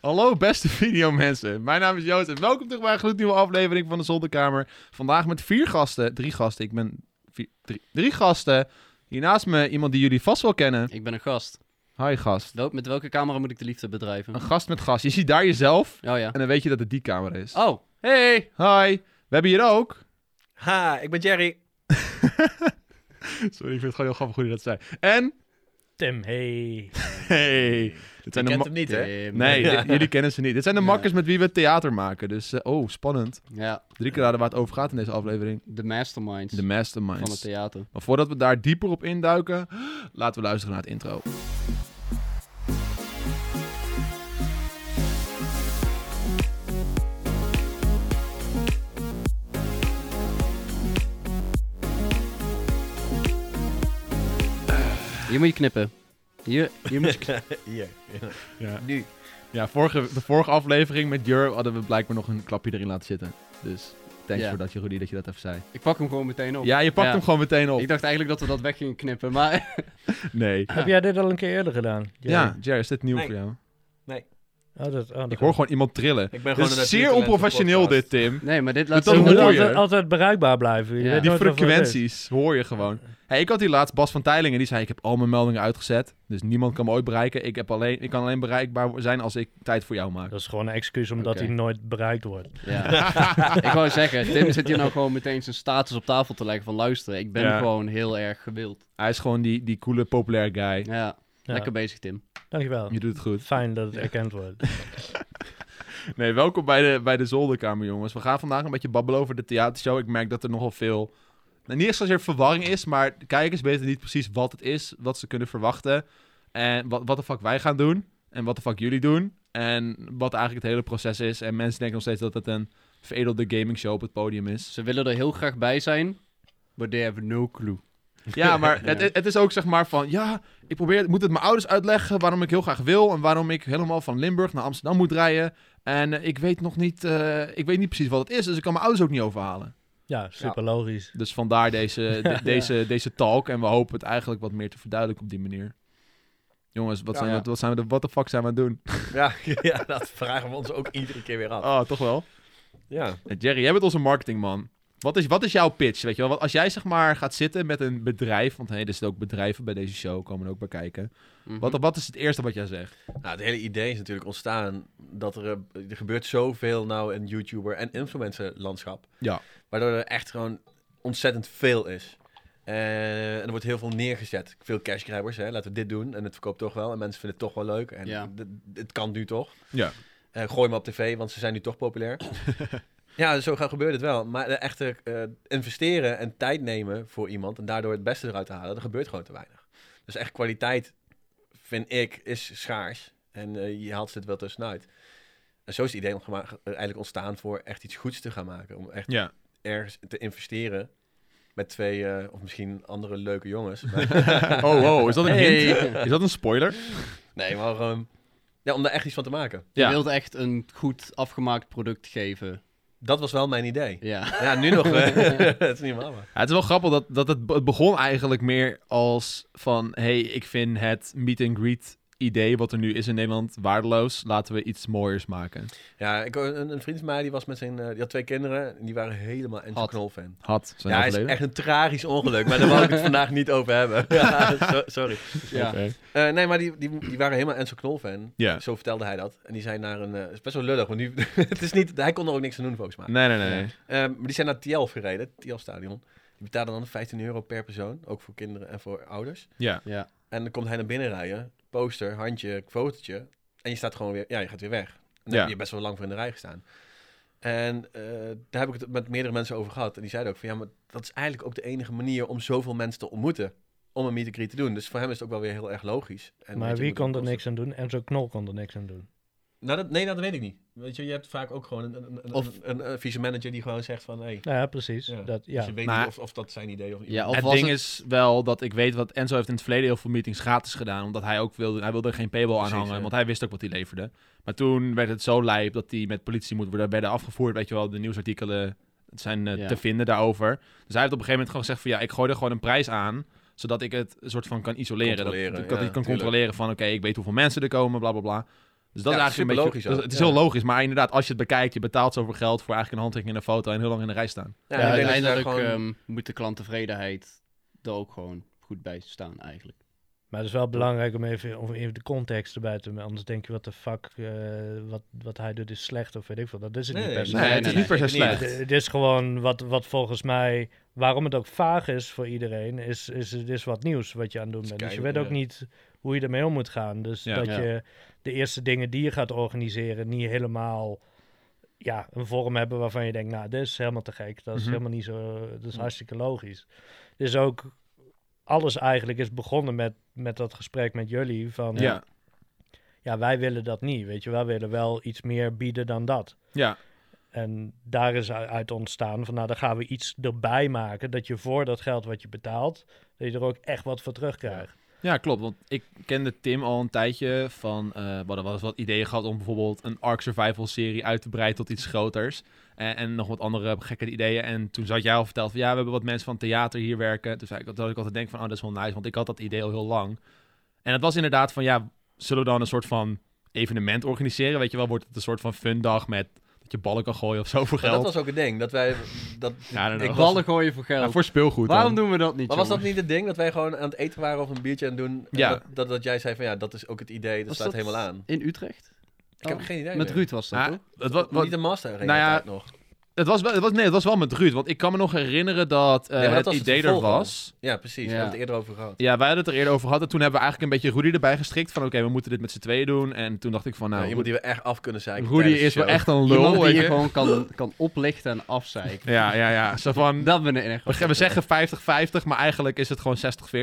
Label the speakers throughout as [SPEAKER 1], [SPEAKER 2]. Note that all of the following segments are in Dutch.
[SPEAKER 1] Hallo beste videomensen, mijn naam is Joost en welkom terug bij een gloednieuwe aflevering van de Zolderkamer. Vandaag met vier gasten, drie gasten, ik ben vier- drie, drie gasten. Hiernaast me iemand die jullie vast wel kennen.
[SPEAKER 2] Ik ben een gast.
[SPEAKER 1] Hi gast.
[SPEAKER 2] Wel- Met welke camera moet ik de liefde bedrijven?
[SPEAKER 1] Een
[SPEAKER 2] Oh
[SPEAKER 1] gast met gast. Je ziet daar jezelf
[SPEAKER 2] ja.
[SPEAKER 1] en dan weet je dat het die kamer is.
[SPEAKER 2] Oh, hey!
[SPEAKER 1] Hi, we hebben hier ook...
[SPEAKER 3] Ha, ik ben Jerry.
[SPEAKER 1] Sorry, ik vind het gewoon heel grappig hoe je dat zei. En...
[SPEAKER 3] Tim, hey.
[SPEAKER 1] Hey, dit zijn
[SPEAKER 3] Je
[SPEAKER 1] de
[SPEAKER 3] kent
[SPEAKER 1] ma-
[SPEAKER 3] hem niet, hè?
[SPEAKER 2] Tim.
[SPEAKER 1] Nee, dit- jullie kennen ze niet. Dit zijn de
[SPEAKER 2] Ja.
[SPEAKER 1] makkers met wie we theater maken. Dus, eh, oh, spannend.
[SPEAKER 2] Ja,
[SPEAKER 1] Drie keer raden waar het over gaat in deze aflevering.
[SPEAKER 2] de masterminds
[SPEAKER 1] De masterminds.
[SPEAKER 2] van het theater.
[SPEAKER 1] Maar voordat we daar dieper op induiken, laten we luisteren naar het intro.
[SPEAKER 2] Hier moet je knippen. Hier, hier moet je knippen.
[SPEAKER 3] Hier.
[SPEAKER 1] Ja,
[SPEAKER 3] Nu.
[SPEAKER 1] ja vorige, de vorige aflevering met Jur hadden we blijkbaar nog een klapje erin laten zitten. Dus thanks
[SPEAKER 2] Ja.
[SPEAKER 1] voor dat, Jeroen, dat je dat even zei.
[SPEAKER 2] Ik pak hem gewoon meteen op.
[SPEAKER 1] Oh. Ja, je pakt
[SPEAKER 2] Ja.
[SPEAKER 1] hem gewoon meteen op.
[SPEAKER 2] Ik dacht eigenlijk dat we dat weg gingen knippen, maar...
[SPEAKER 1] Nee.
[SPEAKER 4] Heb jij dit al een keer eerder gedaan?
[SPEAKER 1] Ja, Jer, is dit nieuw
[SPEAKER 3] Nee.
[SPEAKER 1] voor jou?
[SPEAKER 4] Oh, dat, oh, dat
[SPEAKER 1] Ik hoor gewoon iemand trillen.
[SPEAKER 3] Ik ben
[SPEAKER 1] Dit
[SPEAKER 3] gewoon een
[SPEAKER 1] is Dus zeer onprofessioneel dit, Tim.
[SPEAKER 2] Nee, maar dit laat
[SPEAKER 1] Dat
[SPEAKER 4] Je
[SPEAKER 1] hoor
[SPEAKER 4] moet
[SPEAKER 1] je.
[SPEAKER 4] altijd, altijd bereikbaar blijven. Je
[SPEAKER 2] Ja.
[SPEAKER 4] weet
[SPEAKER 1] Die
[SPEAKER 4] nooit wat er is.
[SPEAKER 1] frequenties hoor je gewoon. Hey, ik had die laatst Bas van Teilingen, die zei ik heb al mijn meldingen uitgezet. Dus niemand kan me ooit bereiken. Ik, heb alleen, ik kan alleen bereikbaar zijn als ik tijd voor jou maak.
[SPEAKER 4] Dat is gewoon een excuus omdat
[SPEAKER 2] Oké.
[SPEAKER 4] hij nooit bereikt wordt.
[SPEAKER 2] Ja. ik wou zeggen, Tim zit hier nou gewoon meteen zijn status op tafel te leggen van... Luister, ik ben
[SPEAKER 1] Ja.
[SPEAKER 2] gewoon heel erg gewild.
[SPEAKER 1] Hij is gewoon die, die coole, populaire guy.
[SPEAKER 2] Ja,
[SPEAKER 4] Ja.
[SPEAKER 2] lekker bezig Tim.
[SPEAKER 4] Dankjewel.
[SPEAKER 1] Je doet het goed.
[SPEAKER 4] Fijn dat het erkend wordt.
[SPEAKER 1] Nee, welkom bij de, bij de zolderkamer, jongens. We gaan vandaag een beetje babbelen over de theatershow. Ik merk dat er nogal veel... Nou, niet eens zozeer verwarring is, maar de kijkers weten niet precies wat het is, wat ze kunnen verwachten. En wat, wat de fuck wij gaan doen. En wat de fuck jullie doen. En wat eigenlijk het hele proces is. En mensen denken nog steeds dat het een veredelde gaming show op het podium is.
[SPEAKER 2] Ze willen er heel graag bij zijn, but they have no clue.
[SPEAKER 1] Ja, maar
[SPEAKER 2] Ja.
[SPEAKER 1] Het, het is ook zeg maar van... Ja, ik probeer, moet het mijn ouders uitleggen waarom ik heel graag wil. En waarom ik helemaal van Limburg naar Amsterdam moet rijden. En eh, ik weet nog niet... eh, ik weet niet precies wat het is. Dus ik kan mijn ouders ook niet overhalen.
[SPEAKER 4] Ja, super logisch.
[SPEAKER 1] Dus vandaar deze, de- deze, deze talk. En we hopen het eigenlijk wat meer te verduidelijken op die manier. Jongens, wat
[SPEAKER 3] Ja,
[SPEAKER 1] zijn,
[SPEAKER 2] ja.
[SPEAKER 1] We, wat zijn we de what the fuck zijn we aan het doen?
[SPEAKER 3] Ja, ja, dat vragen we ons ook iedere keer weer af.
[SPEAKER 1] Oh, toch wel.
[SPEAKER 3] Ja.
[SPEAKER 1] Jerry, jij bent onze marketingman. Wat is, wat is jouw pitch? Weet je wel? Want als jij zeg maar gaat zitten met een bedrijf, want hey, er zitten ook bedrijven bij deze show, komen er ook bij kijken.
[SPEAKER 2] Mhm.
[SPEAKER 1] Wat, wat is het eerste wat jij zegt?
[SPEAKER 3] Nou, het hele idee is natuurlijk ontstaan dat er, eh, er gebeurt zoveel nou in YouTuber en influencer landschap.
[SPEAKER 1] Ja.
[SPEAKER 3] Waardoor er echt gewoon ontzettend veel is. Eh, en er wordt heel veel neergezet. Veel cashgrabbers, hè. Laten we dit doen. En het verkoopt toch wel. En mensen vinden het toch wel leuk. En
[SPEAKER 2] Ja.
[SPEAKER 3] d- d- het kan nu toch.
[SPEAKER 1] Ja.
[SPEAKER 3] Eh, gooi me op tv, want ze zijn nu toch populair. ja, zo gaat gebeurt het wel. Maar de echte eh, investeren en tijd nemen voor iemand en daardoor het beste eruit te halen, dat gebeurt gewoon te weinig. Dus echt kwaliteit, vind ik, is schaars. En eh, je haalt ze het wel tussenuit. En zo is het idee ongema- eh, eigenlijk ontstaan voor echt iets goeds te gaan maken. Om echt
[SPEAKER 1] Ja.
[SPEAKER 3] ergens te investeren met twee, eh, of misschien andere leuke jongens. Maar-
[SPEAKER 1] Oh, wow. Is dat een hint?
[SPEAKER 2] Hey.
[SPEAKER 1] Is dat een spoiler?
[SPEAKER 3] nee, maar ehm, ja, om daar echt iets van te maken.
[SPEAKER 2] Je
[SPEAKER 1] Ja.
[SPEAKER 2] wilt echt een goed afgemaakt product geven.
[SPEAKER 3] Dat was wel mijn idee.
[SPEAKER 2] Ja.
[SPEAKER 3] Ja, nu nog. eh, het is niet normaal. maar-
[SPEAKER 1] Ja, het is wel grappig dat, dat het, het begon eigenlijk meer als van... hey, ik vind het meet-and-greet idee wat er nu is in Nederland waardeloos. Laten we iets mooiers maken.
[SPEAKER 3] Ja, ik, een, een vriend van mij die was met zijn, eh, die had twee kinderen en die waren helemaal Enzo
[SPEAKER 2] Had.
[SPEAKER 3] Knol fan.
[SPEAKER 1] Had, zijn
[SPEAKER 3] Ja, hij is
[SPEAKER 1] overleden.
[SPEAKER 3] echt een tragisch ongeluk, maar daar wil ik het vandaag niet over hebben. Ja, so- sorry.
[SPEAKER 2] ja.
[SPEAKER 1] Oké.
[SPEAKER 3] Eh, nee, maar die, die, die waren helemaal Enzo Knol fan.
[SPEAKER 1] Ja.
[SPEAKER 3] Zo vertelde hij dat. En die zijn naar een, eh, het is best wel lullig, want nu, het is niet, hij kon er ook niks aan doen volgens mij.
[SPEAKER 1] Nee, nee, nee. nee.
[SPEAKER 3] Ehm, maar die zijn naar Tielf gereden, het Tielf Stadion. Die betalen dan 15 euro per persoon, ook voor kinderen en voor ouders.
[SPEAKER 1] Ja.
[SPEAKER 2] Ja.
[SPEAKER 3] En dan komt hij naar binnen rijden, poster, handje, fotootje. En je staat gewoon weer, ja, je gaat weer weg. En dan
[SPEAKER 1] Ja.
[SPEAKER 3] heb je best wel lang voor in de rij gestaan. En eh, daar heb ik het met meerdere mensen over gehad. En die zeiden ook van, ja, maar dat is eigenlijk ook de enige manier om zoveel mensen te ontmoeten. Om een meet and greet te doen. Dus voor hem is het ook wel weer heel erg logisch. En weet
[SPEAKER 4] Maar
[SPEAKER 3] je,
[SPEAKER 4] wie
[SPEAKER 3] moet
[SPEAKER 4] kon
[SPEAKER 3] ook
[SPEAKER 4] er
[SPEAKER 3] kosten.
[SPEAKER 4] niks aan doen? Enzo Knol kon er niks aan doen.
[SPEAKER 3] Nou, dat, nee, nou, dat weet ik niet. Weet je, je hebt vaak ook gewoon een, een, een,
[SPEAKER 2] Of-
[SPEAKER 3] een, een vieze manager die gewoon zegt van, hé, hey,
[SPEAKER 4] Nou ja, precies.
[SPEAKER 3] Ja.
[SPEAKER 4] Dat,
[SPEAKER 3] dus
[SPEAKER 4] ja.
[SPEAKER 3] je weet
[SPEAKER 1] Maar-
[SPEAKER 3] niet of, of dat zijn idee of niet.
[SPEAKER 2] Ja, of
[SPEAKER 1] het
[SPEAKER 2] was
[SPEAKER 1] ding
[SPEAKER 2] het-
[SPEAKER 1] is wel dat ik weet wat Enzo heeft in het verleden heel veel meetings gratis gedaan. Omdat hij ook wilde, hij wilde er geen paywall aan
[SPEAKER 3] Precies,
[SPEAKER 1] hangen.
[SPEAKER 3] ja.
[SPEAKER 1] Want hij wist ook wat hij leverde. Maar toen werd het zo lijp dat hij met politie moet worden, werden afgevoerd. Weet je wel, de nieuwsartikelen zijn eh,
[SPEAKER 2] Ja.
[SPEAKER 1] te vinden daarover. Dus hij heeft op een gegeven moment gewoon gezegd van ja, ik gooi er gewoon een prijs aan. Zodat ik het een soort van kan isoleren. Dat,
[SPEAKER 3] Controleren,
[SPEAKER 1] dat ik
[SPEAKER 3] ja,
[SPEAKER 1] kan
[SPEAKER 3] tuurlijk.
[SPEAKER 1] controleren van oké, ik weet hoeveel mensen er komen, bla bla bla. Dus dat
[SPEAKER 3] Ja,
[SPEAKER 1] is eigenlijk een
[SPEAKER 3] super
[SPEAKER 1] beetje...
[SPEAKER 3] logisch ook.
[SPEAKER 1] dat- het is
[SPEAKER 3] Ja.
[SPEAKER 1] heel logisch, maar inderdaad, als je het bekijkt, je betaalt zoveel geld voor eigenlijk een handtekening en een foto en heel lang in de rij staan.
[SPEAKER 3] Ja, eh,
[SPEAKER 4] Ja,
[SPEAKER 3] ik denk dat ze daar
[SPEAKER 2] uiteindelijk
[SPEAKER 3] gewoon-
[SPEAKER 2] ehm, moet de klanttevredenheid er ook gewoon goed bij staan eigenlijk.
[SPEAKER 4] Maar het is wel belangrijk om even, om even de context erbij te Anders denk je, wat de fuck, eh, wat, wat hij doet is slecht of weet ik veel. Dat is het
[SPEAKER 3] Nee,
[SPEAKER 4] niet per se.
[SPEAKER 1] Nee,
[SPEAKER 2] Nee,
[SPEAKER 1] het is
[SPEAKER 2] nee,
[SPEAKER 1] niet per se
[SPEAKER 3] nee,
[SPEAKER 1] slecht.
[SPEAKER 4] Het, het is gewoon wat, wat volgens mij, waarom het ook vaag is voor iedereen, is, is het is wat nieuws wat je aan het doen
[SPEAKER 3] Is
[SPEAKER 4] bent. Dus je weet
[SPEAKER 3] keihard,
[SPEAKER 4] ook niet hoe je ermee om moet gaan. Dus
[SPEAKER 1] Ja.
[SPEAKER 4] dat
[SPEAKER 2] Ja.
[SPEAKER 4] je de eerste dingen die je gaat organiseren niet helemaal ja, een vorm hebben waarvan je denkt, nou, dit is helemaal te gek. Dat is
[SPEAKER 1] Mhm.
[SPEAKER 4] helemaal niet zo, dat is
[SPEAKER 2] Ja.
[SPEAKER 4] hartstikke logisch. Dus ook alles eigenlijk is begonnen met, met dat gesprek met jullie van, ja.
[SPEAKER 1] Ja,
[SPEAKER 4] wij willen dat niet, weet je. Wij willen wel iets meer bieden dan dat.
[SPEAKER 1] ja,
[SPEAKER 4] En daar is u- uit ontstaan van, nou, dan gaan we iets erbij maken dat je voor dat geld wat je betaalt, dat je er ook echt wat voor terugkrijgt.
[SPEAKER 1] ja, klopt. Want ik kende Tim al een tijdje van... eh we hadden wel eens wat ideeën gehad om bijvoorbeeld een Ark Survival serie uit te breiden tot iets groters. En, en nog wat andere gekke ideeën. En toen zat jij al verteld van ja, we hebben wat mensen van theater hier werken. Toen zei ik dat ik altijd denk van oh, dat is wel nice, want ik had dat idee al heel lang. En het was inderdaad van ja, zullen we dan een soort van evenement organiseren? Weet je wel, wordt het een soort van fundag met dat je ballen kan gooien of zo voor
[SPEAKER 3] Maar
[SPEAKER 1] geld?
[SPEAKER 3] dat was ook het ding. Dat wij, dat,
[SPEAKER 1] Ja, I don't know.
[SPEAKER 3] ik was,
[SPEAKER 2] Ballen gooien voor geld.
[SPEAKER 1] Ja, voor speelgoed
[SPEAKER 2] Waarom
[SPEAKER 1] dan.
[SPEAKER 2] doen we dat niet,
[SPEAKER 3] maar was dat
[SPEAKER 2] jongen?
[SPEAKER 3] niet het ding? Dat wij gewoon aan het eten waren of een biertje aan het doen. en
[SPEAKER 1] Ja.
[SPEAKER 3] Dat, dat, dat jij zei van ja, dat is ook het idee. Dat
[SPEAKER 2] Was
[SPEAKER 3] staat
[SPEAKER 2] dat-
[SPEAKER 3] helemaal aan.
[SPEAKER 2] In Utrecht?
[SPEAKER 3] Ik heb
[SPEAKER 2] Oh,
[SPEAKER 3] geen idee
[SPEAKER 2] Met
[SPEAKER 3] meer.
[SPEAKER 2] Ruud was dat,
[SPEAKER 1] Ja,
[SPEAKER 2] toch?
[SPEAKER 1] Ah, het was,
[SPEAKER 3] niet de master arena
[SPEAKER 1] nou ja,
[SPEAKER 3] tijd nog.
[SPEAKER 1] Het was wel, het was, nee, het was wel met Ruud. Want ik kan me nog herinneren dat eh,
[SPEAKER 3] maar dat
[SPEAKER 1] het
[SPEAKER 3] was het
[SPEAKER 1] idee er
[SPEAKER 3] vervolg al.
[SPEAKER 1] was.
[SPEAKER 3] Ja, precies. We
[SPEAKER 2] Ja.
[SPEAKER 3] hebben het eerder over gehad.
[SPEAKER 1] Ja, wij hadden het er eerder over gehad. En toen hebben we eigenlijk een beetje Rudy erbij gestrikt. Van oké, we moeten dit met z'n tweeën doen. En toen dacht ik van nou,
[SPEAKER 3] Ja, iemand die we echt af kunnen zijn.
[SPEAKER 1] Rudy- Rudy is dus wel echt een lul.
[SPEAKER 2] Iemand die
[SPEAKER 1] weet
[SPEAKER 2] je
[SPEAKER 1] je.
[SPEAKER 2] gewoon kan, kan oplichten en afzeiken.
[SPEAKER 1] Ja, ja, ja. Zo van,
[SPEAKER 2] Dat ben ik echt.
[SPEAKER 1] we, we zeggen 50-50, maar eigenlijk is het gewoon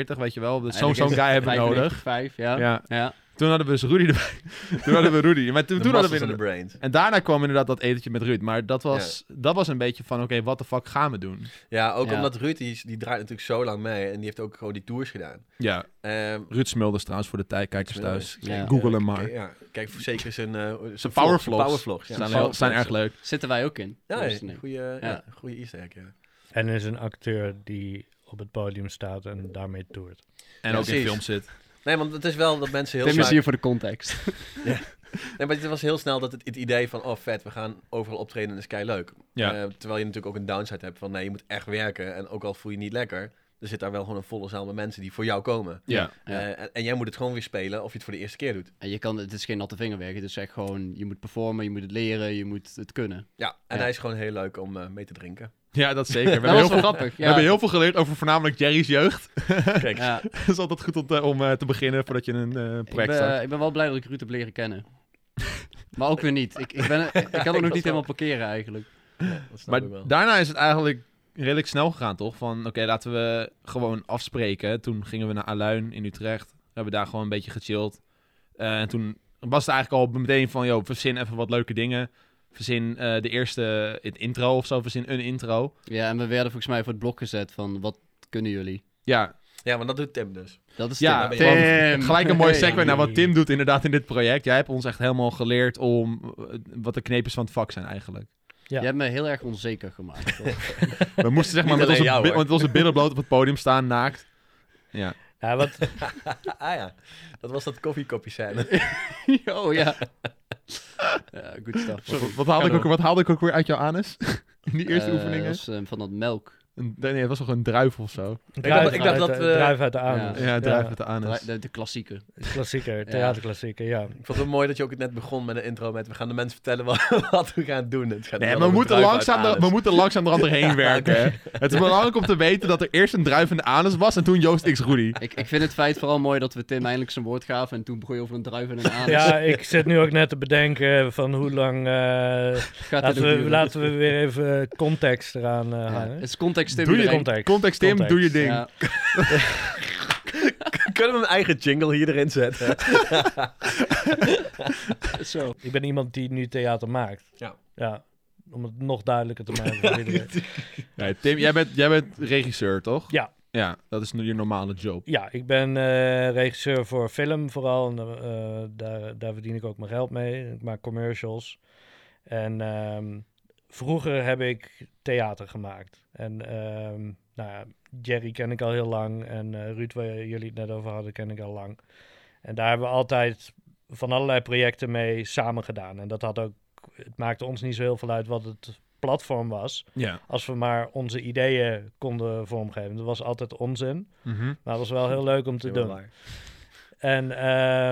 [SPEAKER 1] 60-40, weet je wel. Dus zo'n
[SPEAKER 2] Eigenlijk
[SPEAKER 1] zo'n
[SPEAKER 2] is
[SPEAKER 1] guy
[SPEAKER 2] het
[SPEAKER 1] hebben we nodig.
[SPEAKER 2] 95, ja. ja.
[SPEAKER 1] Ja. Toen hadden we dus Rudy erbij. toen hadden we Rudy. Maar toen, toen hadden we
[SPEAKER 3] de
[SPEAKER 1] inderdaad-
[SPEAKER 3] brains.
[SPEAKER 1] En daarna kwam inderdaad dat etentje met Ruud. Maar dat was, dat was een beetje van oké, wat de fuck gaan we doen?
[SPEAKER 3] Ja, ook
[SPEAKER 2] Ja.
[SPEAKER 3] omdat Ruud, die, is- die draait natuurlijk zo lang mee. En die heeft ook gewoon die tours gedaan.
[SPEAKER 1] Ja,
[SPEAKER 3] Ehm,
[SPEAKER 1] Ruud Smulders trouwens voor de tijdkijkers thuis.
[SPEAKER 2] Ja.
[SPEAKER 1] Google
[SPEAKER 3] eh,
[SPEAKER 1] hem maar.
[SPEAKER 3] kijk- Ja, kijk voor zeker zijn, eh zijn
[SPEAKER 1] powervlogs.
[SPEAKER 3] vlog- powervlogs, ja.
[SPEAKER 1] zijn, heel- zijn erg leuk.
[SPEAKER 2] Zitten wij ook in.
[SPEAKER 3] Ja,
[SPEAKER 2] Dus,
[SPEAKER 3] ja,
[SPEAKER 2] nee.
[SPEAKER 3] goeie, ja.
[SPEAKER 2] Ja.
[SPEAKER 3] goeie easter egg, ja.
[SPEAKER 4] En er is een acteur die op het podium staat en daarmee toert.
[SPEAKER 1] En
[SPEAKER 3] Ja,
[SPEAKER 1] ook in
[SPEAKER 3] precies.
[SPEAKER 1] film zit.
[SPEAKER 3] Nee, want het is wel dat mensen heel
[SPEAKER 2] Tim is
[SPEAKER 3] snel...
[SPEAKER 2] hier voor de context.
[SPEAKER 3] Nee, maar het was heel snel dat het, het idee van... Oh, vet, we gaan overal optreden en dat is kei leuk. Eh,
[SPEAKER 1] Ja.
[SPEAKER 3] terwijl je natuurlijk ook een downside hebt van... Nee, je moet echt werken en ook al voel je je niet lekker... Er zit daar wel gewoon een volle zaal met mensen die voor jou komen.
[SPEAKER 1] Ja.
[SPEAKER 2] Ja.
[SPEAKER 3] Eh, en, en jij moet het gewoon weer spelen of je het voor de eerste keer doet.
[SPEAKER 2] En je kan, het is geen natte vingerwerk. Het is echt gewoon, je moet performen, je moet het leren, je moet het kunnen.
[SPEAKER 3] Ja, en
[SPEAKER 2] Ja.
[SPEAKER 3] hij is gewoon heel leuk om eh, mee te drinken.
[SPEAKER 1] ja, dat zeker. We,
[SPEAKER 2] Dat
[SPEAKER 1] hebben
[SPEAKER 2] was
[SPEAKER 1] heel
[SPEAKER 2] wel
[SPEAKER 1] veel,
[SPEAKER 2] grappig.
[SPEAKER 1] we
[SPEAKER 2] Ja.
[SPEAKER 1] hebben heel veel geleerd over voornamelijk Jerry's jeugd.
[SPEAKER 3] Kijk,
[SPEAKER 2] Ja.
[SPEAKER 1] Het is altijd goed om, te, om, eh, te beginnen voordat je een eh,
[SPEAKER 2] Ik,
[SPEAKER 1] project start.
[SPEAKER 2] ben, ik ben wel blij dat ik Ruud heb leren kennen. maar ook weer niet. Ik, ik, ben, ik kan er nog niet helemaal parkeren eigenlijk.
[SPEAKER 3] dat snap ik wel.
[SPEAKER 1] Maar daarna is het eigenlijk redelijk snel gegaan, toch? Van oké, laten we gewoon afspreken. Toen gingen we naar Aluin in Utrecht. We hebben daar gewoon een beetje gechilled. Eh, en toen was het eigenlijk al meteen van, joh, verzin even wat leuke dingen. Verzin eh, de eerste het intro of zo, verzin een intro.
[SPEAKER 2] Ja, en we werden volgens mij voor het blok gezet van wat kunnen jullie?
[SPEAKER 1] Ja,
[SPEAKER 3] Ja, want dat doet Tim dus.
[SPEAKER 2] Dat is
[SPEAKER 1] Ja,
[SPEAKER 2] Tim.
[SPEAKER 3] want
[SPEAKER 2] Tim.
[SPEAKER 1] Gelijk een mooie
[SPEAKER 2] Hey.
[SPEAKER 1] segue naar wat Tim doet inderdaad in dit project. Jij hebt ons echt helemaal geleerd om eh, wat de kneepjes van het vak zijn eigenlijk.
[SPEAKER 4] Ja.
[SPEAKER 2] Je hebt me heel erg onzeker gemaakt.
[SPEAKER 1] We moesten zeg maar
[SPEAKER 3] Niet
[SPEAKER 1] met onze,
[SPEAKER 3] alleen jou,
[SPEAKER 1] bi-
[SPEAKER 3] hoor.
[SPEAKER 1] met onze billen bloot op het podium staan, naakt. Ja,
[SPEAKER 4] Ja, wat,
[SPEAKER 3] Ah ja, dat was dat koffiekopje zijn.
[SPEAKER 2] oh ja. ja, good stuff.
[SPEAKER 1] Wat, wat haalde ik ook, wat haalde ik ook weer uit jouw anus? In die eerste
[SPEAKER 2] Eh,
[SPEAKER 1] oefeningen?
[SPEAKER 2] dat is, eh, van dat melk.
[SPEAKER 1] Een- nee, het was toch een druif of zo?
[SPEAKER 4] druif,
[SPEAKER 3] ik
[SPEAKER 4] ik
[SPEAKER 3] dacht
[SPEAKER 4] dacht
[SPEAKER 3] dat
[SPEAKER 4] uit,
[SPEAKER 3] we-
[SPEAKER 4] de druif uit de anus.
[SPEAKER 1] Ja, druif met de anus.
[SPEAKER 2] De, de klassieker.
[SPEAKER 4] Klassieker, theaterklassieker, ja.
[SPEAKER 3] Ik vond het mooi dat je ook het net begon met een intro met... We gaan de mensen vertellen wat, wat we gaan doen. Het gaat
[SPEAKER 1] Nee,
[SPEAKER 3] wel
[SPEAKER 1] we
[SPEAKER 3] over
[SPEAKER 1] moeten,
[SPEAKER 3] druiven uit
[SPEAKER 1] langzaam
[SPEAKER 3] anus.
[SPEAKER 1] er, we moeten langzaam er doorheen werken. hè. Het is belangrijk om te weten dat er eerst een druif in de anus was en toen Joost X Rudy.
[SPEAKER 2] Ik, ik vind het feit vooral mooi dat we Tim eindelijk zijn woord gaven en toen begon je over een druif en een anus.
[SPEAKER 4] Ja, ik zit nu ook net te bedenken van hoe lang... eh,
[SPEAKER 2] Gaat dit
[SPEAKER 4] laten,
[SPEAKER 2] ook
[SPEAKER 4] we,
[SPEAKER 2] duren?
[SPEAKER 4] laten we weer even eh, context eraan eh,
[SPEAKER 2] Ja,
[SPEAKER 4] hangen.
[SPEAKER 2] Het is context Tim.
[SPEAKER 1] Doe je
[SPEAKER 2] iedereen.
[SPEAKER 4] Context.
[SPEAKER 1] Context Tim,
[SPEAKER 4] Context.
[SPEAKER 1] doe je ding.
[SPEAKER 2] Ja.
[SPEAKER 3] Kunnen we een eigen jingle hier erin zetten?
[SPEAKER 2] Zo.
[SPEAKER 4] Ik ben iemand die nu theater maakt.
[SPEAKER 3] Ja.
[SPEAKER 4] Ja, om het nog duidelijker te maken. voor iedereen.
[SPEAKER 1] Nee, Tim, jij bent, jij bent regisseur, toch?
[SPEAKER 4] Ja.
[SPEAKER 1] Ja, dat is nu je normale job.
[SPEAKER 4] Ja, ik ben eh, regisseur voor film vooral. En, eh, daar, daar verdien ik ook mijn geld mee. Ik maak commercials. En ehm, vroeger heb ik theater gemaakt. En ehm, nou ja, Jerry ken ik al heel lang. En eh, Ruud, waar jullie het net over hadden, ken ik al lang. En daar hebben we altijd van allerlei projecten mee samen gedaan. En dat had ook, het maakte ons niet zo heel veel uit wat het platform was.
[SPEAKER 1] Ja.
[SPEAKER 4] Als we maar onze ideeën konden vormgeven. Dat was altijd onzin.
[SPEAKER 1] Mhm.
[SPEAKER 4] Maar het was wel heel leuk om te
[SPEAKER 3] Helemaal
[SPEAKER 4] doen.
[SPEAKER 3] waar.
[SPEAKER 4] En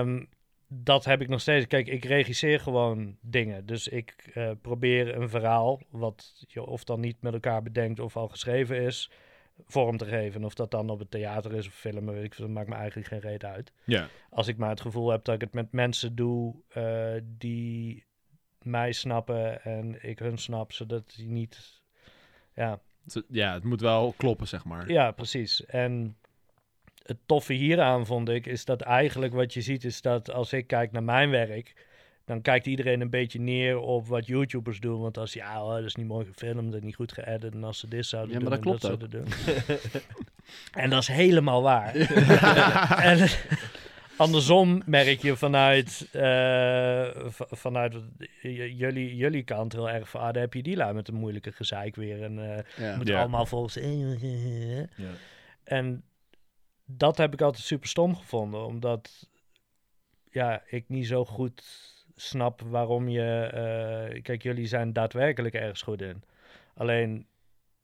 [SPEAKER 4] ehm, dat heb ik nog steeds. Kijk, ik regisseer gewoon dingen. Dus ik eh, probeer een verhaal, wat je of dan niet met elkaar bedenkt of al geschreven is, vorm te geven. En Of dat dan op het theater is of filmen, weet ik, veel, dat maakt me eigenlijk geen reet uit.
[SPEAKER 1] Ja.
[SPEAKER 4] Als ik maar het gevoel heb dat ik het met mensen doe eh, die mij snappen en ik hun snap, zodat die niet. Ja,
[SPEAKER 1] Het- ja, het moet wel kloppen, zeg maar.
[SPEAKER 4] ja, precies. En het toffe hieraan vond ik, is dat eigenlijk wat je ziet, is dat als ik kijk naar mijn werk, dan kijkt iedereen een beetje neer op wat YouTubers doen. Want als ja, oh, dat is niet mooi gefilmd en niet goed geëdit en als ze dit zouden
[SPEAKER 2] Ja,
[SPEAKER 4] doen,
[SPEAKER 2] maar dat
[SPEAKER 4] en
[SPEAKER 2] klopt
[SPEAKER 4] zouden doen. en dat is helemaal waar. en, andersom merk je vanuit, eh, v- vanuit j- jullie, jullie kant heel erg van, ah, daar heb je die lui met een moeilijke gezeik weer. En eh,
[SPEAKER 2] Ja.
[SPEAKER 4] moet
[SPEAKER 1] Ja.
[SPEAKER 4] allemaal volgens... eh,
[SPEAKER 3] Ja.
[SPEAKER 4] En dat heb ik altijd super stom gevonden, omdat ja, ik niet zo goed snap waarom je... eh, kijk, jullie zijn daadwerkelijk ergens goed in. Alleen,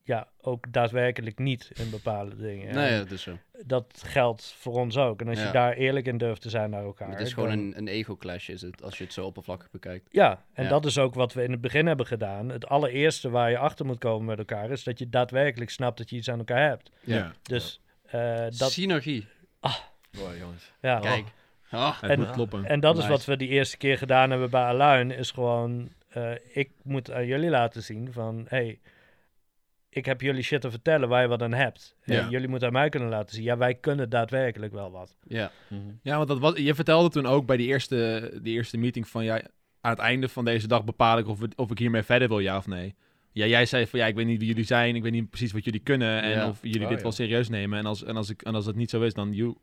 [SPEAKER 4] ja, ook daadwerkelijk niet in bepaalde dingen.
[SPEAKER 2] Nee,
[SPEAKER 4] En
[SPEAKER 2] dat is zo.
[SPEAKER 4] Dat geldt voor ons ook. En als
[SPEAKER 2] Ja.
[SPEAKER 4] je daar eerlijk in durft te zijn naar elkaar...
[SPEAKER 2] Het is gewoon
[SPEAKER 4] dan-
[SPEAKER 2] een, een ego-clash, is het, als je het zo oppervlakkig bekijkt.
[SPEAKER 4] Ja, en
[SPEAKER 2] Ja.
[SPEAKER 4] dat is ook wat we in het begin hebben gedaan. Het allereerste waar je achter moet komen met elkaar... is dat je daadwerkelijk snapt dat je iets aan elkaar hebt.
[SPEAKER 1] Ja.
[SPEAKER 4] Dus eh, dat... Oh.
[SPEAKER 2] Synergie.
[SPEAKER 3] Mooi, jongens.
[SPEAKER 4] Ja,
[SPEAKER 2] Kijk. Ah,
[SPEAKER 1] Het
[SPEAKER 4] En-
[SPEAKER 1] moet kloppen.
[SPEAKER 4] En dat is
[SPEAKER 2] Nice.
[SPEAKER 4] wat we die eerste keer gedaan hebben bij Aluin. Is gewoon, eh, ik moet aan jullie laten zien van... hey, ik heb jullie shit te vertellen waar je wat aan hebt. En
[SPEAKER 1] Ja.
[SPEAKER 4] jullie moeten aan mij kunnen laten zien. Ja, wij kunnen daadwerkelijk wel wat.
[SPEAKER 2] ja.
[SPEAKER 3] Mhm.
[SPEAKER 1] Ja, want dat was, je vertelde toen ook bij die eerste, die eerste meeting van... Ja, aan het einde van deze dag bepaal ik of, we- of ik hiermee verder wil, ja of nee. Ja, jij zei van ja, ik weet niet wie jullie zijn, ik weet niet precies wat jullie kunnen en
[SPEAKER 2] Ja.
[SPEAKER 1] of jullie
[SPEAKER 3] Oh,
[SPEAKER 1] dit
[SPEAKER 3] ja.
[SPEAKER 1] wel serieus nemen. En als, en, als ik, en als dat niet zo is, dan you.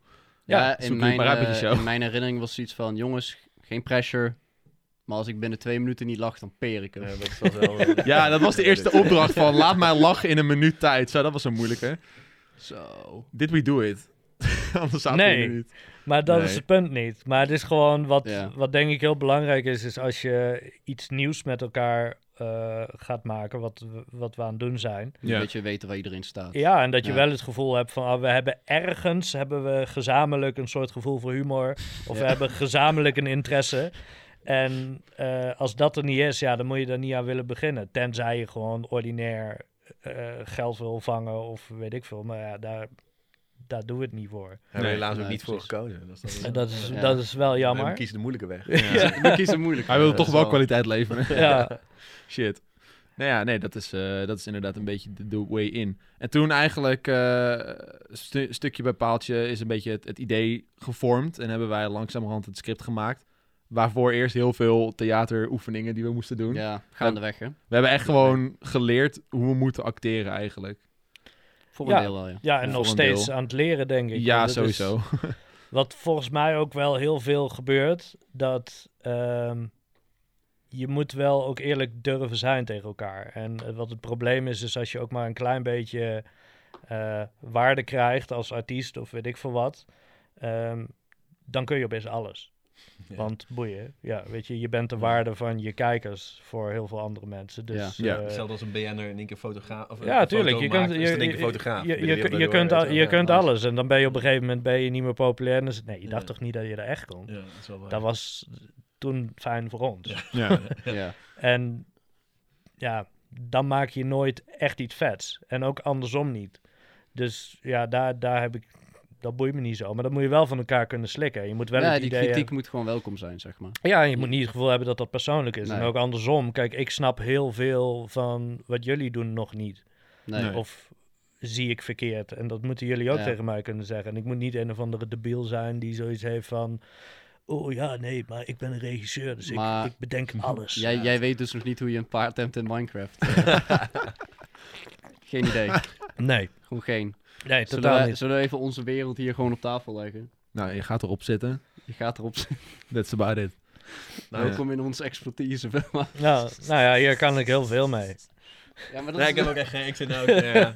[SPEAKER 2] Ja,
[SPEAKER 1] Ja, zoek
[SPEAKER 2] in,
[SPEAKER 1] je
[SPEAKER 2] mijn,
[SPEAKER 1] maar uit met
[SPEAKER 2] eh,
[SPEAKER 1] die show.
[SPEAKER 2] in mijn herinnering was zoiets van, jongens, geen pressure. Maar als ik binnen twee minuten niet lach, dan peer ik hem.
[SPEAKER 3] Ja, dat is wel eh, wel-
[SPEAKER 1] Ja, dat was de eerste opdracht van laat mij lachen in een minuut tijd. Zo, dat was een moeilijke.
[SPEAKER 2] Zo.
[SPEAKER 1] Dit we do it. Anders zaten we
[SPEAKER 4] Nee.
[SPEAKER 1] hier niet.
[SPEAKER 4] Maar dat
[SPEAKER 1] Nee.
[SPEAKER 4] is het punt niet. Maar het is gewoon wat,
[SPEAKER 2] Ja.
[SPEAKER 4] wat denk ik heel belangrijk is... is als je iets nieuws met elkaar eh, gaat maken... Wat, we- wat we aan het doen zijn...
[SPEAKER 1] Ja.
[SPEAKER 2] Een beetje weten waar iedereen staat.
[SPEAKER 4] Ja, en dat je
[SPEAKER 2] Ja.
[SPEAKER 4] wel het gevoel hebt van ah, we hebben ergens hebben we gezamenlijk een soort gevoel voor humor. Of we
[SPEAKER 2] Ja.
[SPEAKER 4] hebben gezamenlijk een interesse. En eh, als dat er niet is, ja, dan moet je er niet aan willen beginnen. Tenzij je gewoon ordinair eh, geld wil vangen of weet ik veel. Maar ja, daar, daar doen we het niet voor.
[SPEAKER 3] Hebben we
[SPEAKER 1] Nee,
[SPEAKER 3] helaas ook
[SPEAKER 2] nee,
[SPEAKER 3] niet voor
[SPEAKER 2] precies.
[SPEAKER 3] gekozen. Dat is,
[SPEAKER 4] En dat is,
[SPEAKER 2] Ja.
[SPEAKER 4] dat is wel
[SPEAKER 3] Willem
[SPEAKER 4] jammer.
[SPEAKER 3] kiest de moeilijke weg.
[SPEAKER 2] Ja. We kiezen moeilijk.
[SPEAKER 1] Hij wilde
[SPEAKER 2] eh, Dat
[SPEAKER 1] toch
[SPEAKER 2] is
[SPEAKER 1] wel kwaliteit leveren.
[SPEAKER 4] Ja,
[SPEAKER 1] Shit. Nou ja, nee, dat is, eh, dat is inderdaad een beetje de, de way in. En toen eigenlijk, eh, stu- stukje bij paaltje, is een beetje het, het idee gevormd. En hebben wij langzamerhand het script gemaakt. Waarvoor eerst heel veel theateroefeningen die we moesten doen.
[SPEAKER 2] Ja, gaandeweg hè.
[SPEAKER 1] We hebben echt gewoon geleerd hoe we moeten acteren eigenlijk.
[SPEAKER 2] Voor
[SPEAKER 4] Ja.
[SPEAKER 2] een deel wel ja.
[SPEAKER 4] ja en
[SPEAKER 1] Voor
[SPEAKER 4] nog
[SPEAKER 1] een
[SPEAKER 4] steeds
[SPEAKER 1] deel.
[SPEAKER 4] aan het leren, denk ik.
[SPEAKER 1] ja,
[SPEAKER 4] Want het is-
[SPEAKER 1] sowieso.
[SPEAKER 4] Wat volgens mij ook wel heel veel gebeurt, dat ehm, je moet wel ook eerlijk durven zijn tegen elkaar. En eh, wat het probleem is, is als je ook maar een klein beetje eh, waarde krijgt als artiest of weet ik veel wat, ehm, dan kun je opeens alles.
[SPEAKER 3] Ja.
[SPEAKER 4] Want boeien, ja, weet je, je bent de waarde van je kijkers voor heel veel andere mensen. Dus,
[SPEAKER 1] Ja. Ja.
[SPEAKER 4] eh,
[SPEAKER 3] Hetzelfde als een BN'er in één keer fotograaf. Of
[SPEAKER 4] ja, tuurlijk. Je kunt,
[SPEAKER 3] je,
[SPEAKER 4] je,
[SPEAKER 3] is in één
[SPEAKER 4] je,
[SPEAKER 3] keer fotograaf.
[SPEAKER 4] je,
[SPEAKER 3] Binnen
[SPEAKER 4] je,
[SPEAKER 3] de
[SPEAKER 4] je
[SPEAKER 3] wereld
[SPEAKER 4] kunt,
[SPEAKER 3] door,
[SPEAKER 4] al-
[SPEAKER 3] weet
[SPEAKER 4] je
[SPEAKER 3] wel.
[SPEAKER 4] kunt
[SPEAKER 3] Ja,
[SPEAKER 4] alles. En dan ben je op een gegeven moment ben je niet meer populair. En dan is het, nee, je dacht
[SPEAKER 3] Ja.
[SPEAKER 4] toch niet dat je er echt kon?
[SPEAKER 3] Ja, dat is wel waar.
[SPEAKER 4] Dat was toen fijn voor ons.
[SPEAKER 1] ja.
[SPEAKER 2] ja.
[SPEAKER 4] En ja, dan maak je nooit echt iets vets. En ook andersom niet. Dus ja, daar, daar heb ik... Dat boeit me niet zo. Maar dat moet je wel van elkaar kunnen slikken. Je moet wel
[SPEAKER 2] Ja,
[SPEAKER 4] het
[SPEAKER 2] die
[SPEAKER 4] idee
[SPEAKER 2] kritiek
[SPEAKER 4] hebben-
[SPEAKER 2] moet gewoon welkom zijn, zeg maar.
[SPEAKER 4] Ja, en je moet niet het gevoel hebben dat dat persoonlijk is.
[SPEAKER 2] Nee.
[SPEAKER 4] En ook andersom. Kijk, ik snap heel veel van wat jullie doen nog niet.
[SPEAKER 2] Nee.
[SPEAKER 1] Nee.
[SPEAKER 4] Of zie ik verkeerd. En dat moeten jullie ook
[SPEAKER 2] Ja.
[SPEAKER 4] tegen mij kunnen zeggen. En ik moet niet een of andere debiel zijn die zoiets heeft van... Oh ja, nee, maar ik ben een regisseur, dus ik-
[SPEAKER 2] Maar-
[SPEAKER 4] ik, bedenk alles.
[SPEAKER 2] Jij, jij weet dus nog niet hoe je een paard tempt in Minecraft. geen idee.
[SPEAKER 4] Nee,
[SPEAKER 2] Gewoon geen.
[SPEAKER 4] nee, totaal
[SPEAKER 2] Zullen we,
[SPEAKER 4] niet.
[SPEAKER 2] zullen we even onze wereld hier gewoon op tafel leggen?
[SPEAKER 1] Nou, je gaat erop zitten.
[SPEAKER 2] Je gaat erop zitten.
[SPEAKER 1] That's about it.
[SPEAKER 3] Nou,
[SPEAKER 2] Welkom in onze expertise. maar-
[SPEAKER 4] Nou, nou ja, hier kan ik heel veel mee.
[SPEAKER 2] ja, maar dat
[SPEAKER 3] Nee,
[SPEAKER 2] is
[SPEAKER 3] ik heb ook echt geen... Ik zit nou ook... ja.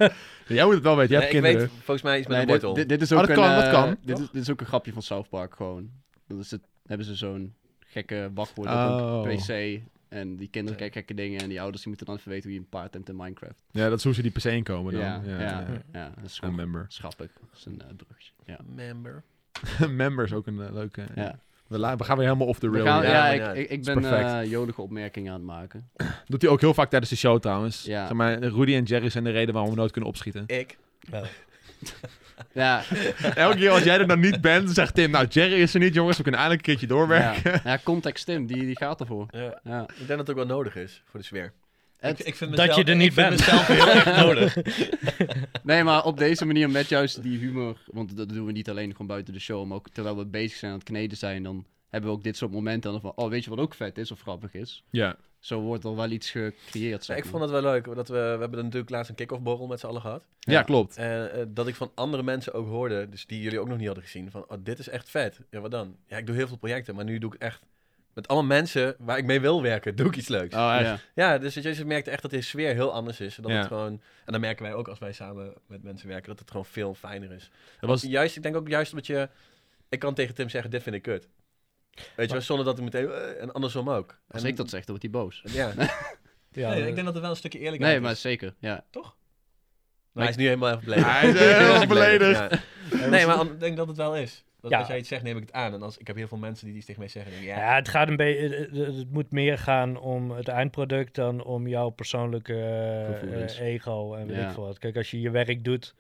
[SPEAKER 1] Jij moet het wel weten, jij
[SPEAKER 3] Nee,
[SPEAKER 1] hebt
[SPEAKER 3] ik
[SPEAKER 1] kinderen.
[SPEAKER 3] weet volgens mij iets met
[SPEAKER 2] Nee,
[SPEAKER 3] een
[SPEAKER 2] dit,
[SPEAKER 3] wortel.
[SPEAKER 2] dit- dit is
[SPEAKER 1] Oh,
[SPEAKER 2] ook
[SPEAKER 1] dat kan,
[SPEAKER 2] een,
[SPEAKER 1] dat
[SPEAKER 2] eh,
[SPEAKER 1] kan,
[SPEAKER 2] Dit
[SPEAKER 1] toch?
[SPEAKER 2] is, dit is ook een grapje van South Park gewoon. Dat is het, hebben ze zo'n gekke wachtwoorden op
[SPEAKER 1] Oh.
[SPEAKER 2] een PC. En die kinderen kijken gekke dingen en die ouders die moeten dan even weten hoe je een paard hebt in Minecraft.
[SPEAKER 1] Ja, dat is hoe ze die PC inkomen dan.
[SPEAKER 2] ja, ja, ja,
[SPEAKER 1] ja.
[SPEAKER 2] dat
[SPEAKER 1] Een
[SPEAKER 2] is gewoon
[SPEAKER 1] member.
[SPEAKER 2] schappelijk. Dat is een eh, bruggetje. Ja.
[SPEAKER 3] Member.
[SPEAKER 1] member is ook een eh, leuke. ja.
[SPEAKER 2] Ja.
[SPEAKER 1] We, la- we gaan weer helemaal off the
[SPEAKER 2] We
[SPEAKER 1] rail.
[SPEAKER 2] gaan,
[SPEAKER 1] hier.
[SPEAKER 2] ja,
[SPEAKER 3] Ja,
[SPEAKER 2] ik,
[SPEAKER 3] maar ja,
[SPEAKER 2] ik, ik
[SPEAKER 1] is
[SPEAKER 2] ben
[SPEAKER 1] perfect.
[SPEAKER 2] eh, jodige opmerkingen aan het maken.
[SPEAKER 1] Doet hij ook heel vaak tijdens de show trouwens.
[SPEAKER 2] Ja.
[SPEAKER 1] Zeg maar, Rudy en Jerry zijn de reden waarom we nooit kunnen opschieten.
[SPEAKER 3] Ik.
[SPEAKER 2] Ja,
[SPEAKER 1] Elke keer als jij er dan niet bent, zegt Tim, nou Jerry is er niet jongens, we kunnen eindelijk een keertje doorwerken.
[SPEAKER 2] ja. ja context Tim, die, die gaat ervoor.
[SPEAKER 3] Ja.
[SPEAKER 2] Ja.
[SPEAKER 3] Eh, Ik denk dat het ook wel nodig is voor de sfeer.
[SPEAKER 2] Het-
[SPEAKER 3] vind
[SPEAKER 4] Dat je er niet bent. heel erg nodig.
[SPEAKER 2] Nee, maar op deze manier met juist die humor. Want dat doen we niet alleen gewoon buiten de show. Maar ook terwijl we bezig zijn aan het kneden zijn. Dan hebben we ook dit soort momenten. Dan van, oh, weet je wat ook vet is of grappig is?
[SPEAKER 1] Ja.
[SPEAKER 2] Zo wordt er wel iets gecreëerd.
[SPEAKER 3] Ja,
[SPEAKER 2] Zeg
[SPEAKER 3] ik
[SPEAKER 2] maar.
[SPEAKER 3] vond het wel leuk, dat we, we hebben natuurlijk laatst een kick-off borrel met z'n allen gehad.
[SPEAKER 1] Ja, klopt.
[SPEAKER 3] Eh, eh, dat ik van andere mensen ook hoorde, dus die jullie ook nog niet hadden gezien, van oh, dit is echt vet. Ja, wat dan? Ja, ik doe heel veel projecten, maar nu doe ik echt met allemaal mensen waar ik mee wil werken, doe ik iets leuks.
[SPEAKER 1] Oh, echt.
[SPEAKER 2] ja.
[SPEAKER 3] Ja, dus je merkt echt dat de sfeer heel anders is. Dat
[SPEAKER 1] Ja.
[SPEAKER 3] het gewoon, en dan merken wij ook als wij samen met mensen werken, dat het gewoon veel fijner is.
[SPEAKER 1] Dat was,
[SPEAKER 3] Juist, ik denk ook juist omdat je, ik kan tegen Tim zeggen, dit vind ik kut. Weet je wel, zonder dat hij meteen, eh, en andersom ook.
[SPEAKER 2] Als
[SPEAKER 3] En-
[SPEAKER 2] ik dat zeg, dan wordt hij boos.
[SPEAKER 3] Ja,
[SPEAKER 4] Ja,
[SPEAKER 3] Nee, ik denk dat er wel een stukje eerlijkheid
[SPEAKER 2] Nee,
[SPEAKER 3] is.
[SPEAKER 2] maar zeker. Ja.
[SPEAKER 3] Maar hij is nu helemaal erg beledigd.
[SPEAKER 1] Hij is heel erg
[SPEAKER 3] Ja. Nee, maar ik denk dat het wel is. Dat
[SPEAKER 4] Ja.
[SPEAKER 3] Als jij iets zegt, neem ik het aan. En als, ik heb heel veel mensen die iets tegen mij zeggen. Denk, ik, ja,
[SPEAKER 4] Ja, het, gaat een beetje, het- het- eh, het moet meer gaan om het eindproduct dan om jouw persoonlijke eh,
[SPEAKER 1] Gevoelens.
[SPEAKER 4] eh, ego en weet
[SPEAKER 2] Ja.
[SPEAKER 4] ik veel wat. Kijk, als je je werk doet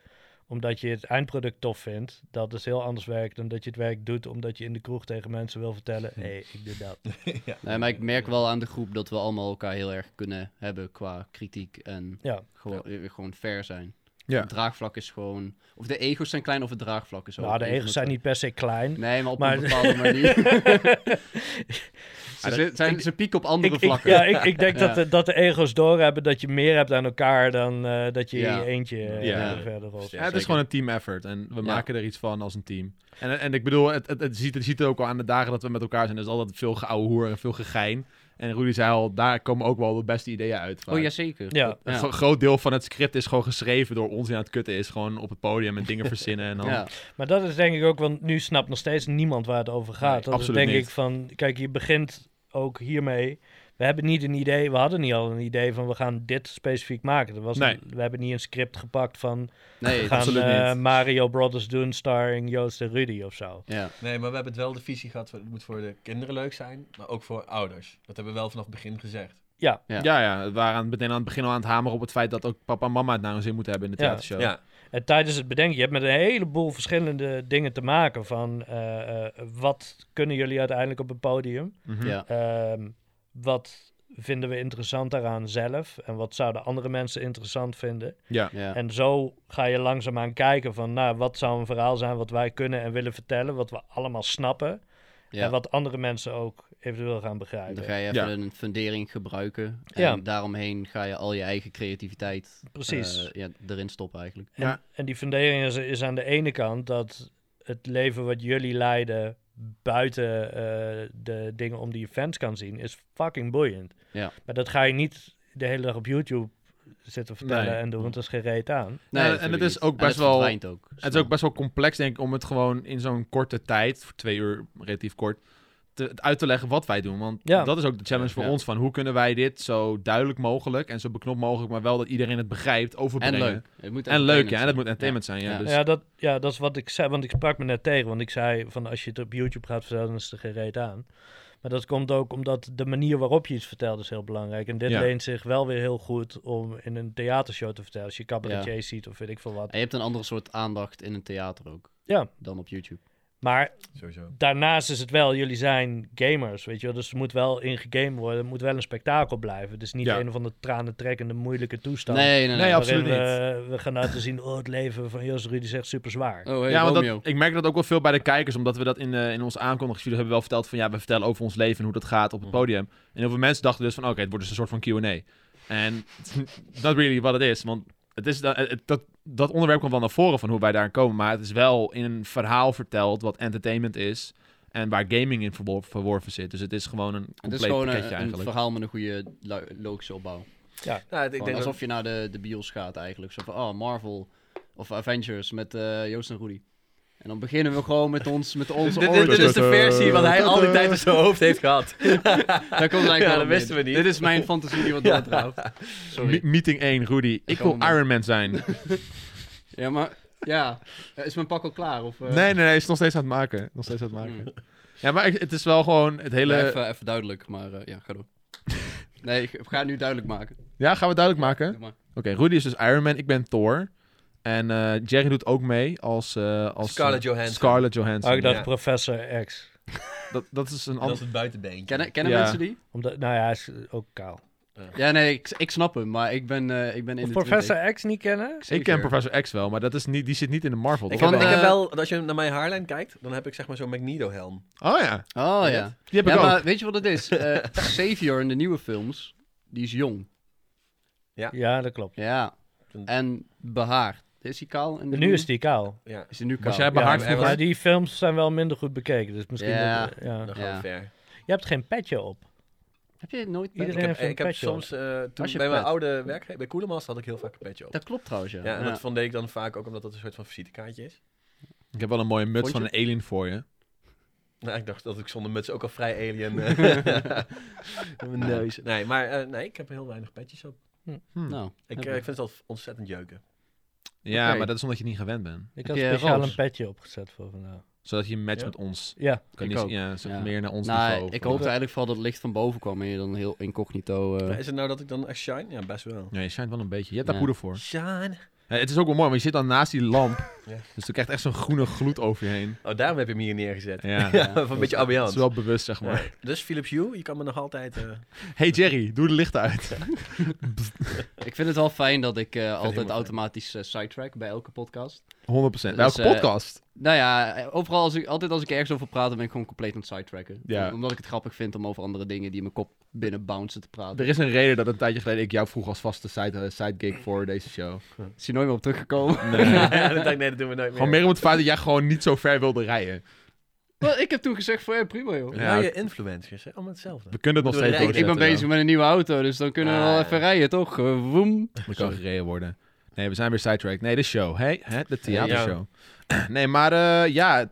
[SPEAKER 4] omdat je het eindproduct tof vindt, dat is heel anders werk dan dat je het werk doet omdat je in de kroeg tegen mensen wil vertellen, hé, hey, ik doe dat.
[SPEAKER 2] Nee, maar ik merk wel aan de groep dat we allemaal elkaar heel erg kunnen hebben qua kritiek. En
[SPEAKER 4] Ja.
[SPEAKER 2] gewoon, eh, gewoon fair zijn.
[SPEAKER 1] Ja.
[SPEAKER 2] Het draagvlak is gewoon... Of de ego's zijn klein of het draagvlak is
[SPEAKER 4] nou, de egels zijn niet per se klein.
[SPEAKER 2] Nee, maar op
[SPEAKER 4] Maar-
[SPEAKER 2] een bepaalde manier. ze,
[SPEAKER 1] dat-
[SPEAKER 2] zit- zijn, ze pieken op andere
[SPEAKER 4] Ik, ik,
[SPEAKER 2] vlakken.
[SPEAKER 4] ja, ik, ik denk
[SPEAKER 2] Ja.
[SPEAKER 4] dat, de, dat de ego's doorhebben dat je meer hebt aan elkaar dan eh, dat je in
[SPEAKER 2] Ja.
[SPEAKER 4] je eentje eh,
[SPEAKER 1] Ja.
[SPEAKER 4] verder rolt.
[SPEAKER 1] Ja, het is
[SPEAKER 3] zeker.
[SPEAKER 1] gewoon een team effort en we maken er iets van als een team. En, en ik bedoel, het, het, het ziet, het ziet er ook al aan de dagen dat we met elkaar zijn. Er is altijd veel geouwe hoer en veel gegein. En Rudy zei al, daar komen ook wel de beste ideeën uit. vaak.
[SPEAKER 2] Oh, jazeker.
[SPEAKER 4] Ja.
[SPEAKER 1] Een
[SPEAKER 2] Ja.
[SPEAKER 1] gro- groot deel van het script is gewoon geschreven door ons die aan het kutten is. Gewoon op het podium en dingen verzinnen. En dan...
[SPEAKER 2] Ja.
[SPEAKER 4] Maar dat is denk ik ook, want nu snapt nog steeds niemand waar het over gaat.
[SPEAKER 2] Nee,
[SPEAKER 4] dat is
[SPEAKER 1] absoluut
[SPEAKER 4] denk
[SPEAKER 1] niet.
[SPEAKER 4] ik van, kijk, je begint ook hiermee. We hebben niet een idee, we hadden niet al een idee van we gaan dit specifiek maken. Dat was
[SPEAKER 1] Nee.
[SPEAKER 4] we hebben niet een script gepakt van we
[SPEAKER 2] Nee,
[SPEAKER 4] gaan
[SPEAKER 1] absoluut
[SPEAKER 4] eh,
[SPEAKER 1] niet.
[SPEAKER 4] Mario Brothers doen starring Joost en Rudy of zo.
[SPEAKER 2] ja.
[SPEAKER 3] Nee, maar we hebben het wel de visie gehad. van, Het moet voor de kinderen leuk zijn, maar ook voor ouders. Dat hebben we wel vanaf het begin gezegd.
[SPEAKER 1] Ja, ja, we waren aan het- meteen aan het begin al aan het hameren op het feit dat ook papa en mama het naar hun zin moeten hebben in de
[SPEAKER 4] Ja.
[SPEAKER 1] theatershow.
[SPEAKER 3] Ja,
[SPEAKER 4] En tijdens het bedenken, je hebt met een heleboel verschillende dingen te maken van eh, eh, wat kunnen jullie uiteindelijk op een podium?
[SPEAKER 1] Mhm.
[SPEAKER 2] Ja.
[SPEAKER 4] Ehm, wat vinden we interessant daaraan zelf? En wat zouden andere mensen interessant vinden?
[SPEAKER 1] Ja.
[SPEAKER 2] Ja.
[SPEAKER 4] En zo ga je langzaamaan kijken van, nou, wat zou een verhaal zijn wat wij kunnen en willen vertellen, wat we allemaal snappen en
[SPEAKER 2] ja.
[SPEAKER 4] wat andere mensen ook eventueel gaan
[SPEAKER 2] Dan
[SPEAKER 4] begrijpen.
[SPEAKER 2] ga je
[SPEAKER 1] Ja.
[SPEAKER 2] even een fundering gebruiken. En
[SPEAKER 4] Ja.
[SPEAKER 2] daaromheen ga je al je eigen creativiteit
[SPEAKER 4] Precies.
[SPEAKER 2] eh, ja, erin stoppen eigenlijk.
[SPEAKER 4] en,
[SPEAKER 1] Ja.
[SPEAKER 4] en die fundering is, is aan de ene kant dat het leven wat jullie leiden buiten eh, de dingen om die je fans kan zien, is fucking boeiend.
[SPEAKER 2] Ja.
[SPEAKER 4] Maar dat ga je niet de hele dag op YouTube zitten vertellen
[SPEAKER 1] Nee.
[SPEAKER 4] en doen, want dat is geen reet aan.
[SPEAKER 1] Nee, en
[SPEAKER 2] natuurlijk
[SPEAKER 1] het is
[SPEAKER 2] niet.
[SPEAKER 1] ook
[SPEAKER 2] En
[SPEAKER 1] best
[SPEAKER 2] het
[SPEAKER 1] wel-
[SPEAKER 2] verdwijnt ook.
[SPEAKER 1] Het is ook best wel complex, denk ik, om het gewoon in zo'n korte tijd, voor twee uur relatief kort, te, uit te leggen wat wij doen. Want
[SPEAKER 4] Ja.
[SPEAKER 1] dat is ook de challenge voor
[SPEAKER 2] Ja.
[SPEAKER 1] ons, van hoe kunnen wij dit zo duidelijk mogelijk en zo beknopt mogelijk, maar wel dat iedereen het begrijpt,
[SPEAKER 2] En
[SPEAKER 1] overbrengen.
[SPEAKER 2] leuk. Het moet
[SPEAKER 1] En leuk,
[SPEAKER 2] entertainend
[SPEAKER 1] ja. En
[SPEAKER 2] zijn.
[SPEAKER 1] dat moet entertainment zijn, ja.
[SPEAKER 2] Ja.
[SPEAKER 1] Dus,
[SPEAKER 4] Ja, dat, ja, dat is wat ik zei, want ik sprak me net tegen. Want ik zei van als je het op YouTube gaat vertellen, dan is er geen reet aan. Maar dat komt ook omdat de manier waarop je iets vertelt is heel belangrijk. En dit
[SPEAKER 1] Ja.
[SPEAKER 4] leent zich wel weer heel goed om in een theatershow te vertellen. Als je cabaretier ziet of weet ik veel wat.
[SPEAKER 2] En je hebt een andere soort aandacht in een theater ook.
[SPEAKER 4] Ja.
[SPEAKER 2] Dan op YouTube.
[SPEAKER 4] Maar
[SPEAKER 3] sowieso.
[SPEAKER 4] daarnaast is het wel, jullie zijn gamers, weet je wel. Dus er moet wel ingegamed worden. Het moet wel een spektakel blijven. Het is niet
[SPEAKER 1] Ja.
[SPEAKER 4] een van de tranentrekkende, moeilijke toestand.
[SPEAKER 2] Nee, Oh, nee, nee.
[SPEAKER 1] Nee, absoluut
[SPEAKER 4] waarin we, we gaan laten zien, oh, het leven van Jos Rudy is echt super zwaar.
[SPEAKER 2] Oh, hey,
[SPEAKER 1] ja, want
[SPEAKER 2] Romeo.
[SPEAKER 1] dat, ik merk dat ook wel veel bij de kijkers, omdat we dat in, eh, in onze aankondigingsvideo hebben wel verteld van ja, we vertellen over ons leven en hoe dat gaat op het
[SPEAKER 2] Mhm.
[SPEAKER 1] podium. En heel veel mensen dachten dus van oké, het wordt dus een soort van Q&A. En dat really wat het is, want het is da- eh, het, dat, dat onderwerp komt wel naar voren van hoe wij daar komen, maar het is wel in een verhaal verteld wat entertainment is en waar gaming in verwor- verworven zit. Dus het is gewoon een
[SPEAKER 2] Het
[SPEAKER 1] compleet
[SPEAKER 2] is gewoon eh,
[SPEAKER 1] pakketje
[SPEAKER 2] een, een
[SPEAKER 1] eigenlijk.
[SPEAKER 2] verhaal met een goede lo- logische opbouw.
[SPEAKER 3] Nou, ik denk
[SPEAKER 2] Gewoon
[SPEAKER 3] dat-
[SPEAKER 2] alsof je naar de, de bios gaat eigenlijk. Zo van, oh, Marvel of Avengers met eh, Joost en Rudy. En dan beginnen we gewoon met ons, met onze
[SPEAKER 3] Dit, dit- dit is
[SPEAKER 2] origins.
[SPEAKER 3] de versie wat hij al die tijd in zijn hoofd heeft gehad.
[SPEAKER 2] Daar komt het eigenlijk
[SPEAKER 3] Ja,
[SPEAKER 2] wel
[SPEAKER 3] dat
[SPEAKER 2] op
[SPEAKER 3] wisten
[SPEAKER 2] neer.
[SPEAKER 3] we niet.
[SPEAKER 2] Dit is mijn fantasie die wat
[SPEAKER 3] Ja.
[SPEAKER 2] doordraaft. Sorry.
[SPEAKER 1] Me- meeting 1, Rudy. Ik wil
[SPEAKER 2] kan wel.
[SPEAKER 1] Iron Man zijn. nee,
[SPEAKER 2] Ja, maar... Ja. Eh, Is mijn pak al klaar? Of, eh?
[SPEAKER 1] nee, nee. Hij is nog steeds aan het maken. Nog steeds aan het
[SPEAKER 2] Mm.
[SPEAKER 1] maken. Ja, maar ik- het is wel gewoon het hele...
[SPEAKER 2] Even, even duidelijk, maar eh, ja, ga door. nee, ik ga het nu duidelijk maken.
[SPEAKER 1] Ja, gaan we het duidelijk maken?
[SPEAKER 2] Doe maar.
[SPEAKER 1] Oké, Rudy is dus Iron Man. Ik ben Thor. En eh, Jerry doet ook mee als... eh, als
[SPEAKER 3] Scarlett
[SPEAKER 1] eh,
[SPEAKER 3] Johansson.
[SPEAKER 1] Scarlett Johansson.
[SPEAKER 4] Oh, ik dacht
[SPEAKER 3] Ja.
[SPEAKER 4] Professor X.
[SPEAKER 1] dat, dat is een
[SPEAKER 3] Dat is
[SPEAKER 1] ander...
[SPEAKER 3] het buitenbeentje.
[SPEAKER 2] Kennen, kennen
[SPEAKER 1] Ja.
[SPEAKER 2] mensen die?
[SPEAKER 4] Omdat, nou ja, hij is ook kaal.
[SPEAKER 2] Ja, nee, ik, ik snap hem, maar ik ben, eh, ik ben in
[SPEAKER 4] Of
[SPEAKER 2] de
[SPEAKER 4] Professor X niet kennen?
[SPEAKER 1] Ik ken Professor X wel, maar dat is niet, die zit niet in de Marvel.
[SPEAKER 3] Ik,
[SPEAKER 1] toch?
[SPEAKER 2] Van,
[SPEAKER 3] heb, ik heb
[SPEAKER 2] eh,
[SPEAKER 3] wel, als je naar mijn haarlijn kijkt, dan heb ik zeg maar zo'n Magneto-helm.
[SPEAKER 1] Oh ja,
[SPEAKER 2] Oh ja.
[SPEAKER 1] die heb ik
[SPEAKER 2] ja,
[SPEAKER 1] ook.
[SPEAKER 2] maar weet je wat het is? Eh, Xavier in de nieuwe films, die is jong.
[SPEAKER 4] Ja, dat klopt.
[SPEAKER 2] Ja. En behaard. Is hij kaal? In de
[SPEAKER 4] Nu is die kaal.
[SPEAKER 3] Ja,
[SPEAKER 2] Is hij nu kaal?
[SPEAKER 1] Was jij behaard
[SPEAKER 3] Ja,
[SPEAKER 1] vroeger?
[SPEAKER 4] Maar die films zijn wel minder goed bekeken, dus misschien...
[SPEAKER 2] Ja.
[SPEAKER 4] dat- ja.
[SPEAKER 3] dan gaan we
[SPEAKER 2] Ja.
[SPEAKER 3] ver.
[SPEAKER 4] Je hebt geen petje op.
[SPEAKER 2] Heb je nooit...
[SPEAKER 4] Iedereen
[SPEAKER 3] Ik heb,
[SPEAKER 4] heeft een
[SPEAKER 3] ik heb
[SPEAKER 4] petje
[SPEAKER 3] soms, eh, toen
[SPEAKER 2] Als je
[SPEAKER 3] bij mijn
[SPEAKER 2] pet.
[SPEAKER 3] oude werkgever, bij Koelemaster had ik heel vaak een petje op.
[SPEAKER 2] Dat klopt trouwens, ja.
[SPEAKER 3] Ja, en
[SPEAKER 2] Ja.
[SPEAKER 3] dat vond ik dan vaak ook omdat dat een soort van visitekaartje is.
[SPEAKER 1] Ik heb wel een mooie muts
[SPEAKER 2] Vond je?
[SPEAKER 1] van een alien voor je.
[SPEAKER 3] Nou, ik dacht dat ik zonder muts ook al vrij alien... eh, mijn neus. Nee, maar eh, nee, ik heb heel weinig petjes op.
[SPEAKER 1] Hm.
[SPEAKER 2] Nou,
[SPEAKER 3] Ik, eh, ik vind het al ontzettend jeuken.
[SPEAKER 1] Ja,
[SPEAKER 2] Oké.
[SPEAKER 1] maar dat is omdat je niet gewend bent.
[SPEAKER 2] Heb
[SPEAKER 4] Ik had
[SPEAKER 2] je
[SPEAKER 4] speciaal
[SPEAKER 2] roos?
[SPEAKER 4] een petje opgezet voor vandaag.
[SPEAKER 1] Zodat je matcht
[SPEAKER 3] Ja.
[SPEAKER 1] met ons.
[SPEAKER 4] Ja,
[SPEAKER 1] Kan
[SPEAKER 2] Ik
[SPEAKER 1] niet,
[SPEAKER 2] ook.
[SPEAKER 1] Ja, zo
[SPEAKER 2] Ja.
[SPEAKER 1] meer naar ons
[SPEAKER 2] nou,
[SPEAKER 1] niveau.
[SPEAKER 2] ik hoopte eigenlijk vooral dat het licht van boven kwam en je dan heel incognito... eh,
[SPEAKER 3] Is het nou dat ik dan echt shine? Ja, best wel.
[SPEAKER 1] Ja, je schijnt wel een beetje. Je hebt daar
[SPEAKER 2] Ja.
[SPEAKER 1] poeder voor.
[SPEAKER 3] Shine.
[SPEAKER 1] Ja, het is ook wel mooi, want je zit dan naast die lamp.
[SPEAKER 3] Ja.
[SPEAKER 1] Dus dan krijgt echt zo'n groene gloed over je heen.
[SPEAKER 3] Oh, daarom heb je hem hier neergezet.
[SPEAKER 1] Ja,
[SPEAKER 3] Ja, van een beetje
[SPEAKER 1] dat is
[SPEAKER 3] ambiance.
[SPEAKER 1] wel bewust, zeg maar.
[SPEAKER 3] Ja. Dus Philips Hue, je kan me nog altijd... eh,
[SPEAKER 1] Hey Jerry, doe de lichten uit.
[SPEAKER 2] Ik vind het wel fijn dat ik eh, altijd
[SPEAKER 3] helemaal
[SPEAKER 2] automatisch eh, sidetrack bij elke podcast.
[SPEAKER 1] 100%. Welke
[SPEAKER 2] Dus, eh,
[SPEAKER 1] podcast?
[SPEAKER 2] Nou ja, eh, overal als ik, altijd als ik ergens over praat, dan ben ik gewoon compleet aan het sidetracken.
[SPEAKER 1] Ja.
[SPEAKER 2] Om- Omdat ik het grappig vind om over andere dingen die in mijn kop binnen bouncen te praten.
[SPEAKER 1] Er is een reden dat een tijdje geleden ik jou vroeg als vaste side, sidekick voor deze show.
[SPEAKER 2] Is hier nooit meer op teruggekomen.
[SPEAKER 3] ja, dan dacht ik, nee, dat doen we nooit meer.
[SPEAKER 1] Gewoon meer om het feit dat jij gewoon niet zo ver wilde rijden.
[SPEAKER 2] Wel, ik heb toen gezegd voor ja, prima joh.
[SPEAKER 1] Ja,
[SPEAKER 3] Rije influencers, hè? allemaal hetzelfde.
[SPEAKER 1] We kunnen het nog
[SPEAKER 3] Ik-
[SPEAKER 1] steeds
[SPEAKER 3] ik
[SPEAKER 2] Ik, ik ben
[SPEAKER 1] doorzetten,
[SPEAKER 2] bezig met een nieuwe auto, dus dan kunnen we wel
[SPEAKER 3] Ah.
[SPEAKER 2] even rijden, toch? Eh, woem.
[SPEAKER 1] Moet kan gereden worden. Nee, we zijn weer sidetracked. Nee, de show. Hey, hè? De theatershow. Nee, maar eh, ja,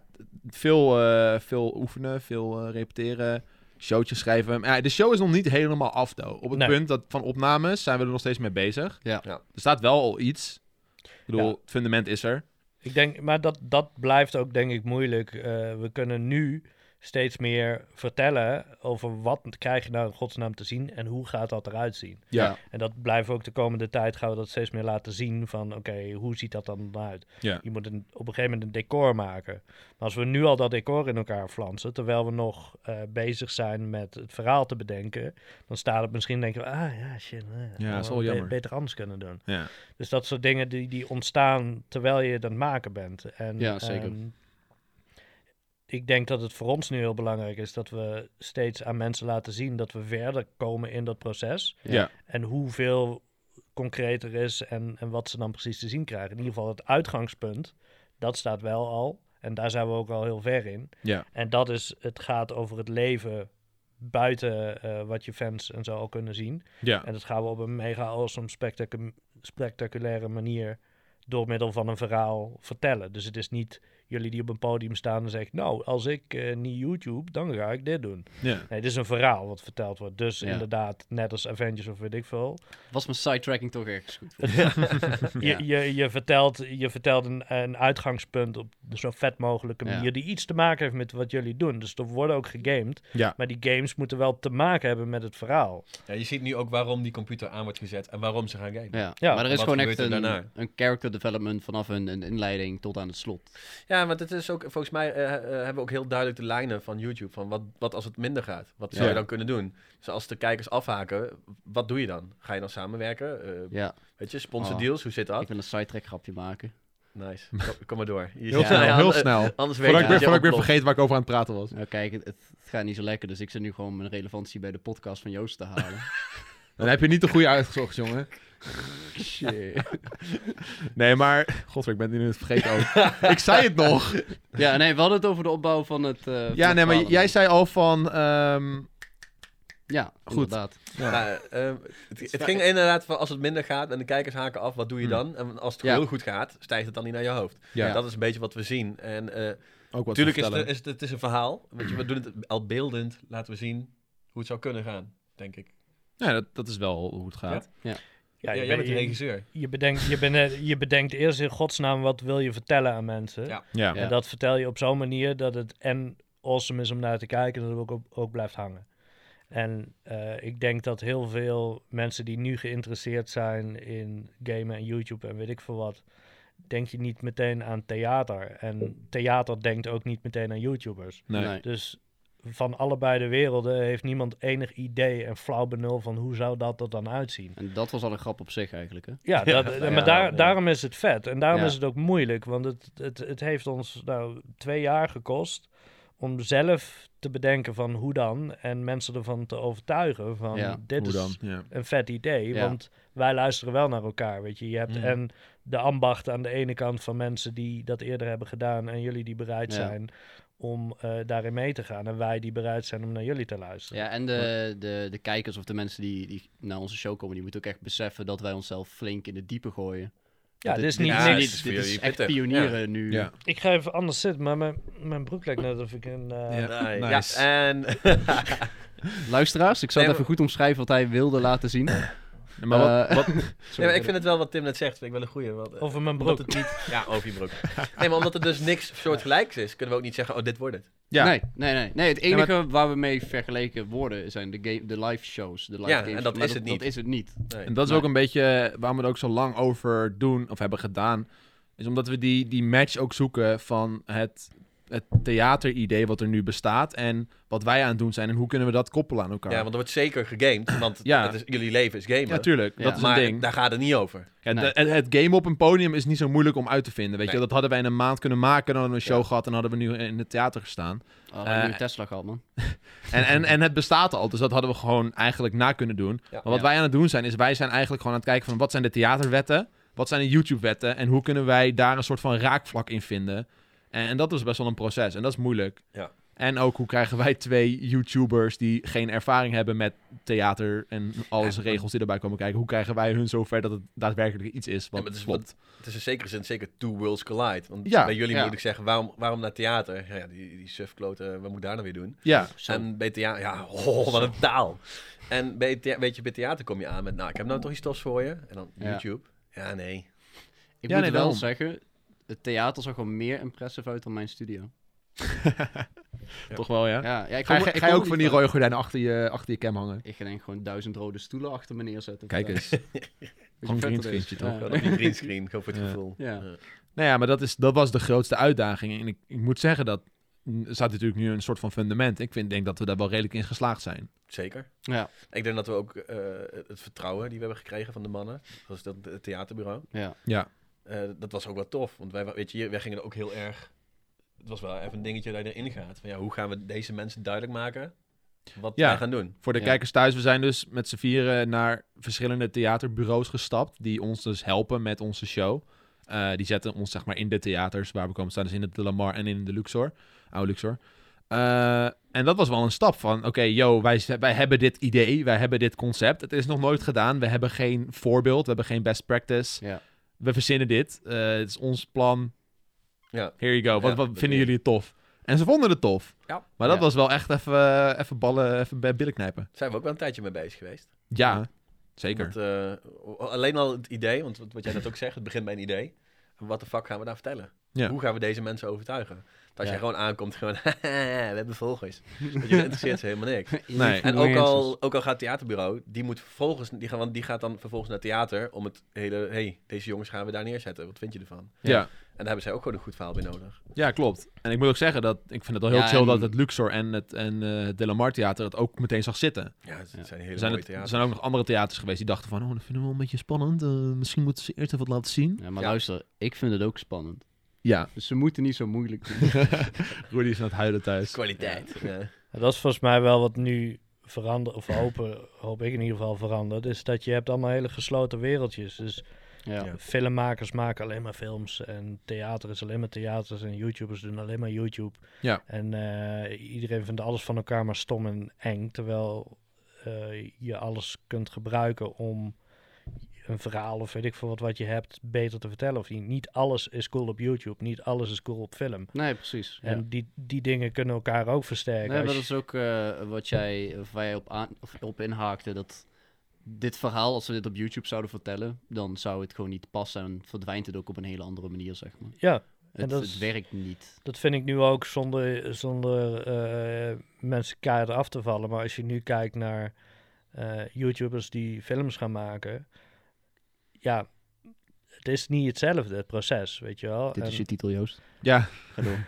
[SPEAKER 1] veel, eh, veel oefenen, veel eh, repeteren, showtjes schrijven. Maar ja, de show is nog niet helemaal af, though. Op het
[SPEAKER 4] Nee.
[SPEAKER 1] punt dat van opnames zijn we er nog steeds mee bezig.
[SPEAKER 2] Ja.
[SPEAKER 3] Ja.
[SPEAKER 1] Er staat wel al iets. Ik bedoel,
[SPEAKER 4] Ja.
[SPEAKER 1] het fundament is er.
[SPEAKER 4] ik denk, maar dat, dat blijft ook denk ik moeilijk. Eh, we kunnen nu steeds meer vertellen over wat krijg je nou in godsnaam te zien en hoe gaat dat eruit zien.
[SPEAKER 1] Ja.
[SPEAKER 4] En dat blijven we ook de komende tijd, gaan we dat steeds meer laten zien van oké, hoe ziet dat dan uit?
[SPEAKER 1] Ja.
[SPEAKER 4] Je moet een, op een gegeven moment een decor maken. Maar als we nu al dat decor in elkaar flansen, terwijl we nog eh, bezig zijn met het verhaal te bedenken, dan staat het misschien denken we, ah ja, shit. eh, hadden
[SPEAKER 1] is
[SPEAKER 4] we
[SPEAKER 1] wel
[SPEAKER 4] be-
[SPEAKER 1] jammer.
[SPEAKER 4] Beter anders kunnen doen.
[SPEAKER 1] ja.
[SPEAKER 4] Dus dat soort dingen die, die ontstaan terwijl je het aan het maken bent. En,
[SPEAKER 2] Ja, zeker.
[SPEAKER 4] ehm, ik denk dat het voor ons nu heel belangrijk is dat we steeds aan mensen laten zien dat we verder komen in dat proces.
[SPEAKER 1] Ja.
[SPEAKER 2] Ja.
[SPEAKER 4] En hoeveel concreter is en, en wat ze dan precies te zien krijgen. In ieder geval het uitgangspunt, dat staat wel al. En daar zijn we ook al heel ver in.
[SPEAKER 1] Ja.
[SPEAKER 4] En dat is, het gaat over het leven buiten eh, wat je fans en zo al kunnen zien.
[SPEAKER 1] Ja.
[SPEAKER 4] En dat gaan we op een mega awesome, spectacu- spectaculaire manier door middel van een verhaal vertellen. Dus het is niet jullie die op een podium staan en zeggen, nou, als ik eh, niet YouTube, dan ga ik dit doen.
[SPEAKER 1] Ja.
[SPEAKER 4] Nee, het is een verhaal wat verteld wordt. Dus
[SPEAKER 2] Ja.
[SPEAKER 4] inderdaad, net als Avengers of weet ik veel.
[SPEAKER 2] Was mijn sidetracking toch ergens goed? Ja.
[SPEAKER 4] Je, je, je vertelt, je vertelt een, een uitgangspunt op de zo vet mogelijke
[SPEAKER 2] Ja.
[SPEAKER 4] manier die iets te maken heeft met wat jullie doen. Dus er worden ook gegamed.
[SPEAKER 1] Ja.
[SPEAKER 4] Maar die games moeten wel te maken hebben met het verhaal.
[SPEAKER 3] Ja, je ziet nu ook waarom die computer aan wordt gezet en waarom ze gaan gamen.
[SPEAKER 2] Ja.
[SPEAKER 4] Ja,
[SPEAKER 2] maar er is
[SPEAKER 3] wat
[SPEAKER 2] gewoon echt
[SPEAKER 3] gebeurt er
[SPEAKER 2] een,
[SPEAKER 3] daarna?
[SPEAKER 2] een character development vanaf een, een inleiding tot aan het slot.
[SPEAKER 3] Ja, want het is ook, volgens mij eh, eh, hebben we ook heel duidelijk de lijnen van YouTube. Van wat, wat als het minder gaat? Wat zou
[SPEAKER 1] Ja.
[SPEAKER 3] je dan kunnen doen? Dus als de kijkers afhaken, wat doe je dan? Ga je dan samenwerken? Eh,
[SPEAKER 2] Ja,
[SPEAKER 3] Weet je, sponsor
[SPEAKER 2] Oh.
[SPEAKER 3] deals, hoe zit dat?
[SPEAKER 2] ik wil een sidetrack grapje maken.
[SPEAKER 3] Nice, kom, kom maar door. Je
[SPEAKER 1] Heel
[SPEAKER 3] zit-
[SPEAKER 1] snel,
[SPEAKER 3] Ja,
[SPEAKER 1] heel
[SPEAKER 3] anders-
[SPEAKER 1] snel.
[SPEAKER 3] Anders weet
[SPEAKER 1] Voordat ik,
[SPEAKER 3] je
[SPEAKER 1] weer,
[SPEAKER 3] dat je
[SPEAKER 1] voordat ik weer
[SPEAKER 3] ontploft.
[SPEAKER 1] vergeet waar ik over aan het praten was.
[SPEAKER 2] Nou kijk, het, het gaat niet zo lekker, dus ik zit nu gewoon mijn relevantie bij de podcast van Joost te halen.
[SPEAKER 1] Dan heb je niet de goede uitgezocht, jongen.
[SPEAKER 2] Shit.
[SPEAKER 1] Nee, maar... Godver, ik ben het nu het vergeten ook. ik zei het nog.
[SPEAKER 2] Ja, nee, we hadden het over de opbouw van het... eh, van
[SPEAKER 1] Ja,
[SPEAKER 2] het
[SPEAKER 1] nee, maar
[SPEAKER 2] verhaal.
[SPEAKER 1] jij zei al van... ehm,
[SPEAKER 2] Ja,
[SPEAKER 1] Goed.
[SPEAKER 2] inderdaad.
[SPEAKER 3] Maar, eh, het, het ging inderdaad van als het minder gaat en de kijkers haken af, wat doe je
[SPEAKER 1] Hmm.
[SPEAKER 3] dan? En als het
[SPEAKER 2] Ja.
[SPEAKER 3] heel goed gaat, stijgt het dan niet naar je hoofd.
[SPEAKER 1] Ja,
[SPEAKER 3] Dat is een beetje wat we zien. En eh,
[SPEAKER 1] ook wat
[SPEAKER 3] natuurlijk
[SPEAKER 1] te
[SPEAKER 3] is het,
[SPEAKER 1] vertellen. Hmm.
[SPEAKER 3] is het, het is een verhaal. Weet je, we doen het al beeldend, laten we zien hoe het zou kunnen gaan, denk ik.
[SPEAKER 1] Ja, dat, dat is wel hoe het gaat.
[SPEAKER 4] Ja,
[SPEAKER 3] Ja, jij
[SPEAKER 4] je, bent-
[SPEAKER 3] bent de
[SPEAKER 4] je-
[SPEAKER 3] regisseur.
[SPEAKER 4] je bedenkt, je, bene- je bedenkt eerst in godsnaam wat wil je vertellen aan mensen.
[SPEAKER 3] Ja.
[SPEAKER 1] Ja.
[SPEAKER 4] En dat vertel je op zo'n manier dat het en awesome is om naar te kijken, dat het ook, op- ook blijft hangen. En eh, ik denk dat heel veel mensen die nu geïnteresseerd zijn in gamen en YouTube en weet ik veel wat, denk je niet meteen aan theater. En theater denkt ook niet meteen aan YouTubers.
[SPEAKER 1] Nee.
[SPEAKER 2] Nee.
[SPEAKER 4] Dus van allebei de werelden heeft niemand enig idee en flauw benul van hoe zou dat er dan uitzien.
[SPEAKER 2] En dat was al een grap op zich eigenlijk, hè?
[SPEAKER 4] Ja,
[SPEAKER 3] Ja,
[SPEAKER 4] dat,
[SPEAKER 3] ja,
[SPEAKER 4] maar daar,
[SPEAKER 3] mooi.
[SPEAKER 4] daarom is het vet. En daarom
[SPEAKER 2] Ja.
[SPEAKER 4] is het ook moeilijk. Want het, het, het heeft ons nou twee jaar gekost om zelf te bedenken van hoe dan. En mensen ervan te overtuigen van
[SPEAKER 2] Ja,
[SPEAKER 4] dit
[SPEAKER 1] Hoe
[SPEAKER 4] is
[SPEAKER 1] dan? Ja.
[SPEAKER 4] een vet idee.
[SPEAKER 2] Ja.
[SPEAKER 4] Want wij luisteren wel naar elkaar, weet je. Je hebt
[SPEAKER 3] Mhm.
[SPEAKER 4] en de ambacht aan de ene kant van mensen die dat eerder hebben gedaan... en jullie die bereid
[SPEAKER 2] Ja.
[SPEAKER 4] zijn om eh, daarin mee te gaan. En wij die bereid zijn om naar jullie te luisteren.
[SPEAKER 2] Ja, en de, de, de kijkers of de mensen die, die naar onze show komen, die moeten ook echt beseffen dat wij onszelf flink in de diepe gooien.
[SPEAKER 4] Ja, dit is niet
[SPEAKER 3] ja,
[SPEAKER 4] niks.
[SPEAKER 3] dit is
[SPEAKER 2] dit
[SPEAKER 3] voor
[SPEAKER 2] is
[SPEAKER 3] jullie
[SPEAKER 2] echt
[SPEAKER 3] pittig.
[SPEAKER 2] pionieren nu.
[SPEAKER 1] Ja.
[SPEAKER 4] Ik ga even anders zitten, maar mijn, mijn broek lijkt net of ik een... eh,
[SPEAKER 1] Ja.
[SPEAKER 3] Nee,
[SPEAKER 1] Nice.
[SPEAKER 3] Ja, en
[SPEAKER 2] Luisteraars, ik zal
[SPEAKER 3] Nee,
[SPEAKER 2] het even goed omschrijven wat hij wilde laten zien.
[SPEAKER 1] Maar wat,
[SPEAKER 2] Eh,
[SPEAKER 1] wat,
[SPEAKER 3] Nee, maar ik vind het wel wat Tim net zegt, vind ik wel een goeie. Want, eh,
[SPEAKER 4] Over mijn
[SPEAKER 3] omdat
[SPEAKER 4] broek.
[SPEAKER 3] het niet, ja, over je broek. Nee, maar omdat het dus niks soortgelijks is, kunnen we ook niet zeggen, oh, dit wordt het.
[SPEAKER 1] ja.
[SPEAKER 2] Nee, nee, nee, nee. Het
[SPEAKER 1] maar-
[SPEAKER 2] enige waar we mee vergeleken worden zijn de, game, de live shows. De live
[SPEAKER 3] Ja,
[SPEAKER 2] games.
[SPEAKER 3] en dat
[SPEAKER 2] Maar
[SPEAKER 3] is het niet.
[SPEAKER 2] Dat is het niet.
[SPEAKER 3] Nee.
[SPEAKER 1] En dat is
[SPEAKER 2] Maar-
[SPEAKER 1] ook een beetje eh, waarom we er ook zo lang over doen, of hebben gedaan. Is omdat we die, die match ook zoeken van het, het theateridee wat er nu bestaat. En wat wij aan het doen zijn. En hoe kunnen we dat koppelen aan elkaar?
[SPEAKER 3] Ja, want er wordt zeker gegamed, want
[SPEAKER 1] Ja.
[SPEAKER 3] het is, jullie leven is gamen.
[SPEAKER 1] Ja, tuurlijk.
[SPEAKER 2] Ja.
[SPEAKER 1] Dat is
[SPEAKER 3] maar
[SPEAKER 1] een ding.
[SPEAKER 3] daar gaat het niet over.
[SPEAKER 1] Ja,
[SPEAKER 2] Nee.
[SPEAKER 1] de- het, het game op een podium is niet zo moeilijk om uit te vinden. Weet je,
[SPEAKER 3] Nee.
[SPEAKER 1] dat hadden wij in een maand kunnen maken. Dan hadden we een show
[SPEAKER 3] Ja.
[SPEAKER 1] gehad en dan hadden we nu in het theater gestaan.
[SPEAKER 2] Oh, we hebben nu
[SPEAKER 1] Eh,
[SPEAKER 2] Tesla gehad, man.
[SPEAKER 1] En, en, en het bestaat al, dus dat hadden we gewoon eigenlijk na kunnen doen.
[SPEAKER 3] Ja.
[SPEAKER 1] maar wat
[SPEAKER 2] Ja.
[SPEAKER 1] wij aan het doen zijn, is wij zijn eigenlijk gewoon aan het kijken van wat zijn de theaterwetten, wat zijn de YouTube-wetten en hoe kunnen wij daar een soort van raakvlak in vinden. En, en dat is best wel een proces en dat is moeilijk.
[SPEAKER 3] Ja.
[SPEAKER 1] En ook hoe krijgen wij twee YouTubers die geen ervaring hebben met theater en alles regels die erbij komen kijken, hoe krijgen wij hun zover dat het daadwerkelijk iets is
[SPEAKER 3] maar
[SPEAKER 1] wat
[SPEAKER 3] het is
[SPEAKER 1] klopt?
[SPEAKER 3] Het is in zekere zin zeker two worlds collide. Want
[SPEAKER 1] Ja,
[SPEAKER 3] bij jullie
[SPEAKER 2] ja.
[SPEAKER 3] moet ik zeggen, waarom, waarom naar theater? Ja, die, die sufkloten, wat moet ik daar nou weer doen?
[SPEAKER 1] Ja,
[SPEAKER 2] Zo.
[SPEAKER 3] En bij thea- ja, oh, wat een taal. En bij thea- weet je, bij theater kom je aan met, nou, ik heb nou toch iets tofs voor je. En dan
[SPEAKER 2] Ja.
[SPEAKER 3] YouTube. Ja, nee.
[SPEAKER 1] ja,
[SPEAKER 2] ik moet
[SPEAKER 1] nee,
[SPEAKER 2] wel
[SPEAKER 1] daarom.
[SPEAKER 2] zeggen, het theater zag er meer impressive uit dan mijn studio.
[SPEAKER 1] toch wel ja.
[SPEAKER 2] Ja, ja, ik
[SPEAKER 1] Ga,
[SPEAKER 2] kom-
[SPEAKER 1] je-
[SPEAKER 2] ik
[SPEAKER 1] ga je
[SPEAKER 2] kom
[SPEAKER 1] ook van die
[SPEAKER 2] niet
[SPEAKER 1] rode gordijnen achter je, achter je cam hangen?
[SPEAKER 2] Ik ga denk ik gewoon duizend rode stoelen achter me neerzetten.
[SPEAKER 1] Kijk
[SPEAKER 2] Ja.
[SPEAKER 1] eens.
[SPEAKER 2] Weet je hoe vet dat
[SPEAKER 1] greenscreenje
[SPEAKER 2] is?
[SPEAKER 1] toch?
[SPEAKER 2] Ja.
[SPEAKER 3] Gewoon op die greenscreen, gewoon voor het
[SPEAKER 1] Ja.
[SPEAKER 3] gevoel.
[SPEAKER 2] Ja.
[SPEAKER 1] Nou ja, maar dat, is, dat was de grootste uitdaging. En ik, ik moet zeggen dat mm, er staat natuurlijk nu een soort van fundament. Ik vind, denk dat we daar wel redelijk in geslaagd zijn.
[SPEAKER 3] Zeker.
[SPEAKER 2] Ja,
[SPEAKER 3] Ik denk dat we ook eh, het vertrouwen die we hebben gekregen van de mannen, zoals dat het theaterbureau,
[SPEAKER 2] ja.
[SPEAKER 1] Ja,
[SPEAKER 3] eh, dat was ook wel tof. Want wij, wa- weet je, wij gingen er ook heel erg. Het was wel even een dingetje dat je erin gaat. Van ja, hoe gaan we deze mensen duidelijk maken wat
[SPEAKER 1] Ja.
[SPEAKER 3] wij gaan doen?
[SPEAKER 1] voor de
[SPEAKER 2] Ja.
[SPEAKER 1] kijkers thuis, we zijn dus met z'n vieren naar verschillende theaterbureaus gestapt. Die ons dus helpen met onze show. Eh, die zetten ons zeg maar in de theaters waar we komen staan. Dus in het De Lamar en in de Luxor. Oude Luxor. Eh, en dat was wel een stap van, oké, yo, wij, z- wij hebben dit idee, wij hebben dit concept. Het is nog nooit gedaan, we hebben geen voorbeeld, we hebben geen best practice.
[SPEAKER 2] Ja.
[SPEAKER 1] We verzinnen dit, Eh, het is ons plan,
[SPEAKER 3] Ja.
[SPEAKER 1] Here you go. Wat,
[SPEAKER 3] Ja,
[SPEAKER 1] wat
[SPEAKER 3] dat
[SPEAKER 1] vinden
[SPEAKER 3] doe je.
[SPEAKER 1] jullie het tof? En ze vonden het tof.
[SPEAKER 3] Ja.
[SPEAKER 1] Maar dat
[SPEAKER 2] Ja.
[SPEAKER 1] was wel echt even, even ballen, even bij billen knijpen.
[SPEAKER 3] Zijn we ook wel een tijdje mee bezig geweest.
[SPEAKER 1] Ja, zeker.
[SPEAKER 3] Want, eh, alleen al het idee, want wat wat jij net ook zegt, het begint bij een idee. Wat de fuck gaan we daar vertellen?
[SPEAKER 1] Ja.
[SPEAKER 3] Hoe gaan we deze mensen overtuigen? Want als
[SPEAKER 2] Ja.
[SPEAKER 3] jij gewoon aankomt, gewoon, we hebben volgers. Want je interesseert ze helemaal niks.
[SPEAKER 1] Nee.
[SPEAKER 3] En ook al, ook al gaat het theaterbureau, die moet vervolgens, die, gaan, want die gaat dan vervolgens naar het theater om het hele, hé, hey, deze jongens gaan we daar neerzetten, wat vind je ervan?
[SPEAKER 1] ja. Ja.
[SPEAKER 3] En daar hebben zij ook gewoon een goed verhaal bij nodig.
[SPEAKER 1] klopt. En ik moet ook zeggen dat ik vind het wel heel
[SPEAKER 2] Ja,
[SPEAKER 1] chill
[SPEAKER 2] en-
[SPEAKER 1] dat het Luxor en het en, eh, het Delamar Theater het ook meteen zag zitten.
[SPEAKER 3] Ja, het
[SPEAKER 2] Ja.
[SPEAKER 3] zijn
[SPEAKER 1] Er
[SPEAKER 3] hele
[SPEAKER 1] zijn, het,
[SPEAKER 3] mooie
[SPEAKER 1] er
[SPEAKER 3] theaters.
[SPEAKER 1] zijn ook nog andere theaters geweest die dachten van, oh, dat vinden we wel een beetje spannend. Eh, misschien moeten ze eerst even wat laten zien.
[SPEAKER 2] Ja, maar
[SPEAKER 3] Ja.
[SPEAKER 2] luister, ik vind het ook spannend.
[SPEAKER 1] Ja.
[SPEAKER 2] Dus ze moeten niet zo moeilijk doen.
[SPEAKER 1] Rudy is aan het huilen thuis.
[SPEAKER 3] Kwaliteit. Ja.
[SPEAKER 4] Nou, Dat is volgens mij wel wat nu verandert, of hopen, hoop ik in ieder geval verandert, is dat je hebt allemaal hele gesloten wereldjes. Dus
[SPEAKER 2] ja.
[SPEAKER 3] Ja.
[SPEAKER 4] filmmakers maken alleen maar films en theater is alleen maar theaters en YouTubers doen alleen maar YouTube.
[SPEAKER 1] Ja.
[SPEAKER 4] En eh, iedereen vindt alles van elkaar maar stom en eng, terwijl eh, eh, je alles kunt gebruiken om een verhaal of weet ik veel wat, wat je hebt beter te vertellen of niet. Niet alles is cool op YouTube, niet alles is cool op film.
[SPEAKER 2] Nee, precies. ja.
[SPEAKER 4] En die, die dingen kunnen elkaar ook versterken.
[SPEAKER 2] Nee, maar
[SPEAKER 4] Als
[SPEAKER 2] dat is ook eh, wat jij, of waar jij op, aan, of op inhaakte. Dat dit verhaal, als we dit op YouTube zouden vertellen, dan zou het gewoon niet passen. En verdwijnt het ook op een hele andere manier, zeg maar.
[SPEAKER 4] je- ja, En
[SPEAKER 2] Het,
[SPEAKER 4] dat
[SPEAKER 2] het
[SPEAKER 4] is-
[SPEAKER 2] werkt niet.
[SPEAKER 4] Dat vind ik nu ook zonder, zonder eh, mensen keihard af te vallen. Maar als je nu kijkt naar eh, YouTubers die films gaan maken. Ja, het is niet hetzelfde, het proces, weet je wel.
[SPEAKER 2] Dit
[SPEAKER 4] En
[SPEAKER 2] is je titel, Joost.
[SPEAKER 1] Ja,
[SPEAKER 2] Ga door.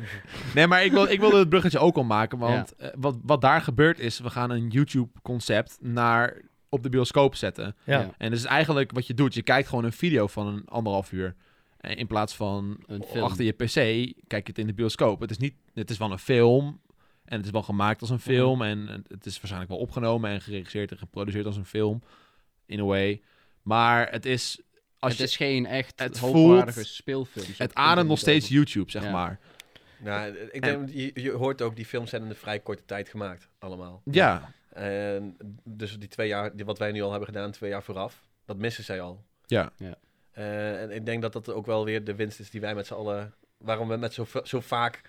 [SPEAKER 1] nee, maar ik, wil, ik wilde het bruggetje ook al maken. Want eh, wat, wat daar gebeurt is, we gaan een YouTube-concept naar op de bioscoop zetten.
[SPEAKER 4] ja,
[SPEAKER 2] ja.
[SPEAKER 1] En dat is eigenlijk wat je doet. Je kijkt gewoon een video van een anderhalf uur. Eh, In plaats van
[SPEAKER 2] Een film.
[SPEAKER 1] achter je pc, kijk je het in de bioscoop. Het is, niet, het is wel een film. En het is wel gemaakt als
[SPEAKER 2] Mhm.
[SPEAKER 1] een film. En het is waarschijnlijk wel opgenomen en geregisseerd en geproduceerd als een film. In a way. Maar het is... Als
[SPEAKER 2] het
[SPEAKER 1] je,
[SPEAKER 2] is geen echt
[SPEAKER 1] het
[SPEAKER 2] hoogwaardige
[SPEAKER 1] voelt-
[SPEAKER 2] speelfilm. Zo
[SPEAKER 1] het
[SPEAKER 2] kun je
[SPEAKER 1] ademt nog
[SPEAKER 2] niet
[SPEAKER 1] steeds
[SPEAKER 2] over-
[SPEAKER 1] YouTube, zeg
[SPEAKER 2] Ja.
[SPEAKER 1] maar.
[SPEAKER 3] Nou, ik denk, je, je hoort ook, die films zijn in een vrij korte tijd gemaakt, allemaal.
[SPEAKER 1] Ja,
[SPEAKER 3] En dus die twee jaar, die, wat wij nu al hebben gedaan, twee jaar vooraf, dat missen zij al.
[SPEAKER 1] ja.
[SPEAKER 3] Eh, en ik denk dat dat ook wel weer de winst is die wij met z'n allen, waarom we met zo, va- zo vaak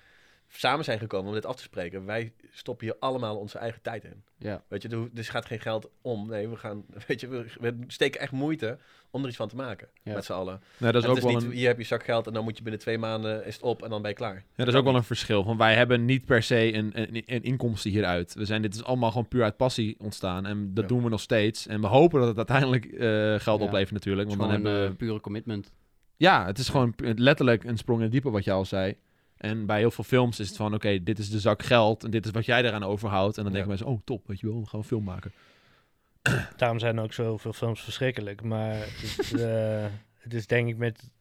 [SPEAKER 3] samen zijn gekomen om dit af te spreken. Wij stoppen hier allemaal onze eigen tijd in.
[SPEAKER 2] Ja.
[SPEAKER 3] Weet je, er hoeft- dus gaat geen geld om. Nee, we gaan, weet je, we, we steken echt moeite om er iets van te maken
[SPEAKER 2] Ja.
[SPEAKER 3] met z'n allen.
[SPEAKER 1] Nou, dat is
[SPEAKER 3] En het
[SPEAKER 1] ook
[SPEAKER 3] is
[SPEAKER 1] wel
[SPEAKER 3] niet,
[SPEAKER 1] een...
[SPEAKER 3] hier heb je zak geld en dan moet je binnen twee maanden is het op en dan ben je klaar.
[SPEAKER 1] Ja, dat is ook wel een verschil. Want wij hebben niet per se een, een, een inkomsten hieruit. We zijn, dit is allemaal gewoon puur uit passie ontstaan. En dat
[SPEAKER 3] Ja.
[SPEAKER 1] doen we nog steeds. En we hopen dat het uiteindelijk eh, geld
[SPEAKER 2] Ja.
[SPEAKER 1] oplevert natuurlijk.
[SPEAKER 2] Het is
[SPEAKER 1] Want dan hebben
[SPEAKER 2] gewoon een, eh, pure commitment.
[SPEAKER 1] Ja, het is gewoon pu- letterlijk een sprong in het diepe wat je al zei. En bij heel veel films is het van... Oké, dit is de zak geld. En dit is wat jij eraan overhoudt. En dan
[SPEAKER 3] Ja.
[SPEAKER 1] denken mensen... Oh, top. Weet je wel, we gaan een film maken.
[SPEAKER 4] daarom zijn ook zoveel films verschrikkelijk. Maar het, eh, het is denk ik met,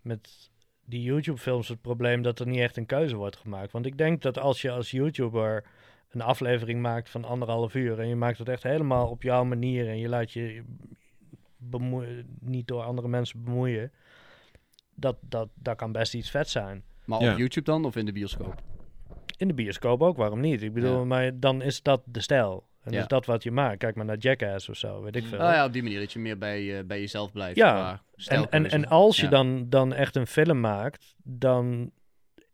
[SPEAKER 4] met die YouTube-films het probleem dat er niet echt een keuze wordt gemaakt. Want ik denk dat als je als YouTuber een aflevering maakt van anderhalf uur en je maakt het echt helemaal op jouw manier en je laat je bemoe- niet door andere mensen bemoeien, dat, dat, dat kan best iets vet zijn.
[SPEAKER 2] Maar
[SPEAKER 1] Ja.
[SPEAKER 2] op YouTube dan of in de bioscoop?
[SPEAKER 4] In de bioscoop ook, waarom niet? Ik bedoel,
[SPEAKER 2] Ja.
[SPEAKER 4] maar dan is dat de stijl. En
[SPEAKER 2] Ja.
[SPEAKER 4] is dat wat je maakt. Kijk maar naar Jackass of zo, weet ik veel.
[SPEAKER 2] Ah ja, op die manier dat je meer bij, eh, bij jezelf blijft.
[SPEAKER 4] Ja.
[SPEAKER 2] qua
[SPEAKER 4] En, en,
[SPEAKER 2] stijlkeuze.
[SPEAKER 4] en als je
[SPEAKER 2] Ja.
[SPEAKER 4] dan, dan echt een film maakt, dan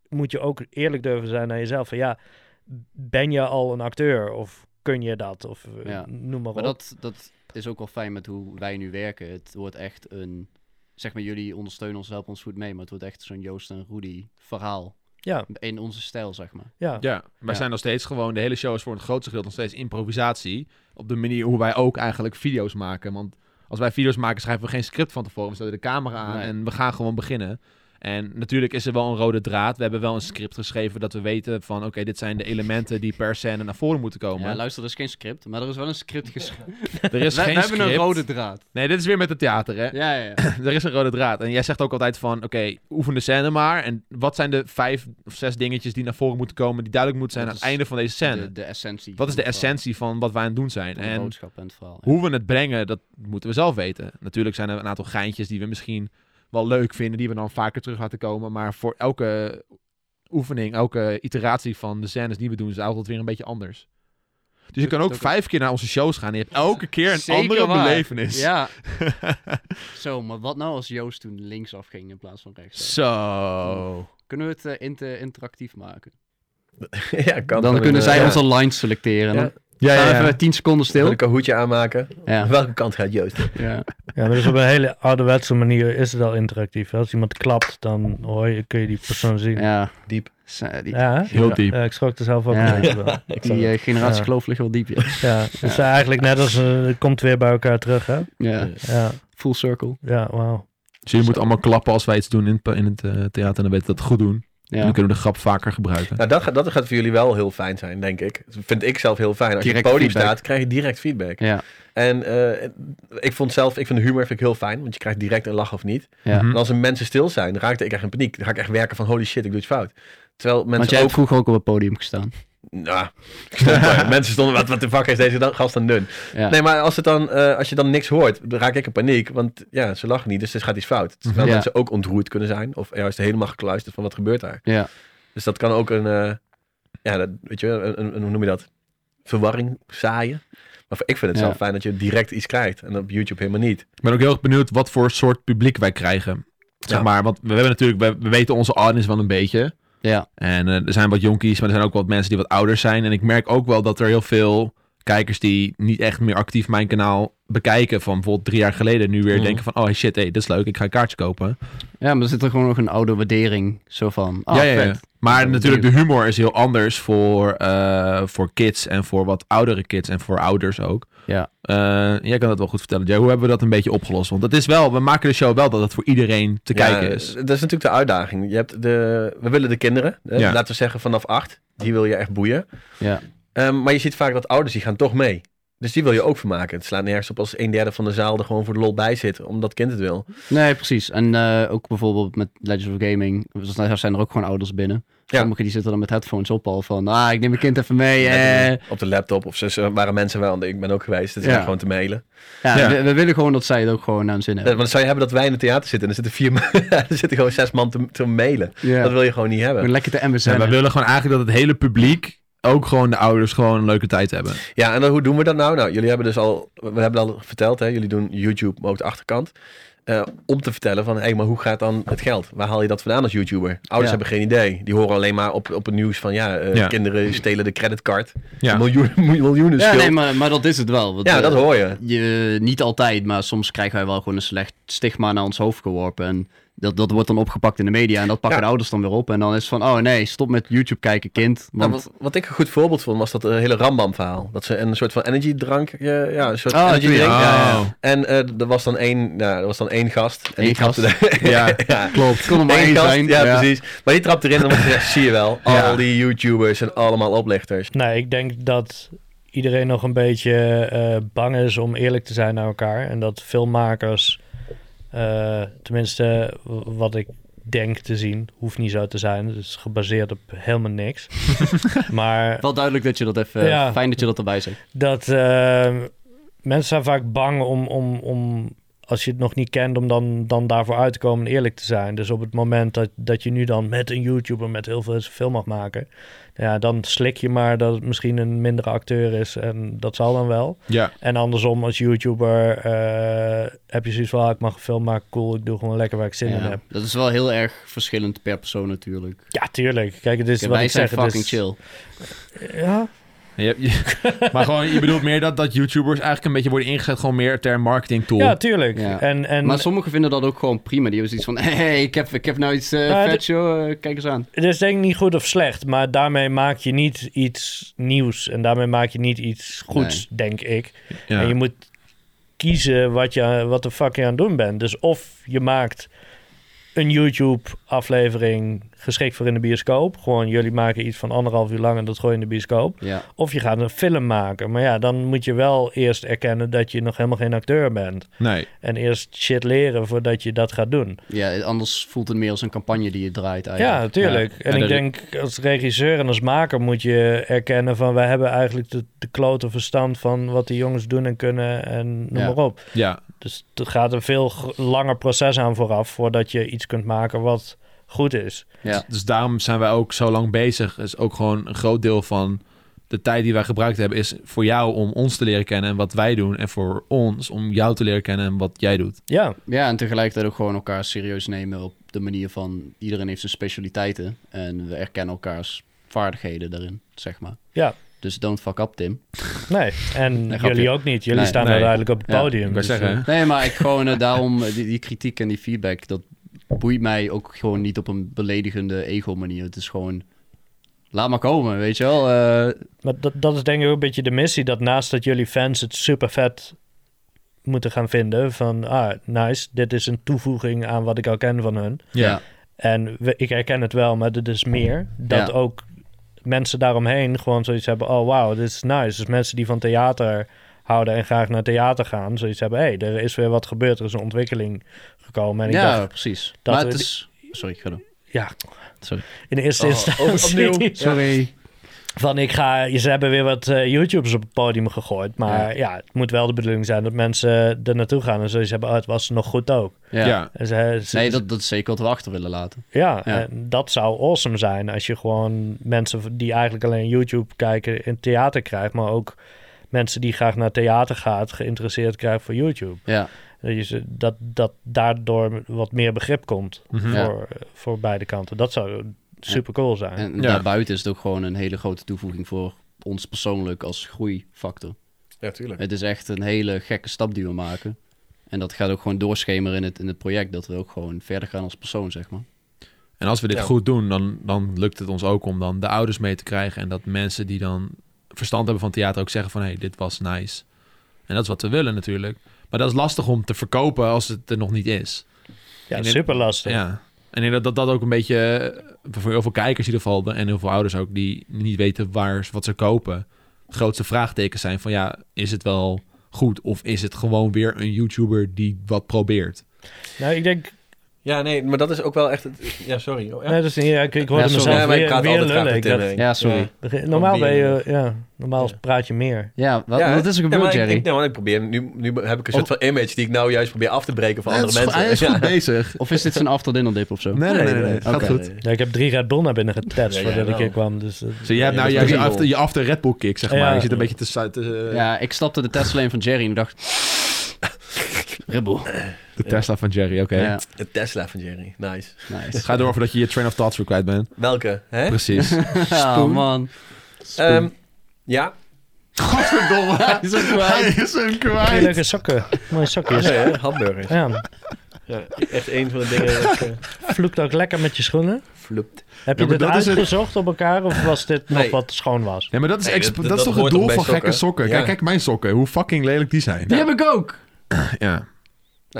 [SPEAKER 4] moet je ook eerlijk durven zijn naar jezelf. Van ja, ben je al een acteur of kun je dat? Of eh,
[SPEAKER 2] Ja.
[SPEAKER 4] noem maar,
[SPEAKER 2] Maar
[SPEAKER 4] op.
[SPEAKER 2] dat, dat is ook wel fijn met hoe wij nu werken. Het wordt echt een... Zeg maar, jullie ondersteunen ons, helpen ons goed mee. Maar het wordt echt zo'n Joost en Rudy verhaal.
[SPEAKER 4] Ja,
[SPEAKER 2] In onze stijl, zeg maar.
[SPEAKER 4] ja.
[SPEAKER 1] Ja, wij
[SPEAKER 2] Ja.
[SPEAKER 1] zijn nog steeds gewoon... De hele show is voor het grootste gedeelte nog steeds improvisatie. Op de manier hoe wij ook eigenlijk video's maken. Want als wij video's maken schrijven we geen script van tevoren. We zetten de camera aan
[SPEAKER 2] Nee.
[SPEAKER 1] en we gaan gewoon beginnen. En natuurlijk is er wel een rode draad. We hebben wel een script geschreven dat we weten van... Oké, dit zijn de elementen die per scène naar voren moeten komen.
[SPEAKER 2] Ja, luister, er is geen script. Maar er is wel een script geschreven.
[SPEAKER 1] er is
[SPEAKER 2] we,
[SPEAKER 1] geen
[SPEAKER 2] we
[SPEAKER 1] script.
[SPEAKER 2] hebben een rode draad.
[SPEAKER 1] Nee, dit is weer met het theater, hè?
[SPEAKER 2] Ja, ja, ja.
[SPEAKER 1] er is een rode draad. En jij zegt ook altijd van, oké, oefen de scène maar. En wat zijn de vijf of zes dingetjes die naar voren moeten komen... die duidelijk moeten zijn
[SPEAKER 2] Dat
[SPEAKER 1] aan het einde
[SPEAKER 2] is
[SPEAKER 1] van deze scène?
[SPEAKER 2] De, de essentie.
[SPEAKER 1] Wat is
[SPEAKER 2] van
[SPEAKER 1] de
[SPEAKER 2] het verhaal.
[SPEAKER 1] essentie van wat wij aan het doen zijn?
[SPEAKER 2] Van De
[SPEAKER 1] En
[SPEAKER 2] boodschap en het verhaal. ja.
[SPEAKER 1] hoe we het brengen, dat moeten we zelf weten. Natuurlijk zijn er een aantal geintjes die we misschien wel leuk vinden... die we dan vaker terug laten komen. Maar voor elke oefening, elke iteratie van de scènes die we doen... is het altijd weer een beetje anders. Dus je kan ook
[SPEAKER 2] ook-
[SPEAKER 1] vijf keer naar onze shows gaan... en je hebt elke keer een
[SPEAKER 2] Zeker
[SPEAKER 1] andere
[SPEAKER 2] waar.
[SPEAKER 1] belevenis.
[SPEAKER 2] Ja. Zo, maar wat nou als Joost toen linksaf ging in plaats van rechtsaf?
[SPEAKER 1] Zo.
[SPEAKER 2] Kunnen we het eh, inter- interactief maken?
[SPEAKER 3] ja, kan
[SPEAKER 2] dan kunnen zij onze lines selecteren.
[SPEAKER 4] Ja.
[SPEAKER 2] Dan staan we even 10 seconden stil.
[SPEAKER 3] een kahootje aanmaken.
[SPEAKER 2] Ja.
[SPEAKER 3] Welke kant gaat Joost?
[SPEAKER 2] ja.
[SPEAKER 4] ja, maar dus op een hele ouderwetse manier is het al interactief. Als iemand klapt, dan hoor je, kun je die persoon zien. Ja,
[SPEAKER 2] ja.
[SPEAKER 3] Diep.
[SPEAKER 2] Sa- Die,
[SPEAKER 4] hè?
[SPEAKER 1] Heel diep.
[SPEAKER 4] Ja, ik schrok er zelf ook
[SPEAKER 2] Ja.
[SPEAKER 4] een beetje van.
[SPEAKER 2] die eh, generatie
[SPEAKER 4] Ja.
[SPEAKER 2] geloof ligt wel diep, ja.
[SPEAKER 4] Ja, het is eigenlijk net als, eh, het komt weer bij elkaar terug, hè?
[SPEAKER 2] ja.
[SPEAKER 4] Ja,
[SPEAKER 2] Full circle.
[SPEAKER 4] ja, wauw.
[SPEAKER 1] Dus jullie moeten allemaal klappen als wij iets doen in het, pa- in het eh, theater. En dan weten we dat goed doen. En
[SPEAKER 2] Ja.
[SPEAKER 1] dan kunnen we de grap vaker gebruiken.
[SPEAKER 3] Nou, dat gaat, dat gaat voor jullie wel heel fijn zijn, denk ik. Dat vind ik zelf heel fijn. Als
[SPEAKER 2] Direct
[SPEAKER 3] je op het podium
[SPEAKER 2] feedback.
[SPEAKER 3] staat, krijg je direct feedback.
[SPEAKER 2] Ja.
[SPEAKER 3] En eh, ik vond zelf, ik vind humor vind ik heel fijn, want je krijgt direct een lach of niet.
[SPEAKER 2] ja.
[SPEAKER 1] Mhm.
[SPEAKER 3] En als er mensen stil zijn, raakte ik echt in paniek. Dan ga ik echt werken van, holy shit, ik doe iets fout. Terwijl mensen
[SPEAKER 2] Want jij hebt
[SPEAKER 3] ook...
[SPEAKER 2] vroeger ook op het podium gestaan.
[SPEAKER 3] Nou, ik stond daar. mensen stonden, wat, wat de fuck is deze dan- gast aan het doen?
[SPEAKER 2] Ja.
[SPEAKER 3] Nee, maar als, het dan, eh, als je dan niks hoort, dan raak ik in paniek. Want ja, ze lachen niet, dus er gaat iets fout. Terwijl
[SPEAKER 2] Mhm. Ja.
[SPEAKER 3] mensen ook ontroerd kunnen zijn. Of juist helemaal gekluisterd van, wat gebeurt daar?
[SPEAKER 2] Ja.
[SPEAKER 3] Dus dat kan ook een, eh, ja, dat, weet je, wel, een, een, hoe noem je dat? Verwarring zaaien. Of ik vind het
[SPEAKER 2] Ja.
[SPEAKER 3] zo fijn dat je direct iets krijgt. En op YouTube helemaal niet.
[SPEAKER 1] Ik ben ook heel erg benieuwd wat voor soort publiek wij krijgen. Zeg
[SPEAKER 3] Ja.
[SPEAKER 1] maar, want we hebben natuurlijk, we, we weten onze audience wel een beetje.
[SPEAKER 2] Ja.
[SPEAKER 1] En eh, er zijn wat jonkies, maar er zijn ook wat mensen die wat ouder zijn. En ik merk ook wel dat er heel veel kijkers die niet echt meer actief mijn kanaal bekijken van bijvoorbeeld drie jaar geleden nu weer
[SPEAKER 3] Mhm.
[SPEAKER 1] denken van oh hey, shit, hey, dit is leuk, ik ga een kaartje kopen.
[SPEAKER 2] Ja, maar er zit er gewoon nog een oude waardering zo van. Ah,
[SPEAKER 1] ja, ja, ja.
[SPEAKER 2] vet.
[SPEAKER 1] Maar
[SPEAKER 2] Ja,
[SPEAKER 1] natuurlijk, de humor is heel anders voor, eh, voor kids en voor wat oudere kids en voor ouders ook.
[SPEAKER 2] Ja.
[SPEAKER 1] Eh, jij kan dat wel goed vertellen. Jay. hoe hebben we dat een beetje opgelost? Want het is wel, we maken de show wel dat het voor iedereen te
[SPEAKER 3] Ja,
[SPEAKER 1] kijken is.
[SPEAKER 3] Dat is natuurlijk de uitdaging. Je hebt de, we willen de kinderen, hè,
[SPEAKER 1] Ja.
[SPEAKER 3] laten we zeggen vanaf acht. Die wil je echt boeien.
[SPEAKER 2] Ja.
[SPEAKER 3] Ehm, maar je ziet vaak dat ouders die gaan toch mee. Dus die wil je ook vermaken. Het slaat nergens op als een derde van de zaal er gewoon voor de lol bij zit. Omdat kind het wil.
[SPEAKER 2] Nee, precies. En eh, ook bijvoorbeeld met Legends of Gaming. Zoals net zijn er ook gewoon ouders binnen.
[SPEAKER 3] Ja.
[SPEAKER 2] Sommigen die zitten dan met headphones op al van... Ah, ik neem mijn kind even mee. eh.
[SPEAKER 3] Op de laptop. Of zo zo waren mensen wel. want Ik ben ook geweest. Het is
[SPEAKER 2] Ja.
[SPEAKER 3] gewoon te mailen.
[SPEAKER 2] Ja,
[SPEAKER 1] Ja.
[SPEAKER 2] We, we willen gewoon dat zij het ook gewoon aan zin
[SPEAKER 3] Eh, Want
[SPEAKER 2] hebben.
[SPEAKER 3] dan zou je hebben dat wij in het theater zitten. En er zitten, vier, man- er zitten gewoon zes man te, te mailen.
[SPEAKER 2] Ja.
[SPEAKER 3] Dat wil je gewoon niet hebben.
[SPEAKER 2] Gewoon lekker te
[SPEAKER 1] Ja,
[SPEAKER 2] MSN.
[SPEAKER 1] we willen gewoon eigenlijk dat het hele publiek, ook gewoon de ouders, gewoon een leuke tijd hebben.
[SPEAKER 3] Ja, en dan, hoe doen we dat nou? Nou, jullie hebben dus al, we hebben al verteld, hè, jullie doen YouTube, maar ook de achterkant. eh, om te vertellen van, hé, maar hoe gaat dan het geld? Waar haal je dat vandaan als YouTuber? Ouders
[SPEAKER 2] Ja.
[SPEAKER 3] hebben geen idee. Die horen alleen maar op, op het nieuws van, ja, eh,
[SPEAKER 1] Ja.
[SPEAKER 3] kinderen stelen de creditcard.
[SPEAKER 1] Ja.
[SPEAKER 3] Miljoenen, miljoenen
[SPEAKER 2] Ja,
[SPEAKER 3] schuld.
[SPEAKER 2] nee, maar, maar dat is het wel. want,
[SPEAKER 3] ja, dat
[SPEAKER 2] eh,
[SPEAKER 3] hoor je.
[SPEAKER 2] je, niet altijd, maar soms krijgen wij wel gewoon een slecht stigma naar ons hoofd geworpen. En dat, dat wordt dan opgepakt in de media en dat pakken
[SPEAKER 3] Ja.
[SPEAKER 2] de ouders dan weer op. En dan is het van, oh nee, stop met YouTube kijken, kind.
[SPEAKER 3] Nou,
[SPEAKER 2] Want,
[SPEAKER 3] wat, wat ik een goed voorbeeld vond, was dat eh, hele Rambam-verhaal. Dat ze een soort van energiedrank, eh, ja, een soort
[SPEAKER 2] Oh,
[SPEAKER 3] energy
[SPEAKER 2] tuurlijk.
[SPEAKER 3] drink.
[SPEAKER 2] Ja, ja, ja.
[SPEAKER 3] En eh, er, was dan één, nou, er was dan één gast. En
[SPEAKER 2] Eén
[SPEAKER 3] die trapte de-
[SPEAKER 1] Ja,
[SPEAKER 3] ja,
[SPEAKER 2] klopt. Kon er maar
[SPEAKER 3] Eén
[SPEAKER 2] één
[SPEAKER 3] kast,
[SPEAKER 2] zijn.
[SPEAKER 3] Ja, precies. Maar die trapt erin en dan wordt gezegd, zie je wel, al
[SPEAKER 1] Ja.
[SPEAKER 3] die YouTubers en allemaal oplichters.
[SPEAKER 4] Nou, ik denk dat iedereen nog een beetje eh, bang is om eerlijk te zijn naar elkaar. En dat filmmakers, eh, tenminste w- wat ik denk te zien, hoeft niet zo te zijn. Het is gebaseerd op helemaal niks. maar
[SPEAKER 2] Wel duidelijk dat je dat even...
[SPEAKER 4] Ja.
[SPEAKER 2] Fijn dat je dat erbij zegt.
[SPEAKER 4] dat eh, mensen zijn vaak bang om, om, om, als je het nog niet kent, om dan, dan daarvoor uit te komen en eerlijk te zijn. Dus op het moment dat, dat je nu dan met een YouTuber met heel veel film mag maken, ja, dan slik je maar dat het misschien een mindere acteur is en dat zal dan wel.
[SPEAKER 1] Ja,
[SPEAKER 4] En andersom, als YouTuber eh, heb je zoiets van, ah, ik mag een film maken, cool, ik doe gewoon lekker waar ik zin in
[SPEAKER 2] Ja.
[SPEAKER 4] heb.
[SPEAKER 2] Dat is wel heel erg verschillend per persoon natuurlijk.
[SPEAKER 4] Ja, tuurlijk. Kijk, het is
[SPEAKER 2] Kijk,
[SPEAKER 4] wat
[SPEAKER 2] wij
[SPEAKER 4] ik
[SPEAKER 2] zijn
[SPEAKER 4] zeg. het
[SPEAKER 2] fucking
[SPEAKER 4] is-
[SPEAKER 2] chill.
[SPEAKER 4] Ja,
[SPEAKER 1] Je- je- maar gewoon, je bedoelt meer dat, dat YouTubers eigenlijk een beetje worden ingezet gewoon meer ter marketing tool.
[SPEAKER 4] ja tuurlijk.
[SPEAKER 2] Ja.
[SPEAKER 4] En, en
[SPEAKER 2] Maar sommigen vinden dat ook gewoon prima. Die hebben zoiets van, hey, ik heb, ik heb nou iets eh
[SPEAKER 4] Nou,
[SPEAKER 2] vet,
[SPEAKER 4] dit-
[SPEAKER 2] joh. eh, kijk eens aan.
[SPEAKER 4] Het is denk ik niet goed of slecht, maar daarmee maak je niet iets nieuws. En daarmee maak je niet iets goeds, denk ik.
[SPEAKER 1] Ja.
[SPEAKER 4] En je moet kiezen wat, je, wat de fuck je aan het doen bent. Dus of je maakt een YouTube-aflevering geschikt voor in de bioscoop. Gewoon jullie maken iets van anderhalf uur lang en dat gooi je in de bioscoop.
[SPEAKER 2] Ja.
[SPEAKER 4] Of je gaat een film maken. Maar ja, dan moet je wel eerst erkennen dat je nog helemaal geen acteur bent.
[SPEAKER 1] Nee.
[SPEAKER 4] En eerst shit leren voordat je dat gaat doen.
[SPEAKER 2] ja, anders voelt het meer als een campagne die je draait
[SPEAKER 4] Ja,
[SPEAKER 2] eigenlijk.
[SPEAKER 4] natuurlijk. En
[SPEAKER 1] Ah, Ja,
[SPEAKER 4] ik
[SPEAKER 1] dat-
[SPEAKER 4] denk als regisseur en als maker moet je erkennen van... wij hebben eigenlijk de, de klote verstand van wat die jongens doen en kunnen en noem
[SPEAKER 2] Ja.
[SPEAKER 4] maar op.
[SPEAKER 1] Ja.
[SPEAKER 4] Dus er gaat een veel gr- langer proces aan vooraf... voordat je iets kunt maken wat goed is.
[SPEAKER 2] Ja.
[SPEAKER 1] Dus daarom zijn wij ook zo lang bezig. Is ook gewoon een groot deel van de tijd die wij gebruikt hebben, is voor jou om ons te leren kennen en wat wij doen. En voor ons om jou te leren kennen en wat jij doet.
[SPEAKER 4] Ja,
[SPEAKER 2] Ja, en tegelijkertijd ook gewoon elkaar serieus nemen op de manier van iedereen heeft zijn specialiteiten en we erkennen elkaars vaardigheden daarin, zeg maar.
[SPEAKER 4] Ja.
[SPEAKER 2] Dus don't fuck up, Tim.
[SPEAKER 4] nee. En
[SPEAKER 2] Nee, grapje.
[SPEAKER 4] jullie ook niet. Jullie
[SPEAKER 2] Nee.
[SPEAKER 4] staan
[SPEAKER 1] Nee.
[SPEAKER 4] uiteindelijk op het
[SPEAKER 2] Ja,
[SPEAKER 4] podium.
[SPEAKER 1] ik wou
[SPEAKER 4] dus,
[SPEAKER 1] zeggen,
[SPEAKER 4] eh,
[SPEAKER 1] hè?
[SPEAKER 2] Nee, maar ik gewoon eh, daarom, eh, die, die kritiek en die feedback, dat boeit mij ook gewoon niet op een beledigende ego-manier. Het is gewoon, laat maar komen, weet je wel. Eh,
[SPEAKER 4] Maar dat, dat is denk ik ook een beetje de missie. Dat naast dat jullie fans het super vet moeten gaan vinden. Van ah, nice. Dit is een toevoeging aan wat ik al ken van hun.
[SPEAKER 2] ja.
[SPEAKER 4] En we- ik herken het wel, maar dit is meer. Dat
[SPEAKER 2] Ja.
[SPEAKER 4] ook mensen daaromheen gewoon zoiets hebben. Oh wow, dit is nice. Dus mensen die van theater houden en graag naar theater gaan. Zoiets hebben. hey, er is weer wat gebeurd. Er is een ontwikkeling gekomen. En ik
[SPEAKER 2] ja,
[SPEAKER 4] dacht,
[SPEAKER 2] precies.
[SPEAKER 4] dat
[SPEAKER 2] maar
[SPEAKER 4] we
[SPEAKER 2] het
[SPEAKER 4] die-
[SPEAKER 2] is... Sorry, ga door.
[SPEAKER 4] ja.
[SPEAKER 2] Sorry.
[SPEAKER 4] In de eerste
[SPEAKER 3] Oh,
[SPEAKER 4] instantie.
[SPEAKER 3] opnieuw.
[SPEAKER 2] Sorry.
[SPEAKER 4] Van ik ga, ze hebben weer wat eh YouTubers op het podium gegooid. Maar ja. het moet wel de bedoeling zijn dat mensen er naartoe gaan. En zoiets hebben, oh, het was nog goed ook.
[SPEAKER 2] Ja.
[SPEAKER 4] En ze, ze-
[SPEAKER 2] Nee, dat, dat is zeker wat we achter willen laten.
[SPEAKER 4] ja,
[SPEAKER 2] ja.
[SPEAKER 4] En dat zou awesome zijn als je gewoon mensen die eigenlijk alleen YouTube kijken in theater krijgt. Maar ook mensen die graag naar theater gaat geïnteresseerd krijgt voor YouTube.
[SPEAKER 2] Ja.
[SPEAKER 4] Dat, je ze- dat, dat daardoor wat meer begrip komt
[SPEAKER 1] Mhm.
[SPEAKER 2] Ja.
[SPEAKER 4] voor, voor beide kanten. Dat zou super cool zijn.
[SPEAKER 2] En
[SPEAKER 1] Ja.
[SPEAKER 2] daarbuiten is het ook gewoon een hele grote toevoeging voor ons persoonlijk als groeifactor.
[SPEAKER 3] Ja, tuurlijk.
[SPEAKER 2] Het is echt een hele gekke stap die we maken. En dat gaat ook gewoon doorschemeren in het, in het project. Dat we ook gewoon verder gaan als persoon, zeg maar.
[SPEAKER 1] En als we dit
[SPEAKER 3] Ja.
[SPEAKER 1] goed doen, dan, dan lukt het ons ook om dan de ouders mee te krijgen. En dat mensen die dan verstand hebben van theater ook zeggen van... hé, hey, dit was nice. En dat is wat we willen natuurlijk. Maar dat is lastig om te verkopen als het er nog niet is.
[SPEAKER 4] ja,
[SPEAKER 1] en-
[SPEAKER 4] super lastig.
[SPEAKER 1] Ja. En ik denk dat, dat dat ook een beetje... eh, voor heel veel kijkers in ieder geval... en heel veel ouders ook, die niet weten waar, ze- wat ze kopen... het grootste vraagtekens zijn van... ja, is het wel goed? Of is het gewoon weer een YouTuber die wat probeert?
[SPEAKER 4] Nou, ik denk,
[SPEAKER 3] Ja, nee, maar dat is ook wel echt... Het... Ja, sorry. Oh, ja.
[SPEAKER 4] nee, dat is niet, ja, ik, ik hoorde
[SPEAKER 2] Ja, sorry.
[SPEAKER 4] mezelf
[SPEAKER 3] Ja, maar ik
[SPEAKER 4] weer,
[SPEAKER 3] praat
[SPEAKER 4] weer
[SPEAKER 3] altijd graag
[SPEAKER 4] lullen.
[SPEAKER 3] de
[SPEAKER 4] Ik dacht,
[SPEAKER 3] Tim heen.
[SPEAKER 2] Ja, sorry. Ja,
[SPEAKER 4] normaal
[SPEAKER 3] Gewoon
[SPEAKER 4] ben
[SPEAKER 3] weer
[SPEAKER 4] je, ja, normaal
[SPEAKER 3] Ja.
[SPEAKER 4] praat je meer.
[SPEAKER 2] wat,
[SPEAKER 3] Ja,
[SPEAKER 2] wat is er
[SPEAKER 3] ja,
[SPEAKER 2] gebeurd,
[SPEAKER 3] maar
[SPEAKER 2] Jerry?
[SPEAKER 3] Ik, ik, nou, want ik probeer, nu, nu heb ik een soort van image die ik nou juist probeer af te breken van
[SPEAKER 1] Hij
[SPEAKER 3] andere mensen.
[SPEAKER 1] Hij is
[SPEAKER 3] Ja.
[SPEAKER 1] goed bezig.
[SPEAKER 2] Of is dit zijn after dinner dip of zo?
[SPEAKER 1] Nee, nee, nee. nee,
[SPEAKER 3] nee.
[SPEAKER 1] Gaat
[SPEAKER 2] Oké.
[SPEAKER 1] goed.
[SPEAKER 4] Ja, ik heb drie Red Bull naar binnen getest
[SPEAKER 3] Ja, jij
[SPEAKER 4] voordat ik
[SPEAKER 3] wel.
[SPEAKER 4] hier kwam. Dus, eh,
[SPEAKER 1] Zo, jij hebt nou
[SPEAKER 3] Ja, dat
[SPEAKER 1] juist
[SPEAKER 3] is
[SPEAKER 1] je
[SPEAKER 3] wel.
[SPEAKER 1] after, je after Red Bull kick, zeg maar.
[SPEAKER 4] Ja.
[SPEAKER 1] Je zit een beetje te... su- te eh,
[SPEAKER 2] Ja, ik stapte de Tesla in van Jerry en dacht... Ribbel.
[SPEAKER 1] De Tesla van Jerry, oké.
[SPEAKER 2] Ja,
[SPEAKER 3] De Tesla van Jerry. Nice.
[SPEAKER 2] nice.
[SPEAKER 1] Ga door voordat je je train of thoughts weer kwijt bent.
[SPEAKER 3] Welke? Hè?
[SPEAKER 1] Precies.
[SPEAKER 2] Ja, Oh, man.
[SPEAKER 3] Ehm, ja.
[SPEAKER 1] Godverdomme.
[SPEAKER 2] Is het kwijt?
[SPEAKER 1] is hem
[SPEAKER 4] Hey, leuke sokken. Mooie sokjes.
[SPEAKER 3] Ja,
[SPEAKER 4] Ja,
[SPEAKER 3] Oh, ja, hamburgers. Echt een van de dingen dat ik, eh,
[SPEAKER 4] Vloekt ook lekker met je schoenen.
[SPEAKER 3] floept.
[SPEAKER 4] Heb
[SPEAKER 1] Ja,
[SPEAKER 4] je
[SPEAKER 1] maar
[SPEAKER 4] dit
[SPEAKER 1] dat is het-
[SPEAKER 4] uitgezocht op elkaar of was dit nog
[SPEAKER 3] Nee.
[SPEAKER 4] wat schoon was?
[SPEAKER 1] Nee, maar dat is,
[SPEAKER 3] Nee,
[SPEAKER 1] exp-
[SPEAKER 3] dat-
[SPEAKER 1] dat,
[SPEAKER 3] dat
[SPEAKER 1] is toch het
[SPEAKER 3] hoort ook
[SPEAKER 1] doel
[SPEAKER 3] bij
[SPEAKER 1] van gekke
[SPEAKER 3] sokken.
[SPEAKER 1] sokken?
[SPEAKER 3] Ja.
[SPEAKER 1] Kijk, kijk mijn sokken. Hoe fucking lelijk die zijn.
[SPEAKER 2] Die heb ik ook.
[SPEAKER 1] Ja.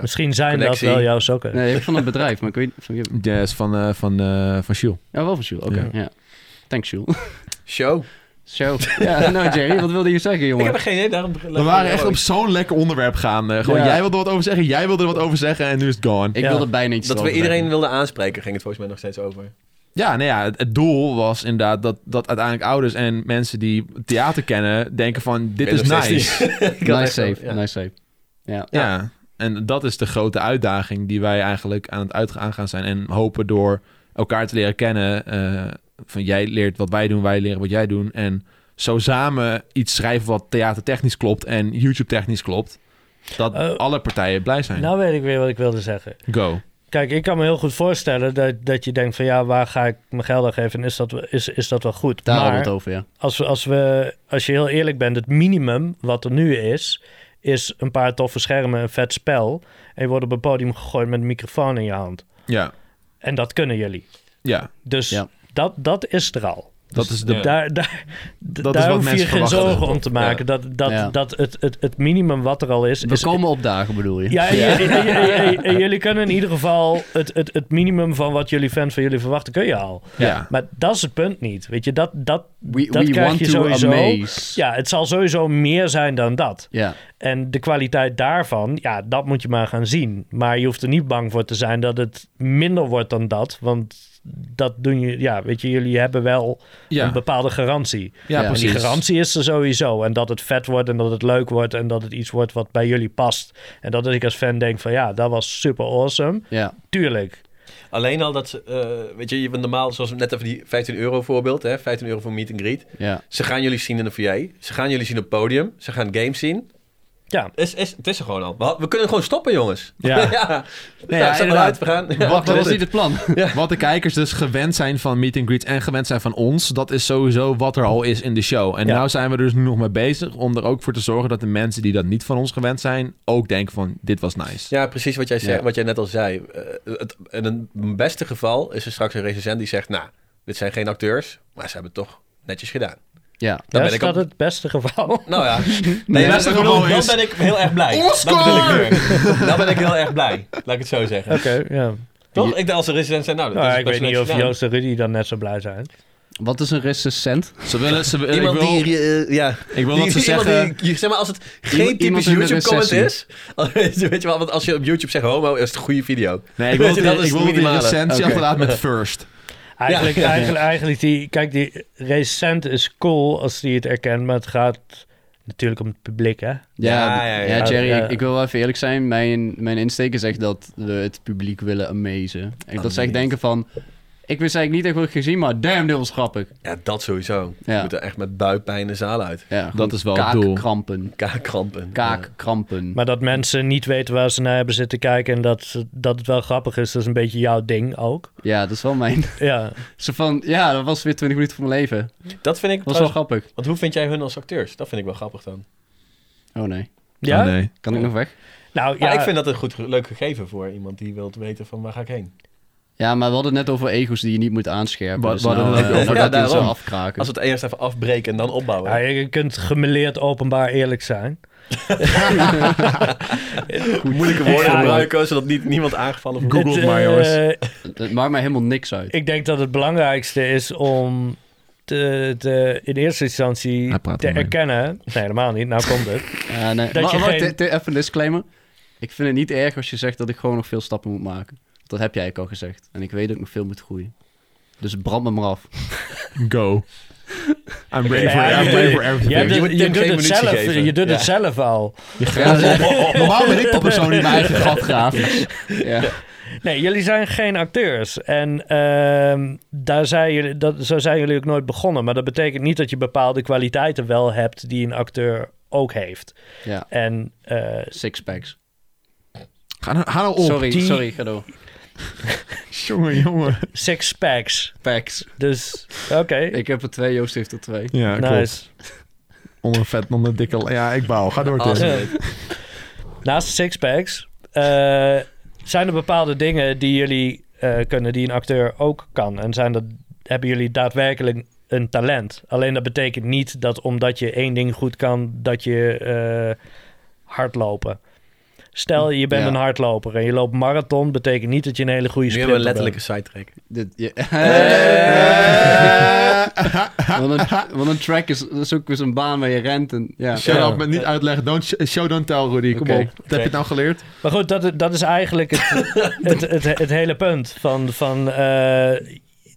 [SPEAKER 4] Misschien zijn
[SPEAKER 3] Connectie.
[SPEAKER 4] dat wel jouw sokken.
[SPEAKER 2] Nee, ik van het bedrijf, maar ik weet van wie.
[SPEAKER 1] Ja, is van, eh van, eh van Shiel.
[SPEAKER 2] Ja, wel van Jules. Oké, ja. Thanks, Jules.
[SPEAKER 3] Show.
[SPEAKER 2] Zo. Ja, nou Jerry, wat wilde je zeggen,
[SPEAKER 3] Ik
[SPEAKER 2] jongen?
[SPEAKER 3] heb er geen idee, daarom...
[SPEAKER 1] We waren echt op zo'n lekker onderwerp gaan. eh, gewoon,
[SPEAKER 2] Ja.
[SPEAKER 1] jij wilde er wat over zeggen, jij wilde er wat over zeggen en nu is het gone.
[SPEAKER 2] Ik
[SPEAKER 4] Ja.
[SPEAKER 2] wilde bijna iets
[SPEAKER 3] Dat we
[SPEAKER 2] erover
[SPEAKER 3] iedereen
[SPEAKER 2] zeggen.
[SPEAKER 3] wilden aanspreken, ging het volgens mij nog steeds over.
[SPEAKER 1] Ja, nou ja, het, het doel was inderdaad dat, dat uiteindelijk ouders en mensen die theater kennen denken van, dit
[SPEAKER 3] Ik
[SPEAKER 1] is
[SPEAKER 3] weet nog
[SPEAKER 1] nice.
[SPEAKER 3] steeds niet. Ik had
[SPEAKER 2] Nice
[SPEAKER 3] echt wel-
[SPEAKER 2] save,
[SPEAKER 3] ja.
[SPEAKER 2] nice save. Ja.
[SPEAKER 1] Ja. En dat is de grote uitdaging die wij eigenlijk aan het uitgaan gaan zijn. En hopen door elkaar te leren kennen. eh, van jij leert wat wij doen, wij leren wat jij doen. En zo samen iets schrijven wat theatertechnisch klopt en YouTube technisch klopt. Dat
[SPEAKER 4] Eh,
[SPEAKER 1] alle partijen blij zijn.
[SPEAKER 4] Nou weet ik weer wat ik wilde zeggen.
[SPEAKER 1] Go.
[SPEAKER 4] Kijk, ik kan me heel goed voorstellen dat, dat je denkt van ja, waar ga ik mijn geld aan geven en is dat, wel- is, is dat wel goed?
[SPEAKER 2] Daar hadden we
[SPEAKER 4] maar
[SPEAKER 2] het over, ja.
[SPEAKER 4] als, we, als, we, als je heel eerlijk bent, het minimum wat er nu is, is een paar toffe schermen, een vet spel en je wordt op een podium gegooid met een microfoon in je hand.
[SPEAKER 1] Ja,
[SPEAKER 4] En dat kunnen jullie.
[SPEAKER 1] ja.
[SPEAKER 4] Dus
[SPEAKER 2] Ja.
[SPEAKER 4] dat, dat is er al. Dus
[SPEAKER 1] Dat is de...
[SPEAKER 3] ja.
[SPEAKER 4] Daar, daar,
[SPEAKER 1] is
[SPEAKER 4] daar
[SPEAKER 1] wat
[SPEAKER 4] hoef je
[SPEAKER 1] mensen
[SPEAKER 4] geen
[SPEAKER 1] verwachten.
[SPEAKER 4] zorgen om te maken. Dat, dat,
[SPEAKER 2] Ja.
[SPEAKER 4] dat het, het, het minimum wat er al is...
[SPEAKER 2] We
[SPEAKER 4] is
[SPEAKER 2] komen opdagen, bedoel je?
[SPEAKER 4] ja, en je- en je- en je- en je- en jullie kunnen in ieder geval het, het, het minimum van wat jullie fans van jullie verwachten, kun je al.
[SPEAKER 1] Ja.
[SPEAKER 4] Maar dat is het punt niet. Weet je, dat, dat,
[SPEAKER 2] We,
[SPEAKER 4] dat
[SPEAKER 2] we
[SPEAKER 4] krijg
[SPEAKER 2] want
[SPEAKER 4] je
[SPEAKER 2] to
[SPEAKER 4] sowieso.
[SPEAKER 2] amaze.
[SPEAKER 4] Ja, het zal sowieso meer zijn dan dat.
[SPEAKER 2] Ja.
[SPEAKER 4] En de kwaliteit daarvan, ja, dat moet je maar gaan zien. Maar je hoeft er niet bang voor te zijn dat het minder wordt dan dat. Want dat doen je, ja, weet je, jullie hebben wel een
[SPEAKER 1] Ja,
[SPEAKER 4] bepaalde garantie.
[SPEAKER 1] ja,
[SPEAKER 2] Ja,
[SPEAKER 4] En die
[SPEAKER 1] precies.
[SPEAKER 4] garantie is er sowieso. En dat het vet wordt en dat het leuk wordt en dat het iets wordt wat bij jullie past. En dat ik als fan denk van ja, dat was super awesome.
[SPEAKER 2] ja.
[SPEAKER 4] Tuurlijk.
[SPEAKER 3] Alleen al dat ze, eh, weet je, je bent normaal, zoals net even die 15 euro voorbeeld, hè, 15 euro voor meet and greet.
[SPEAKER 2] Ja.
[SPEAKER 3] Ze gaan jullie zien in de VA, ze gaan jullie zien op het podium, ze gaan games zien.
[SPEAKER 4] Ja.
[SPEAKER 3] Is, is, het is er gewoon al. We, had- we kunnen gewoon stoppen, jongens.
[SPEAKER 4] Ja.
[SPEAKER 3] ja.
[SPEAKER 1] ja,
[SPEAKER 3] Nou, zet maar
[SPEAKER 1] inderdaad.
[SPEAKER 3] uit, we gaan. Ja.
[SPEAKER 1] Wat,
[SPEAKER 2] Dat
[SPEAKER 1] wat,
[SPEAKER 2] was niet
[SPEAKER 1] de,
[SPEAKER 2] het plan.
[SPEAKER 1] wat de kijkers dus gewend zijn van meet and greets en gewend zijn van ons, dat is sowieso wat er al is in de show. En
[SPEAKER 4] Ja.
[SPEAKER 1] nou zijn we er dus nu nog mee bezig om er ook voor te zorgen dat de mensen die dat niet van ons gewend zijn, ook denken van dit was nice.
[SPEAKER 3] Ja, precies wat jij, zei,
[SPEAKER 2] Ja.
[SPEAKER 3] wat jij net al zei. Eh, het, in een beste geval is er straks een recensent die zegt... nou, dit zijn geen acteurs, maar ze hebben het toch netjes gedaan.
[SPEAKER 2] Ja.
[SPEAKER 3] Dan
[SPEAKER 4] dat
[SPEAKER 3] ben
[SPEAKER 4] is
[SPEAKER 3] ik
[SPEAKER 4] dat
[SPEAKER 3] al-
[SPEAKER 4] het beste geval.
[SPEAKER 3] Nou ja, nee,
[SPEAKER 1] het
[SPEAKER 3] dat
[SPEAKER 1] beste
[SPEAKER 3] ik bedoel,
[SPEAKER 1] geval is-
[SPEAKER 3] dan ben ik heel erg blij.
[SPEAKER 1] Oscar!
[SPEAKER 3] Dan ben, ik, heel- dan ben ik heel erg blij, laat ik het zo zeggen.
[SPEAKER 4] Oké, ja.
[SPEAKER 3] Toch? Ik dacht als een recensent zei... nou, dat
[SPEAKER 4] Nou,
[SPEAKER 3] is
[SPEAKER 4] ik
[SPEAKER 3] best
[SPEAKER 4] weet niet
[SPEAKER 3] netjes
[SPEAKER 4] of
[SPEAKER 3] gedaan.
[SPEAKER 4] Joost en Rudy dan net zo blij zijn.
[SPEAKER 2] Wat is een recensent?
[SPEAKER 1] Ze willen, ze, willen- ik,
[SPEAKER 3] Iemand
[SPEAKER 1] wil,
[SPEAKER 3] die, eh, ja,
[SPEAKER 1] ik wil dat ze
[SPEAKER 3] Die- iemand
[SPEAKER 1] zeggen...
[SPEAKER 3] die- je- zeg maar, als het geen
[SPEAKER 2] Iemand- iemand
[SPEAKER 3] typisch
[SPEAKER 2] in de
[SPEAKER 3] YouTube-comment is... Oh,
[SPEAKER 2] recessie.
[SPEAKER 3] Weet je wel, want als je op YouTube zegt homo, is het een goede video.
[SPEAKER 1] Nee, ik wil,
[SPEAKER 3] Weet je,
[SPEAKER 1] dat
[SPEAKER 3] dat
[SPEAKER 1] die, ik
[SPEAKER 3] is
[SPEAKER 1] wil
[SPEAKER 3] het
[SPEAKER 1] dat die
[SPEAKER 3] minimale.
[SPEAKER 1] recensie
[SPEAKER 2] Oké.
[SPEAKER 1] achterlaat met first.
[SPEAKER 4] Eigenlijk,
[SPEAKER 3] Ja.
[SPEAKER 4] eigenlijk, eigenlijk die, kijk, die recent is cool als die het erkent, maar het gaat natuurlijk om het publiek, hè?
[SPEAKER 2] Ja,
[SPEAKER 3] Ja, ja, ja.
[SPEAKER 2] ja, Jerry,
[SPEAKER 4] Ja.
[SPEAKER 2] Ik, ik wil wel even eerlijk zijn. Mijn, mijn insteek is echt dat we het publiek willen amazen. Ik, dat ze echt denken van... Ik wist eigenlijk niet echt wat ik gezien, maar damn, dit was grappig.
[SPEAKER 3] Ja, dat sowieso. Je
[SPEAKER 2] Ja.
[SPEAKER 3] moet er echt met buikpijn de zaal uit.
[SPEAKER 2] Ja, gewoon
[SPEAKER 1] is wel het doel.
[SPEAKER 2] Kaakkrampen.
[SPEAKER 3] Kaakkrampen. Ja.
[SPEAKER 2] Kaakkrampen.
[SPEAKER 4] Maar dat mensen niet weten waar ze naar hebben zitten kijken en dat, ze- dat het wel grappig is, dat is een beetje jouw ding ook.
[SPEAKER 2] Ja, dat is wel mijn...
[SPEAKER 4] Ja,
[SPEAKER 2] Zo van, ja, dat was weer 20 minuten van mijn leven.
[SPEAKER 3] Dat vind ik
[SPEAKER 2] Dat was wel
[SPEAKER 3] trouwens-
[SPEAKER 2] grappig.
[SPEAKER 3] Want hoe vind jij hun als acteurs? Dat vind ik wel grappig dan.
[SPEAKER 2] Oh nee,
[SPEAKER 4] ja?
[SPEAKER 1] Oh, nee.
[SPEAKER 2] kan ik nog weg?
[SPEAKER 4] nou ja,
[SPEAKER 3] Maar ik vind dat een goed, ge- leuk gegeven voor iemand die wilt weten van waar ga ik heen.
[SPEAKER 2] Ja, maar we hadden het net over ego's die je niet moet aanscherpen.
[SPEAKER 1] Wa-
[SPEAKER 2] dus
[SPEAKER 1] we hadden
[SPEAKER 2] nou,
[SPEAKER 1] het ook
[SPEAKER 2] eh,
[SPEAKER 1] over
[SPEAKER 2] dat
[SPEAKER 3] dat
[SPEAKER 2] die zo
[SPEAKER 3] daarom.
[SPEAKER 2] afkraken.
[SPEAKER 3] Als we het eerst even afbreken en dan opbouwen.
[SPEAKER 4] ja, je kunt gemeleerd openbaar eerlijk zijn.
[SPEAKER 3] Moeilijke woorden
[SPEAKER 4] Ja,
[SPEAKER 3] gebruiken, zodat niet, niemand aangevallen wordt.
[SPEAKER 1] Google het
[SPEAKER 4] Het,
[SPEAKER 1] maar,
[SPEAKER 4] eh,
[SPEAKER 1] jongens.
[SPEAKER 2] Het maakt mij helemaal niks uit.
[SPEAKER 4] Ik denk dat het belangrijkste is om te, te- in eerste instantie
[SPEAKER 1] Hij praat
[SPEAKER 4] te
[SPEAKER 1] om mij.
[SPEAKER 4] erkennen. Nee, helemaal niet. Nou komt het.
[SPEAKER 2] Ja, Eh, nee.
[SPEAKER 4] Dat
[SPEAKER 2] Maar,
[SPEAKER 4] je
[SPEAKER 2] wacht,
[SPEAKER 4] geen-
[SPEAKER 2] dit- dit- even een disclaimer. Ik vind het niet erg als je zegt dat ik gewoon nog veel stappen moet maken. Want Dat heb jij eigenlijk al gezegd. En ik weet dat ik nog veel moet groeien. Dus brand me maar af.
[SPEAKER 1] Go. I'm ready for,
[SPEAKER 4] Ja, dus-
[SPEAKER 1] I'm
[SPEAKER 4] je-
[SPEAKER 1] ready for
[SPEAKER 4] Je,
[SPEAKER 1] everything.
[SPEAKER 3] moet
[SPEAKER 4] doet-
[SPEAKER 3] Tim
[SPEAKER 4] je
[SPEAKER 3] geen
[SPEAKER 4] doet het
[SPEAKER 3] munitie
[SPEAKER 4] zelf,
[SPEAKER 3] geven.
[SPEAKER 4] je doet
[SPEAKER 2] Ja.
[SPEAKER 4] het zelf al.
[SPEAKER 2] normaal ben ik de persoon die mijn eigen gat graaft. Ja.
[SPEAKER 4] Nee, jullie zijn geen acteurs. En ehm, daar zijn jullie, dat, zo zijn jullie ook nooit begonnen. Maar dat betekent niet dat je bepaalde kwaliteiten wel hebt die een acteur ook heeft.
[SPEAKER 2] ja.
[SPEAKER 4] En eh,
[SPEAKER 2] Sixpacks.
[SPEAKER 1] Ga nou, ga nou op.
[SPEAKER 2] Sorry,
[SPEAKER 4] die-
[SPEAKER 2] sorry, ga door.
[SPEAKER 1] Jongen, jongen.
[SPEAKER 4] six packs.
[SPEAKER 2] Packs.
[SPEAKER 4] Dus oké,
[SPEAKER 2] Ik heb er twee, Joost heeft er twee.
[SPEAKER 1] Ja, klopt.
[SPEAKER 4] nice.
[SPEAKER 1] Onder vet, onder dikke... Ja, ik bouw. Ga door, Tim.
[SPEAKER 3] Awesome.
[SPEAKER 4] Ja. Naast six packs eh, zijn er bepaalde dingen die jullie eh, kunnen, die een acteur ook kan. En zijn dat, hebben jullie daadwerkelijk een talent. Alleen dat betekent niet dat omdat je één ding goed kan, dat je eh, hardlopen. Stel, je bent
[SPEAKER 2] Ja.
[SPEAKER 4] een hardloper en je loopt marathon, betekent niet dat je een hele goede
[SPEAKER 3] Nu
[SPEAKER 4] sprinter
[SPEAKER 3] hebben we
[SPEAKER 4] bent.
[SPEAKER 3] letterlijk
[SPEAKER 2] eh.
[SPEAKER 3] een sidetrack.
[SPEAKER 2] Dit, ja.
[SPEAKER 1] Eh.
[SPEAKER 2] want, een, want een track is, dat is ook weer zo'n baan waar je rent. En, ja.
[SPEAKER 1] Shut
[SPEAKER 4] Ja.
[SPEAKER 1] up, met niet uitleggen. Don't sh- show, don't tell, Rudy. Kom
[SPEAKER 2] Oké.
[SPEAKER 1] op. Wat heb je het nou geleerd?
[SPEAKER 4] Maar goed, dat, dat is eigenlijk het, het, het, het hele punt van... van eh,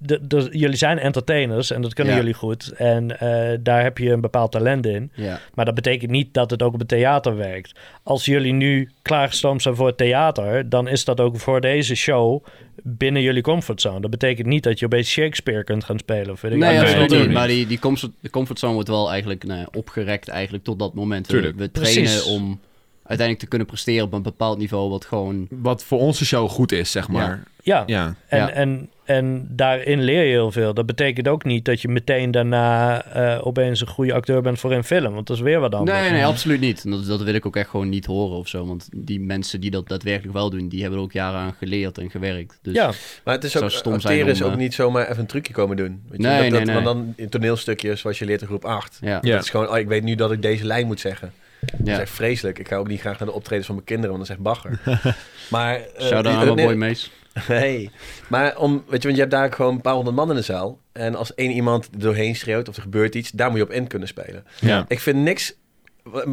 [SPEAKER 4] de- de- jullie zijn entertainers en dat kunnen
[SPEAKER 2] Ja.
[SPEAKER 4] jullie goed. En eh, daar heb je een bepaald talent in.
[SPEAKER 2] Ja.
[SPEAKER 4] Maar dat betekent niet dat het ook op het theater werkt. Als jullie nu klaargestoomd zijn voor het theater... dan is dat ook voor deze show binnen jullie comfortzone. Dat betekent niet dat je opeens Shakespeare kunt gaan spelen. Of weet ik
[SPEAKER 2] Nee,
[SPEAKER 4] wat.
[SPEAKER 2] dat is
[SPEAKER 1] nee,
[SPEAKER 2] wel
[SPEAKER 1] tuurlijk
[SPEAKER 2] doen.
[SPEAKER 1] niet.
[SPEAKER 2] Maar die, die comfort, de comfortzone wordt wel eigenlijk nou ja, opgerekt eigenlijk tot dat moment. We-
[SPEAKER 1] Tuurlijk.
[SPEAKER 2] We
[SPEAKER 4] Precies.
[SPEAKER 2] trainen om uiteindelijk te kunnen presteren op een bepaald niveau wat gewoon...
[SPEAKER 1] Wat voor onze show goed is, zeg maar.
[SPEAKER 4] Ja,
[SPEAKER 1] Ja.
[SPEAKER 4] En,
[SPEAKER 2] Ja.
[SPEAKER 4] En, en daarin leer je heel veel. Dat betekent ook niet dat je meteen daarna eh, opeens een goede acteur bent voor een film. Want dat is weer wat anders.
[SPEAKER 2] Nee, nee, absoluut niet. En Dat, dat wil ik ook echt gewoon niet horen of zo. Want die mensen die dat daadwerkelijk wel doen, die hebben er ook jaren aan geleerd en gewerkt. Dus
[SPEAKER 4] Ja,
[SPEAKER 3] Maar het is
[SPEAKER 2] Zou
[SPEAKER 3] ook,
[SPEAKER 2] stom
[SPEAKER 3] acteren
[SPEAKER 2] zijn
[SPEAKER 3] is
[SPEAKER 2] om,
[SPEAKER 3] ook
[SPEAKER 2] eh,
[SPEAKER 3] niet zomaar even een trucje komen doen. Weet je?
[SPEAKER 2] Nee,
[SPEAKER 3] dat, dat,
[SPEAKER 2] nee, nee.
[SPEAKER 3] Want dan in toneelstukjes, zoals je leert in groep 8.
[SPEAKER 2] Ja,
[SPEAKER 1] Ja.
[SPEAKER 3] Het is gewoon, oh, ik weet nu dat ik deze lijn moet zeggen. Dat
[SPEAKER 2] ja.
[SPEAKER 3] is echt vreselijk. Ik ga ook niet graag naar de optredens van mijn kinderen, want dat is echt bagger. maar, eh,
[SPEAKER 2] Shout-out
[SPEAKER 3] eh,
[SPEAKER 2] aan mijn
[SPEAKER 3] nee,
[SPEAKER 2] boy Mees.
[SPEAKER 3] Nee, maar om, weet je, want je hebt daar gewoon een paar honderd man in de zaal. En als één iemand er doorheen schreeuwt of er gebeurt iets, daar moet je op in kunnen spelen.
[SPEAKER 1] Ja.
[SPEAKER 3] Ik vind niks...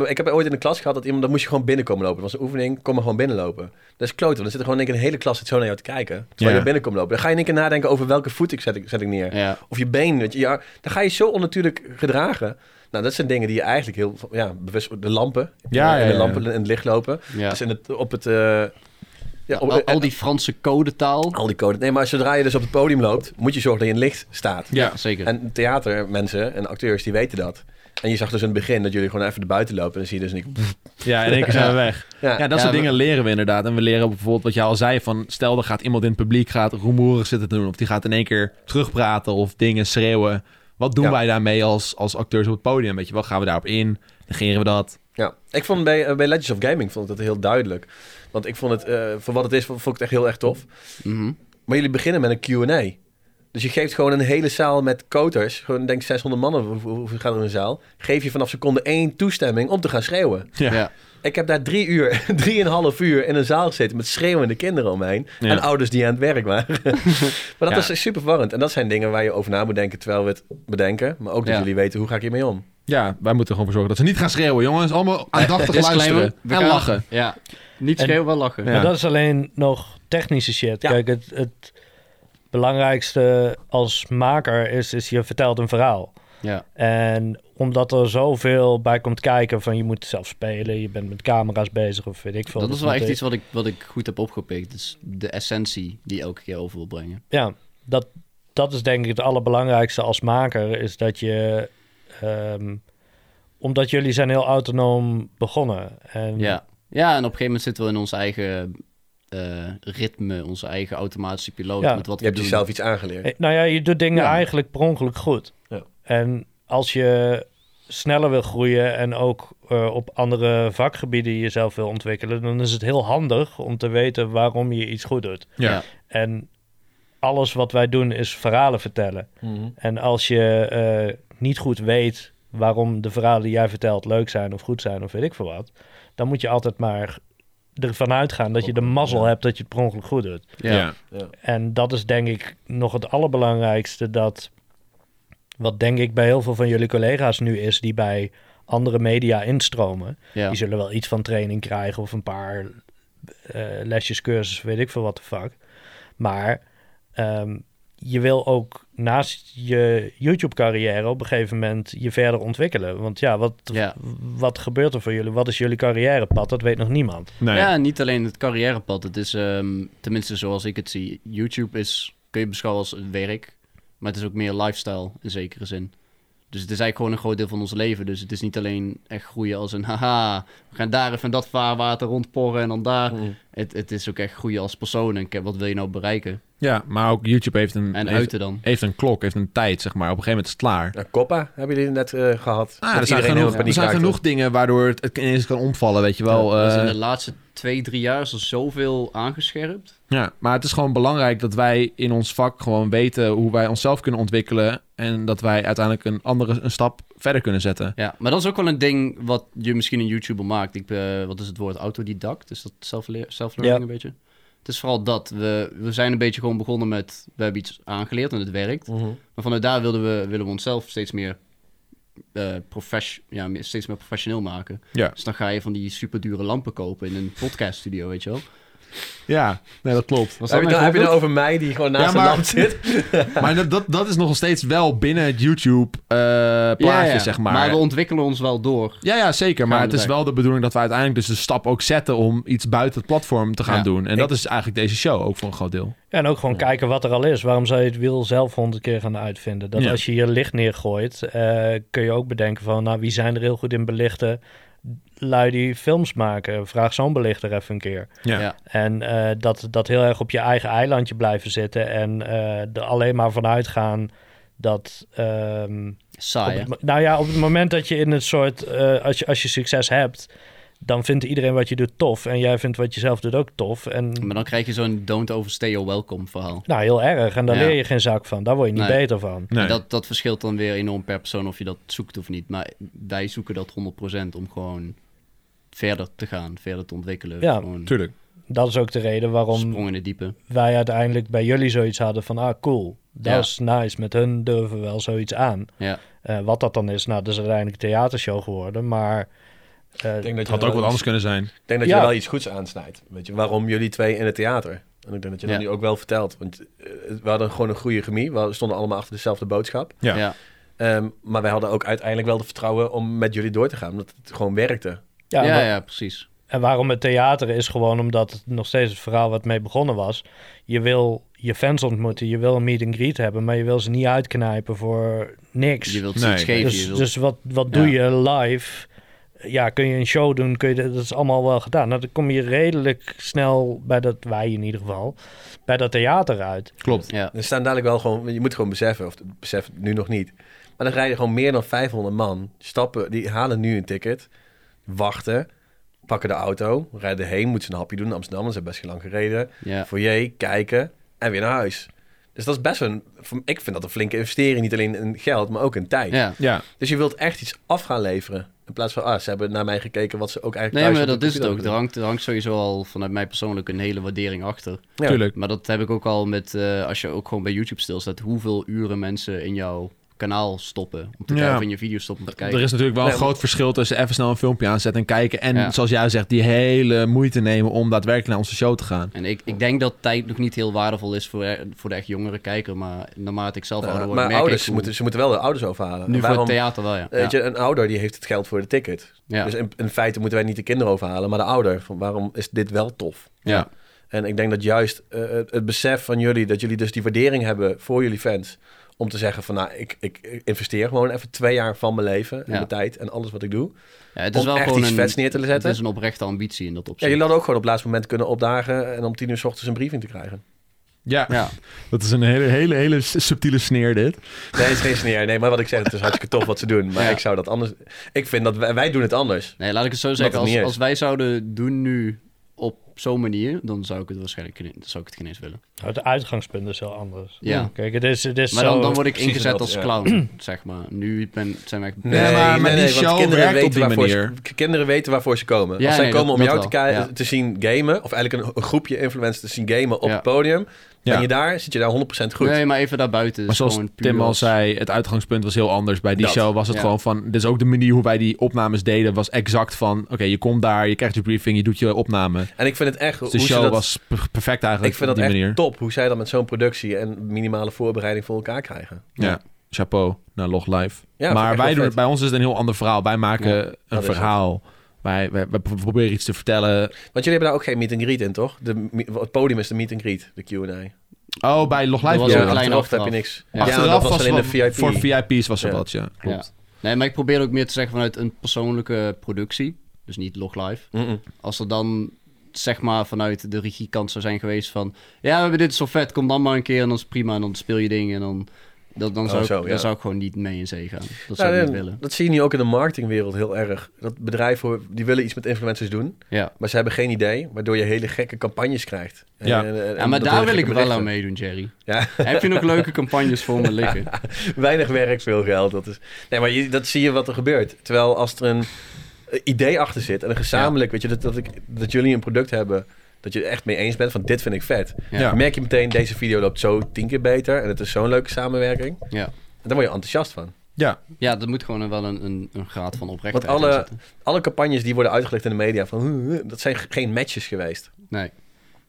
[SPEAKER 3] Ik heb ooit in de klas gehad dat iemand, dan moest je gewoon binnenkomen lopen. Dat was een oefening, kom maar gewoon binnenlopen. Dat is kloten, want dan zit er gewoon in één keer een hele klas zit zo naar jou te kijken. Terwijl
[SPEAKER 1] Ja.
[SPEAKER 3] je naar binnen komt lopen. Dan ga je in één keer nadenken over welke voet ik zet, ik, zet ik neer.
[SPEAKER 2] Ja.
[SPEAKER 3] Of je been, weet je. Ja, dan ga je zo onnatuurlijk gedragen. Nou, dat zijn dingen die je eigenlijk heel ja, bewust... De lampen,
[SPEAKER 1] Ja, ja,
[SPEAKER 3] de
[SPEAKER 1] ja.
[SPEAKER 3] lampen in het licht lopen.
[SPEAKER 2] Ja.
[SPEAKER 3] Dus in het, oh, eh, op het... eh, ja, op- eh,
[SPEAKER 2] Al, al die Franse codetaal.
[SPEAKER 3] al die code. Nee, maar zodra je dus op het podium loopt, moet je zorgen dat je in het licht staat.
[SPEAKER 1] Ja.
[SPEAKER 2] Zeker.
[SPEAKER 3] En theatermensen en acteurs, die weten dat. En je zag dus in het begin dat jullie gewoon even erbuiten lopen. En dan zie je dus niet...
[SPEAKER 1] Ja, in één keer zijn we weg.
[SPEAKER 3] Ja,
[SPEAKER 1] Ja, dat
[SPEAKER 2] Ja,
[SPEAKER 1] soort
[SPEAKER 2] we-
[SPEAKER 1] dingen leren we inderdaad. En we leren bijvoorbeeld wat je al zei van... stel, er gaat iemand in het publiek gaat rumoerig zitten doen... of die gaat in één keer terugpraten of dingen schreeuwen. Wat doen
[SPEAKER 3] Ja.
[SPEAKER 1] wij daarmee als, als acteurs op het podium? Weet je wel, gaan we daarop in? Negeren we dat?
[SPEAKER 3] ja. Ik vond bij, eh, bij Legends of Gaming vond ik dat heel duidelijk. Want ik vond het, eh, voor wat het is, vond ik het echt heel erg tof.
[SPEAKER 2] Mhm.
[SPEAKER 3] Maar jullie beginnen met een Q&A. Dus je geeft gewoon een hele zaal met koters. Gewoon, denk 600 mannen, hoe- hoe- hoeveel gaat er in een zaal? Geef je vanaf seconde één toestemming om te gaan schreeuwen.
[SPEAKER 1] Ja.
[SPEAKER 2] Ja.
[SPEAKER 3] Ik heb daar drie uur, drieënhalf uur in een zaal gezeten met schreeuwende kinderen omheen.
[SPEAKER 1] Ja.
[SPEAKER 3] En ouders die aan het werk waren. maar dat
[SPEAKER 1] Ja.
[SPEAKER 3] is super verwarrend. En dat zijn dingen waar je over na moet denken terwijl we het bedenken. Maar ook dat
[SPEAKER 2] Ja.
[SPEAKER 3] jullie weten, hoe ga ik hiermee om?
[SPEAKER 1] Ja, wij moeten er gewoon voor zorgen dat ze niet gaan schreeuwen, jongens. Allemaal aandachtig luisteren
[SPEAKER 2] We
[SPEAKER 1] en
[SPEAKER 2] gaan-
[SPEAKER 1] lachen.
[SPEAKER 2] Ja. Niet
[SPEAKER 4] En-
[SPEAKER 2] schreeuwen, wel lachen.
[SPEAKER 1] Ja.
[SPEAKER 4] Maar dat is alleen nog technische shit.
[SPEAKER 3] Ja.
[SPEAKER 4] Kijk, het, het belangrijkste als maker is, is je vertelt een verhaal.
[SPEAKER 2] Ja.
[SPEAKER 4] En omdat er zoveel bij komt kijken van je moet zelf spelen, je bent met camera's bezig of weet ik veel.
[SPEAKER 2] Dat is wel echt
[SPEAKER 4] moet-
[SPEAKER 2] iets Dus wat ik, wat ik goed heb opgepikt. Dus de essentie die je elke keer over wil brengen.
[SPEAKER 4] Ja, dat, dat is denk ik het allerbelangrijkste als maker, is dat je, ehm, omdat jullie zijn heel autonoom begonnen. En
[SPEAKER 2] Ja. ja, en op een gegeven moment zitten we in ons eigen eh, ritme, onze eigen automatische piloot.
[SPEAKER 4] Ja.
[SPEAKER 2] Met wat
[SPEAKER 3] Je
[SPEAKER 2] we
[SPEAKER 3] hebt
[SPEAKER 2] doen.
[SPEAKER 3] jezelf iets aangeleerd.
[SPEAKER 4] Eh, Nou ja, je doet dingen
[SPEAKER 2] Ja.
[SPEAKER 4] eigenlijk per ongeluk goed.
[SPEAKER 3] Ja.
[SPEAKER 4] En als je sneller wil groeien en ook eh, op andere vakgebieden jezelf wil ontwikkelen, dan is het heel handig om te weten waarom je iets goed doet.
[SPEAKER 1] Ja.
[SPEAKER 2] Ja.
[SPEAKER 4] En alles wat wij doen is verhalen vertellen.
[SPEAKER 3] Mhm.
[SPEAKER 4] En als je eh, niet goed weet waarom de verhalen die jij vertelt leuk zijn of goed zijn of weet ik veel wat, dan moet je altijd maar ervan uitgaan dat je de mazzel
[SPEAKER 3] Ja.
[SPEAKER 4] hebt dat je het per ongeluk goed doet.
[SPEAKER 2] Ja. Ja.
[SPEAKER 4] En dat is denk ik nog het allerbelangrijkste dat, wat denk ik bij heel veel van jullie collega's nu is die bij andere media instromen, die zullen wel iets van training krijgen of een paar eh, lesjes, cursus, weet ik veel wat de fuck. Maar ehm, je wil ook naast je YouTube-carrière op een gegeven moment je verder ontwikkelen. Want ja, wat,
[SPEAKER 2] Ja.
[SPEAKER 4] wat gebeurt er voor jullie? Wat is jullie carrièrepad? Dat weet nog niemand.
[SPEAKER 1] Nee.
[SPEAKER 2] Ja, en niet alleen het carrièrepad. Het is, ehm, tenminste zoals ik het zie, YouTube is, kun je beschouwen als een werk. Maar het is ook meer lifestyle in zekere zin. Dus het is eigenlijk gewoon een groot deel van ons leven. Dus het is niet alleen echt groeien als een haha, we gaan daar even in dat vaarwater rondporren en dan daar. Het, het is ook echt groeien als persoon en ke- wat wil je nou bereiken?
[SPEAKER 1] Ja, maar ook YouTube heeft een,
[SPEAKER 2] En
[SPEAKER 1] Mm, heeft,
[SPEAKER 2] uiten dan.
[SPEAKER 1] heeft een klok, heeft een tijd, zeg maar. Op een gegeven moment is het klaar.
[SPEAKER 3] Nou, Coppa hebben jullie net eh, gehad.
[SPEAKER 1] Ah,
[SPEAKER 3] Dat
[SPEAKER 1] er zijn,
[SPEAKER 3] iedereen heel
[SPEAKER 1] genoeg, er
[SPEAKER 3] paniek
[SPEAKER 1] zijn
[SPEAKER 3] raakte.
[SPEAKER 1] genoeg dingen waardoor het, het ineens kan omvallen, weet je wel.
[SPEAKER 2] Er is
[SPEAKER 1] Eh,
[SPEAKER 2] dus in de laatste twee, drie jaar is er zoveel aangescherpt.
[SPEAKER 1] Ja, maar het is gewoon belangrijk dat wij in ons vak gewoon weten hoe wij onszelf kunnen ontwikkelen. En dat wij uiteindelijk een andere een stap verder kunnen zetten.
[SPEAKER 2] Ja, maar dat is ook wel een ding wat je misschien een YouTuber maakt. Ik, eh, wat is het woord? Autodidact? Is dat zelfleer- self-learning
[SPEAKER 4] Ja.
[SPEAKER 2] een beetje? Het is vooral dat. We, we zijn een beetje gewoon begonnen met... We hebben iets aangeleerd en het werkt.
[SPEAKER 3] Mhm.
[SPEAKER 2] Maar vanuit daar wilden we, willen we onszelf steeds meer, eh, profes- ja, meer- steeds meer professioneel maken.
[SPEAKER 1] Ja.
[SPEAKER 2] Dus dan ga je van die superdure lampen kopen in een podcaststudio, weet je wel.
[SPEAKER 1] Ja, nee, dat klopt.
[SPEAKER 2] Was
[SPEAKER 3] Heb je,
[SPEAKER 2] mijn
[SPEAKER 3] dan, heb je
[SPEAKER 2] voorbeeld?
[SPEAKER 3] dan over mij die gewoon naast
[SPEAKER 1] Ja,
[SPEAKER 3] de
[SPEAKER 1] maar-
[SPEAKER 3] lamp zit?
[SPEAKER 1] maar dat, dat, dat is nog steeds wel binnen het YouTube-plaatje,
[SPEAKER 2] Ja, ja.
[SPEAKER 1] zeg maar.
[SPEAKER 2] Maar we ontwikkelen ons wel door.
[SPEAKER 1] Ja, ja, zeker. Maar
[SPEAKER 2] we
[SPEAKER 1] het is
[SPEAKER 2] erbij.
[SPEAKER 1] wel de bedoeling dat we uiteindelijk dus de stap ook zetten om iets buiten het platform te gaan
[SPEAKER 2] Ja.
[SPEAKER 1] doen. En
[SPEAKER 4] Ik-
[SPEAKER 1] dat is eigenlijk deze show ook voor een groot deel.
[SPEAKER 4] Ja, en ook gewoon kijken wat er al is. Waarom zou je het wiel zelf honderd keer gaan uitvinden? Dat
[SPEAKER 1] Ja.
[SPEAKER 4] als je je licht neergooit, eh, kun je ook bedenken van... nou, wie zijn er heel goed in belichten? Lui die films maken. Vraag zo'n belichter even een keer.
[SPEAKER 1] Ja.
[SPEAKER 2] Ja.
[SPEAKER 4] En eh, dat, dat heel erg op je eigen eilandje blijven zitten. En eh, er alleen maar vanuit gaan dat... ehm, op
[SPEAKER 2] Saai, hè?
[SPEAKER 4] het mo- nou ja, op het moment dat je in een soort... eh, als, je, als je succes hebt, dan vindt iedereen wat je doet tof. En jij vindt wat je zelf doet ook tof. En
[SPEAKER 2] Maar dan krijg je zo'n don't overstay your welcome verhaal.
[SPEAKER 4] nou, heel erg. En daar
[SPEAKER 2] Ja.
[SPEAKER 4] leer je geen zak van. Daar word je niet
[SPEAKER 2] Nee.
[SPEAKER 4] beter van.
[SPEAKER 1] Nee.
[SPEAKER 2] En Dat, dat verschilt dan weer enorm per persoon of je dat zoekt of niet. Maar wij zoeken dat 100% om gewoon verder te gaan, verder te ontwikkelen.
[SPEAKER 4] Ja,
[SPEAKER 2] gewoon
[SPEAKER 1] Tuurlijk.
[SPEAKER 4] Dat is ook de reden waarom
[SPEAKER 2] Sprong in het diepe.
[SPEAKER 4] wij uiteindelijk bij jullie zoiets hadden van... ah, cool, dat
[SPEAKER 2] Ja.
[SPEAKER 4] is nice. Met hun durven we wel zoiets aan.
[SPEAKER 2] Ja.
[SPEAKER 4] Eh, wat dat dan is, nou, dat is uiteindelijk een theatershow geworden. Maar eh,
[SPEAKER 3] Ik denk dat
[SPEAKER 1] Het
[SPEAKER 3] je
[SPEAKER 1] had
[SPEAKER 3] wel
[SPEAKER 1] ook wat
[SPEAKER 3] iets-
[SPEAKER 1] anders kunnen zijn.
[SPEAKER 3] Ik denk dat
[SPEAKER 4] Ja.
[SPEAKER 3] je wel iets goeds aansnijdt. Weet je, waarom jullie twee in het theater? En ik denk dat je dat
[SPEAKER 2] Ja.
[SPEAKER 3] nu ook wel vertelt. Want eh, we hadden gewoon een goede chemie. We stonden allemaal achter dezelfde boodschap.
[SPEAKER 1] Ja.
[SPEAKER 2] Ja.
[SPEAKER 3] Ehm, maar wij hadden ook uiteindelijk wel de vertrouwen om met jullie door te gaan. Omdat het gewoon werkte.
[SPEAKER 4] ja,
[SPEAKER 2] ja,
[SPEAKER 4] wa-
[SPEAKER 2] ja, precies.
[SPEAKER 4] En waarom het theater is gewoon omdat het nog steeds het verhaal wat mee begonnen was. Je wil je fans ontmoeten, je wil een meet and greet hebben, maar je wil ze niet uitknijpen voor niks.
[SPEAKER 2] Je wilt
[SPEAKER 1] Nee.
[SPEAKER 2] ze iets geven.
[SPEAKER 4] dus
[SPEAKER 2] je wilt...
[SPEAKER 4] dus wat, wat doe je live? Ja, kun je een show doen? Kun je, dat dat is allemaal wel gedaan. Nou, dan kom je redelijk snel bij dat, wij in ieder geval, bij dat theater uit.
[SPEAKER 1] Klopt.
[SPEAKER 2] ja.
[SPEAKER 3] Er staan dadelijk wel gewoon... Je moet gewoon beseffen, of het beseft nu nog niet. Maar dan rijden gewoon meer dan 500 man. Stappen, die halen nu een ticket. Wachten. Pakken de auto. Rijden heen. Moeten ze een hapje doen in Amsterdam. want Ze hebben best lang gereden.
[SPEAKER 2] Ja.
[SPEAKER 3] foyer, kijken en weer naar huis. Dus dat is best een... Ik vind dat een flinke investering. Niet alleen in geld, maar ook in tijd.
[SPEAKER 2] ja.
[SPEAKER 1] Ja.
[SPEAKER 3] Dus je wilt echt iets af gaan leveren. In plaats van, ah, ze hebben naar mij gekeken wat ze ook eigenlijk
[SPEAKER 2] Nee, maar
[SPEAKER 3] thuis
[SPEAKER 2] dat
[SPEAKER 3] op de
[SPEAKER 2] is het ook.
[SPEAKER 3] computer
[SPEAKER 2] Er hangt, er hangt sowieso al vanuit mij persoonlijk een hele waardering achter.
[SPEAKER 3] Ja.
[SPEAKER 1] Tuurlijk.
[SPEAKER 2] Maar dat heb ik ook al met, eh, als je ook gewoon bij YouTube stilstaat, hoeveel uren mensen in jouw kanaal stoppen. Om te
[SPEAKER 1] Ja.
[SPEAKER 2] kijken of in je video stoppen om te kijken.
[SPEAKER 1] Er is natuurlijk wel een
[SPEAKER 3] Nee, maar-
[SPEAKER 1] groot verschil tussen even snel een filmpje aanzetten en kijken. En
[SPEAKER 2] Ja.
[SPEAKER 1] zoals jij zegt, die hele moeite nemen om daadwerkelijk naar onze show te gaan.
[SPEAKER 2] En ik, ik denk dat tijd nog niet heel waardevol is voor, eh, voor de echt jongere kijker. Maar naarmate ik zelf
[SPEAKER 3] doen.
[SPEAKER 2] ouder
[SPEAKER 3] Ja,
[SPEAKER 2] word,
[SPEAKER 3] Nou,
[SPEAKER 2] merk
[SPEAKER 3] maar ouders,
[SPEAKER 2] ik
[SPEAKER 3] ze
[SPEAKER 2] hoe-
[SPEAKER 3] moeten, ze moeten wel de ouders overhalen.
[SPEAKER 2] Nu
[SPEAKER 3] En
[SPEAKER 2] voor het
[SPEAKER 3] waarom,
[SPEAKER 2] theater wel, ja.
[SPEAKER 3] weet
[SPEAKER 2] Ja.
[SPEAKER 3] je, een ouder die heeft het geld voor de ticket.
[SPEAKER 2] Ja.
[SPEAKER 3] Dus in, in feite moeten wij niet de kinderen overhalen, maar de ouder. Van waarom is dit wel tof?
[SPEAKER 2] Ja.
[SPEAKER 3] En ik denk dat juist eh, het- het besef van jullie, dat jullie dus die waardering hebben voor jullie fans. Om te zeggen van nou, ik, ik ik investeer gewoon even twee jaar van mijn leven en
[SPEAKER 2] Ja.
[SPEAKER 3] mijn tijd en alles wat ik doe.
[SPEAKER 2] Ja, het is
[SPEAKER 3] Om
[SPEAKER 2] wel
[SPEAKER 3] echt
[SPEAKER 2] gewoon
[SPEAKER 3] iets
[SPEAKER 2] een,
[SPEAKER 3] vets neer te zetten?
[SPEAKER 2] Het is een oprechte ambitie in dat
[SPEAKER 3] Ja,
[SPEAKER 2] opzicht.
[SPEAKER 3] jullie hadden ook gewoon op het laatste moment kunnen opdagen en om tien uur s ochtends een briefing te krijgen.
[SPEAKER 1] Ja,
[SPEAKER 2] ja.
[SPEAKER 1] dat is een hele, hele, hele s- subtiele sneer dit.
[SPEAKER 3] Nee, het is geen sneer. Nee, maar wat ik zeg, het is hartstikke tof wat ze doen. Maar
[SPEAKER 2] Ja.
[SPEAKER 3] ik zou dat anders... Ik vind dat wij, wij doen het anders.
[SPEAKER 2] Nee, laat ik het zo zeggen.
[SPEAKER 3] het niet
[SPEAKER 2] Als,
[SPEAKER 3] is.
[SPEAKER 2] als wij zouden doen nu op zo'n manier, dan zou ik het waarschijnlijk geen- dan zou ik het geen eens willen.
[SPEAKER 4] Het uitgangspunt is heel anders.
[SPEAKER 2] Ja.
[SPEAKER 4] Kijk, het is, het is
[SPEAKER 2] Maar
[SPEAKER 4] zo...
[SPEAKER 2] dan, dan word ik
[SPEAKER 3] precies
[SPEAKER 2] ingezet
[SPEAKER 3] dat,
[SPEAKER 2] als
[SPEAKER 3] ja.
[SPEAKER 2] clown, zeg maar. Nu ben, zijn wij...
[SPEAKER 1] Nee, maar- maar die
[SPEAKER 3] want
[SPEAKER 1] show werkt op die
[SPEAKER 3] waarvoor
[SPEAKER 1] manier.
[SPEAKER 3] Ze, k- kinderen weten waarvoor ze komen.
[SPEAKER 2] Ja,
[SPEAKER 3] Als zij
[SPEAKER 2] nee,
[SPEAKER 3] komen
[SPEAKER 2] dat-
[SPEAKER 3] om
[SPEAKER 2] dat
[SPEAKER 3] jou te,
[SPEAKER 2] wel,
[SPEAKER 3] ki-
[SPEAKER 2] ja.
[SPEAKER 3] te zien gamen, of eigenlijk een, een groepje influencers te zien gamen op
[SPEAKER 2] Ja.
[SPEAKER 3] het podium,
[SPEAKER 1] Ja.
[SPEAKER 3] ben je daar, zit je daar 100% goed.
[SPEAKER 2] Nee, maar even daarbuiten. is
[SPEAKER 1] Maar zoals
[SPEAKER 2] gewoon puur
[SPEAKER 1] Tim al
[SPEAKER 2] als-
[SPEAKER 1] zei, het uitgangspunt was heel anders. Bij die
[SPEAKER 3] Dat,
[SPEAKER 1] show was het
[SPEAKER 2] ja.
[SPEAKER 1] gewoon van... Dus ook de manier hoe wij die opnames deden was exact van... Oké, je komt daar, je krijgt je briefing, je doet je opname.
[SPEAKER 3] En ik vind het echt...
[SPEAKER 1] Dus
[SPEAKER 3] Hoe
[SPEAKER 1] de
[SPEAKER 3] ze
[SPEAKER 1] show
[SPEAKER 3] dat,
[SPEAKER 1] was per- perfect
[SPEAKER 3] ik
[SPEAKER 1] eigenlijk
[SPEAKER 3] vind
[SPEAKER 1] op
[SPEAKER 3] dat
[SPEAKER 1] die
[SPEAKER 3] echt
[SPEAKER 1] manier.
[SPEAKER 3] top, hoe zij dat met zo'n productie en minimale voorbereiding voor elkaar krijgen.
[SPEAKER 1] Ja. Chapeau naar Log Live.
[SPEAKER 3] Ja, vind ik
[SPEAKER 1] maar
[SPEAKER 3] echt
[SPEAKER 1] wij doen
[SPEAKER 3] heel vet.
[SPEAKER 1] het, bij ons is het een heel ander verhaal. Wij maken
[SPEAKER 2] Ja,
[SPEAKER 1] een
[SPEAKER 3] is het.
[SPEAKER 1] verhaal. Wij, wij, wij pro- proberen iets te vertellen.
[SPEAKER 3] Want jullie hebben daar ook geen meet and greet in, toch? De, mi- het podium is de meet and greet, de Q&A.
[SPEAKER 1] Oh, bij Log Live.
[SPEAKER 2] Dat was
[SPEAKER 1] ja.
[SPEAKER 2] een klein
[SPEAKER 3] achteraf heb
[SPEAKER 2] achteraf.
[SPEAKER 3] je niks.
[SPEAKER 2] Ja.
[SPEAKER 1] Achteraf
[SPEAKER 3] dat was,
[SPEAKER 1] was
[SPEAKER 3] alleen de
[SPEAKER 1] wel-
[SPEAKER 3] VIP.
[SPEAKER 1] Voor VIP's was er
[SPEAKER 3] Ja.
[SPEAKER 1] wat, ja. Klopt.
[SPEAKER 2] Nee, maar ik probeer ook meer te zeggen vanuit een persoonlijke productie. Dus niet log live.
[SPEAKER 3] Mm-mm.
[SPEAKER 2] Als er dan zeg maar vanuit de regiekant zou zijn geweest van... Ja, we hebben dit zo vet, kom dan maar een keer en dan is het prima. En dan speel je dingen en dan... Dat, dan
[SPEAKER 3] Oh,
[SPEAKER 2] zou, ik,
[SPEAKER 3] zo,
[SPEAKER 2] daar
[SPEAKER 3] ja.
[SPEAKER 2] zou ik gewoon niet mee in zee gaan. Dat
[SPEAKER 3] Nou,
[SPEAKER 2] zou ik niet
[SPEAKER 3] en
[SPEAKER 2] willen.
[SPEAKER 3] Dat zie je nu ook in de marketingwereld heel erg. Dat bedrijven die willen iets met influencers doen,
[SPEAKER 2] Ja,
[SPEAKER 3] maar ze hebben geen idee, waardoor je hele gekke campagnes krijgt. En-
[SPEAKER 1] Ja.
[SPEAKER 3] en- en-
[SPEAKER 2] ja
[SPEAKER 3] en
[SPEAKER 2] maar
[SPEAKER 3] dat
[SPEAKER 2] daar
[SPEAKER 3] hele
[SPEAKER 2] wil ik
[SPEAKER 3] gekke
[SPEAKER 2] wel aan
[SPEAKER 3] berichten.
[SPEAKER 2] meedoen, Jerry.
[SPEAKER 3] Ja.
[SPEAKER 2] Heb je nog leuke campagnes voor me liggen?
[SPEAKER 3] Weinig werk, veel geld. Dat is... Nee, maar je- dat zie je wat er gebeurt. Terwijl als er een eh, idee achter zit en een gezamenlijk, weet je, dat, dat, ik, dat jullie een product hebben dat je er echt mee eens bent van dit vind ik vet.
[SPEAKER 2] Ja.
[SPEAKER 1] Ja.
[SPEAKER 3] Dan merk je meteen, deze video loopt zo tien keer beter en het is zo'n leuke samenwerking.
[SPEAKER 2] Ja.
[SPEAKER 3] En daar word je enthousiast van.
[SPEAKER 1] Ja.
[SPEAKER 2] Ja, dat moet gewoon wel een, een, een graad van oprechtheid
[SPEAKER 3] Want alle-
[SPEAKER 2] in zitten.
[SPEAKER 3] Alle campagnes die worden uitgelegd in de media van "Huh, huh," dat zijn g- geen matches geweest.
[SPEAKER 2] Nee,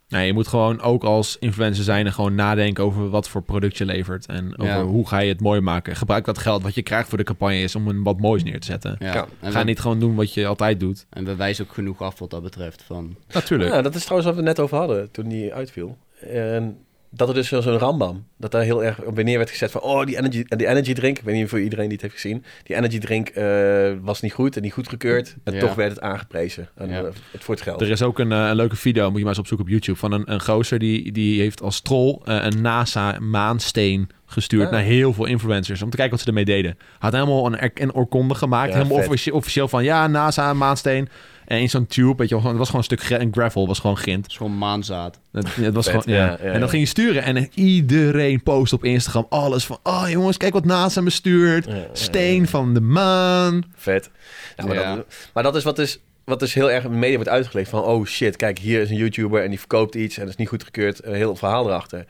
[SPEAKER 1] Nee, je moet gewoon ook als influencer zijn en gewoon nadenken over wat voor product je levert. En over
[SPEAKER 2] Ja.
[SPEAKER 1] hoe ga je het mooi maken. Gebruik dat geld wat je krijgt voor de campagne is om een wat moois neer te zetten.
[SPEAKER 2] ja.
[SPEAKER 3] Ja.
[SPEAKER 2] En,
[SPEAKER 1] Ga
[SPEAKER 2] we,
[SPEAKER 1] niet gewoon doen wat je altijd doet.
[SPEAKER 2] en we wijzen ook genoeg af wat dat betreft. Van,
[SPEAKER 1] Natuurlijk.
[SPEAKER 3] Nou, dat is trouwens wat we net over hadden toen die uitviel. En dat er dus zo- zo'n rambam, dat daar heel erg op neer werd gezet van... oh, die energy, die energy drink, ik weet niet of iedereen die het heeft gezien... die energy drink eh, was niet goed en niet goedgekeurd... en
[SPEAKER 2] Ja.
[SPEAKER 3] toch werd het aangeprezen aan,
[SPEAKER 2] Ja.
[SPEAKER 3] eh, het voor het geld.
[SPEAKER 1] Er is ook een, eh, een leuke video, moet je maar eens opzoeken op YouTube, van een, een gozer die, die heeft als troll eh, een NASA-maansteen gestuurd
[SPEAKER 3] Ah.
[SPEAKER 1] naar heel veel influencers om te kijken wat ze ermee deden. Had helemaal een, er- een oorkonde gemaakt,
[SPEAKER 3] Ja,
[SPEAKER 1] helemaal
[SPEAKER 3] vet.
[SPEAKER 1] offici- officieel van ja, NASA-maansteen. En in zo'n tube, weet je wel, het was gewoon een stuk gra- een gravel, was gewoon grind.
[SPEAKER 2] het is gewoon maanzaad.
[SPEAKER 1] Het, het was
[SPEAKER 3] Vet,
[SPEAKER 1] gewoon, ja.
[SPEAKER 3] ja, ja,
[SPEAKER 1] en
[SPEAKER 3] ja.
[SPEAKER 1] dan ging je sturen en iedereen post op Instagram alles van, oh jongens, kijk wat NASA me stuurt.
[SPEAKER 3] Ja, ja, ja.
[SPEAKER 1] Steen van de maan.
[SPEAKER 3] Vet. Ja, maar,
[SPEAKER 2] Ja.
[SPEAKER 3] Dat, maar dat is wat is... Wat dus heel erg in de media wordt uitgelegd van... oh shit, kijk, hier is een YouTuber en die verkoopt iets... en dat is niet goedgekeurd, een heel verhaal erachter.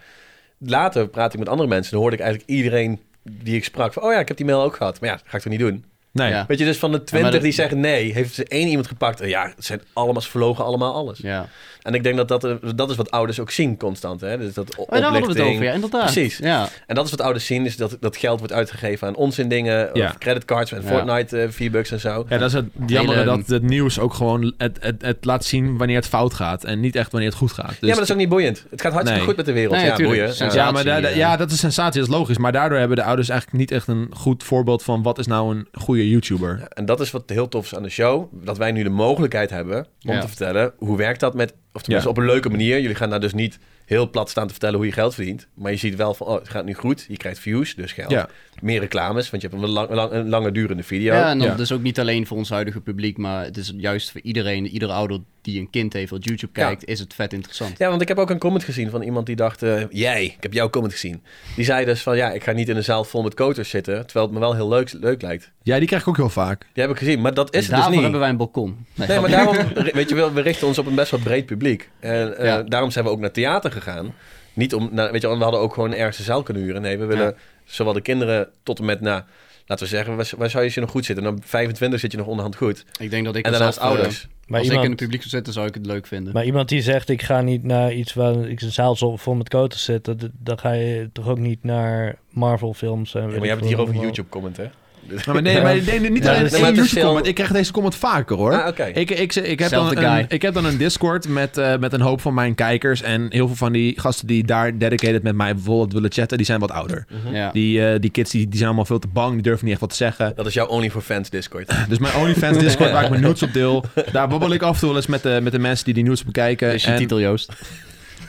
[SPEAKER 3] Later praat ik met andere mensen... dan hoorde ik eigenlijk iedereen die ik sprak... van oh ja, ik heb die mail ook gehad. Maar ja, dat ga ik toch niet doen?
[SPEAKER 1] Nee,
[SPEAKER 2] Ja.
[SPEAKER 3] Weet je, dus van de
[SPEAKER 2] Ja, maar
[SPEAKER 3] twintig
[SPEAKER 2] dat-
[SPEAKER 3] die zeggen nee, heeft ze één iemand gepakt. En ja, het zijn allemaal, ze verlogen allemaal alles.
[SPEAKER 2] Ja.
[SPEAKER 3] En ik denk dat dat, eh, dat is wat ouders ook zien constant. Hè? Dus dat o-
[SPEAKER 2] Oh, daar hadden we het
[SPEAKER 3] oplichting.
[SPEAKER 2] over, ja, inderdaad.
[SPEAKER 3] Precies.
[SPEAKER 2] Ja,
[SPEAKER 3] En dat is wat ouders zien, is dat, dat geld wordt uitgegeven aan onzin dingen.
[SPEAKER 1] Ja.
[SPEAKER 3] Of creditcards en
[SPEAKER 2] Ja.
[SPEAKER 3] Fortnite eh, V-Bucks en zo.
[SPEAKER 1] Ja, dat is het jammer
[SPEAKER 2] Hele-
[SPEAKER 1] dat het nieuws ook gewoon het, het, het laat zien wanneer het fout gaat en niet echt wanneer het goed gaat. Dus
[SPEAKER 3] ja, maar dat is ook niet boeiend. Het gaat hartstikke
[SPEAKER 1] Nee.
[SPEAKER 3] goed met de wereld.
[SPEAKER 2] Nee,
[SPEAKER 3] ja,
[SPEAKER 2] tuurlijk.
[SPEAKER 3] boeien.
[SPEAKER 2] Zijn
[SPEAKER 3] Ja.
[SPEAKER 2] ze-
[SPEAKER 1] ja, maar da- da-
[SPEAKER 2] sensatie,
[SPEAKER 1] ja,
[SPEAKER 2] ja.
[SPEAKER 1] dat is sensatie, dat is logisch. Maar daardoor hebben de ouders eigenlijk niet echt een goed voorbeeld van wat is nou een goede YouTuber.
[SPEAKER 3] En dat is wat heel tof is aan de show. Dat wij nu de mogelijkheid hebben om
[SPEAKER 2] Ja.
[SPEAKER 3] te vertellen hoe werkt dat met... Of tenminste
[SPEAKER 1] Ja.
[SPEAKER 3] op een leuke manier. Jullie gaan daar dus niet heel plat staan te vertellen hoe je geld verdient. Maar je ziet wel van, oh, het gaat nu goed. Je krijgt views, dus geld.
[SPEAKER 1] Ja.
[SPEAKER 3] meer reclames, want je hebt een, lang, lang- een langer durende video.
[SPEAKER 2] ja en dan
[SPEAKER 1] Ja.
[SPEAKER 2] dus ook niet alleen voor ons huidige publiek, maar het is juist voor iedereen, iedere ouder die een kind heeft wat YouTube
[SPEAKER 3] Ja.
[SPEAKER 2] kijkt, is het vet interessant.
[SPEAKER 3] Ja, want ik heb ook een comment gezien van iemand die dacht, eh, jij, ik heb jouw comment gezien. Die zei dus van, ja, ik ga niet in een zaal vol met koters zitten, terwijl het me wel heel leuk, leuk lijkt.
[SPEAKER 1] Ja, die krijg ik ook heel vaak.
[SPEAKER 3] Die heb ik gezien, maar dat is het
[SPEAKER 2] Daarvoor
[SPEAKER 3] dus niet.
[SPEAKER 2] hebben wij een balkon. Nee,
[SPEAKER 3] Nee, maar
[SPEAKER 2] grapje.
[SPEAKER 3] daarom, weet je wel, we richten ons op een best wel breed publiek. En eh,
[SPEAKER 2] Ja.
[SPEAKER 3] daarom zijn we ook naar theater gegaan. Niet om, nou, weet je wel, we hadden ook gewoon ergens een zaal kunnen huren. Nee, we willen
[SPEAKER 2] Ja.
[SPEAKER 3] zowel de kinderen tot en met, nou, laten we zeggen, waar, waar zou je ze nog goed zitten? Nou, 25 zit je nog onderhand goed.
[SPEAKER 2] Ik denk dat ik
[SPEAKER 3] en daarnaast
[SPEAKER 2] als, eh,
[SPEAKER 3] ouders.
[SPEAKER 4] maar,
[SPEAKER 2] als ik in
[SPEAKER 4] iemand,
[SPEAKER 2] het publiek zou zitten, zou ik het leuk vinden.
[SPEAKER 4] maar iemand die zegt, ik ga niet naar iets waar ik een zaal zo vol met koters zit, dat- dan ga je toch ook niet naar Marvel films. En weet
[SPEAKER 3] Ja, maar
[SPEAKER 4] ik
[SPEAKER 3] je hebt het
[SPEAKER 4] veel
[SPEAKER 3] hier over
[SPEAKER 4] allemaal.
[SPEAKER 3] YouTube comment, hè?
[SPEAKER 1] Nou, maar nee,
[SPEAKER 4] Ja.
[SPEAKER 1] maar nee, nee, niet
[SPEAKER 2] Ja,
[SPEAKER 1] alleen
[SPEAKER 2] dat is-
[SPEAKER 1] één
[SPEAKER 3] Nee, maar het is
[SPEAKER 1] user
[SPEAKER 3] veel-
[SPEAKER 1] comment. Ik krijg deze comment vaker hoor.
[SPEAKER 3] Ah, oké.
[SPEAKER 1] Ik, ik, ik, heb
[SPEAKER 2] Zelfde
[SPEAKER 1] dan een,
[SPEAKER 2] guy.
[SPEAKER 1] ik heb dan een Discord met, eh, met een hoop van mijn kijkers. En heel veel van die gasten die daar dedicated met mij bijvoorbeeld willen chatten, die zijn wat ouder.
[SPEAKER 3] Mhm.
[SPEAKER 2] Ja.
[SPEAKER 1] Die, eh, die kids die, die zijn allemaal veel te bang, die durven niet echt wat te zeggen.
[SPEAKER 3] Dat is jouw Only for Fans Discord.
[SPEAKER 1] Dus mijn OnlyFans Discord, waar ik mijn nudes op deel, daar babbel ik af en toe wel eens met de, met de mensen die die nudes bekijken.
[SPEAKER 3] eh,
[SPEAKER 2] Dat is Dus je
[SPEAKER 1] En-
[SPEAKER 2] titel, Joost.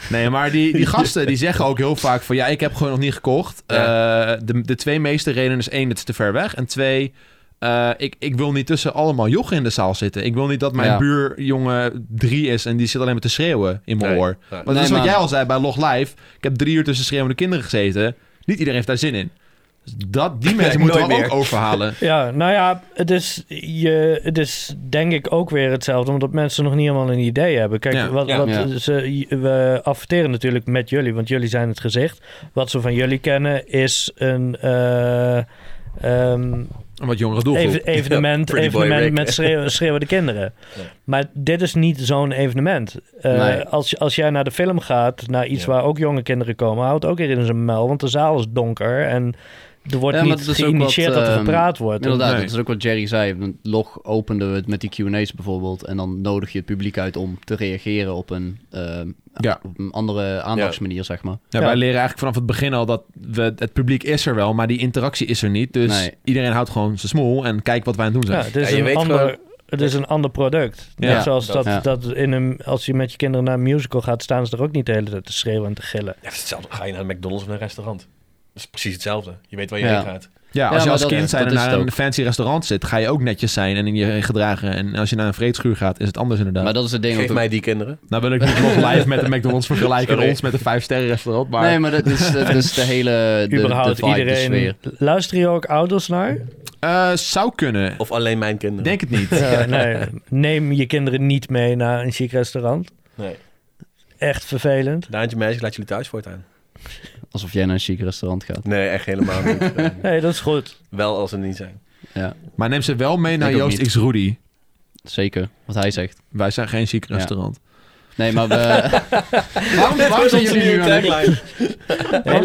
[SPEAKER 1] Nee, maar die, die gasten die zeggen ook heel vaak van ja, ik heb gewoon nog niet gekocht. Eh, de, de twee meeste redenen is één, het is te ver weg. En twee, eh, ik, ik wil niet tussen allemaal jochen in de zaal zitten. Ik wil niet dat mijn
[SPEAKER 2] Ja.
[SPEAKER 1] buurjongen drie is en die zit alleen maar te schreeuwen in mijn
[SPEAKER 3] Nee.
[SPEAKER 1] oor.
[SPEAKER 3] Ja.
[SPEAKER 1] Want dat is
[SPEAKER 2] Nee,
[SPEAKER 1] wat
[SPEAKER 2] maar-
[SPEAKER 1] jij al zei bij Log Live. Ik heb drie uur tussen schreeuwende kinderen gezeten. Niet iedereen heeft daar zin in. Dus dat, die mensen moeten
[SPEAKER 3] nooit
[SPEAKER 1] we
[SPEAKER 3] meer.
[SPEAKER 1] ook overhalen.
[SPEAKER 4] Ja, nou ja, het is, je, het is denk ik ook weer hetzelfde, omdat mensen nog niet helemaal een idee hebben. Kijk,
[SPEAKER 1] Ja.
[SPEAKER 4] wat,
[SPEAKER 3] Ja.
[SPEAKER 4] wat
[SPEAKER 2] Ja.
[SPEAKER 4] Ze, je- we adverteren natuurlijk met jullie, want jullie zijn het gezicht. Wat ze van jullie kennen is een eh, ehm,
[SPEAKER 1] Een wat jongere doelgroep.
[SPEAKER 4] even- evenement,
[SPEAKER 3] Pretty boy
[SPEAKER 4] evenement
[SPEAKER 3] Rick.
[SPEAKER 4] met schreeuw- schreeuwende kinderen.
[SPEAKER 3] Ja.
[SPEAKER 4] Maar dit is niet zo'n evenement. Eh,
[SPEAKER 2] Nee.
[SPEAKER 4] als, je- als jij naar de film gaat, naar iets
[SPEAKER 3] Ja.
[SPEAKER 4] waar ook jonge kinderen komen, houdt ook in zijn mel, want de zaal is donker en er wordt
[SPEAKER 2] Ja, maar
[SPEAKER 4] niet
[SPEAKER 2] dat is ook wat,
[SPEAKER 4] geïnitieerd dat er
[SPEAKER 2] ehm,
[SPEAKER 4] gepraat wordt.
[SPEAKER 2] Inderdaad,
[SPEAKER 1] Nee.
[SPEAKER 2] dat is ook wat Jerry zei. Want Log openden we het met die Q&A's bijvoorbeeld. En dan nodig je het publiek uit om te reageren op een, ehm,
[SPEAKER 1] Ja.
[SPEAKER 2] op een andere aandachtsmanier, zeg maar.
[SPEAKER 1] Ja,
[SPEAKER 4] Ja.
[SPEAKER 1] Wij leren eigenlijk vanaf het begin al dat we, het publiek is er wel, maar die interactie is er niet. Dus
[SPEAKER 2] Nee.
[SPEAKER 1] iedereen houdt gewoon zijn smoel en kijkt wat wij aan het doen zijn.
[SPEAKER 4] Ja, het is,
[SPEAKER 3] Ja, je
[SPEAKER 4] een,
[SPEAKER 3] weet
[SPEAKER 4] ander,
[SPEAKER 3] gewoon-
[SPEAKER 4] het is een ander product.
[SPEAKER 1] Ja,
[SPEAKER 4] Net zoals
[SPEAKER 3] dat-
[SPEAKER 4] dat,
[SPEAKER 2] ja.
[SPEAKER 4] dat in een, als je met je kinderen naar een musical gaat, staan ze er ook niet de hele tijd te schreeuwen en te gillen.
[SPEAKER 3] Ja, het is hetzelfde. Ga je naar een McDonald's of naar een restaurant? Dat is precies hetzelfde. Je weet waar je
[SPEAKER 2] Ja.
[SPEAKER 3] heen gaat.
[SPEAKER 1] Ja, als
[SPEAKER 2] Ja,
[SPEAKER 1] je
[SPEAKER 2] maar
[SPEAKER 1] als
[SPEAKER 2] dat-
[SPEAKER 1] kind
[SPEAKER 2] dat
[SPEAKER 1] zijn en
[SPEAKER 2] is
[SPEAKER 1] naar
[SPEAKER 2] het
[SPEAKER 1] een
[SPEAKER 2] ook.
[SPEAKER 1] fancy restaurant zit, ga je ook netjes zijn en in je gedragen. En als je naar een vreedschuur gaat, is het anders inderdaad.
[SPEAKER 2] Maar dat is het ding.
[SPEAKER 3] Geef
[SPEAKER 2] ook-
[SPEAKER 3] mij die kinderen.
[SPEAKER 1] Nou wil ik niet nog live met de McDonald's vergelijken en
[SPEAKER 3] Sorry.
[SPEAKER 1] ons met een vijf sterren restaurant. Maar
[SPEAKER 2] Nee, maar dat is, dat is de hele de, de
[SPEAKER 4] Überhaupt
[SPEAKER 2] vibe, de sfeer.
[SPEAKER 4] iedereen. Luister je ook ouders naar?
[SPEAKER 1] Eh, zou kunnen.
[SPEAKER 3] Of alleen mijn kinderen.
[SPEAKER 1] Denk het niet.
[SPEAKER 4] Ja, nee. Neem je kinderen niet mee naar een chic restaurant.
[SPEAKER 3] Nee.
[SPEAKER 4] Echt vervelend.
[SPEAKER 3] Daantje meisje, ik laat jullie thuis voortaan.
[SPEAKER 2] Alsof jij naar een chic restaurant gaat.
[SPEAKER 3] Nee, echt helemaal niet. Eh,
[SPEAKER 4] Nee, dat is goed.
[SPEAKER 3] wel als ze er niet zijn.
[SPEAKER 2] Ja,
[SPEAKER 1] Maar neem ze wel mee naar
[SPEAKER 2] Ik ook
[SPEAKER 1] Joost
[SPEAKER 2] niet.
[SPEAKER 1] X Rudy.
[SPEAKER 2] zeker. Wat hij zegt.
[SPEAKER 1] Wij zijn geen ziek
[SPEAKER 2] Ja.
[SPEAKER 1] restaurant.
[SPEAKER 2] Nee, maar we... waarom waarom zijn jullie nu aan het- Waarom
[SPEAKER 4] Hele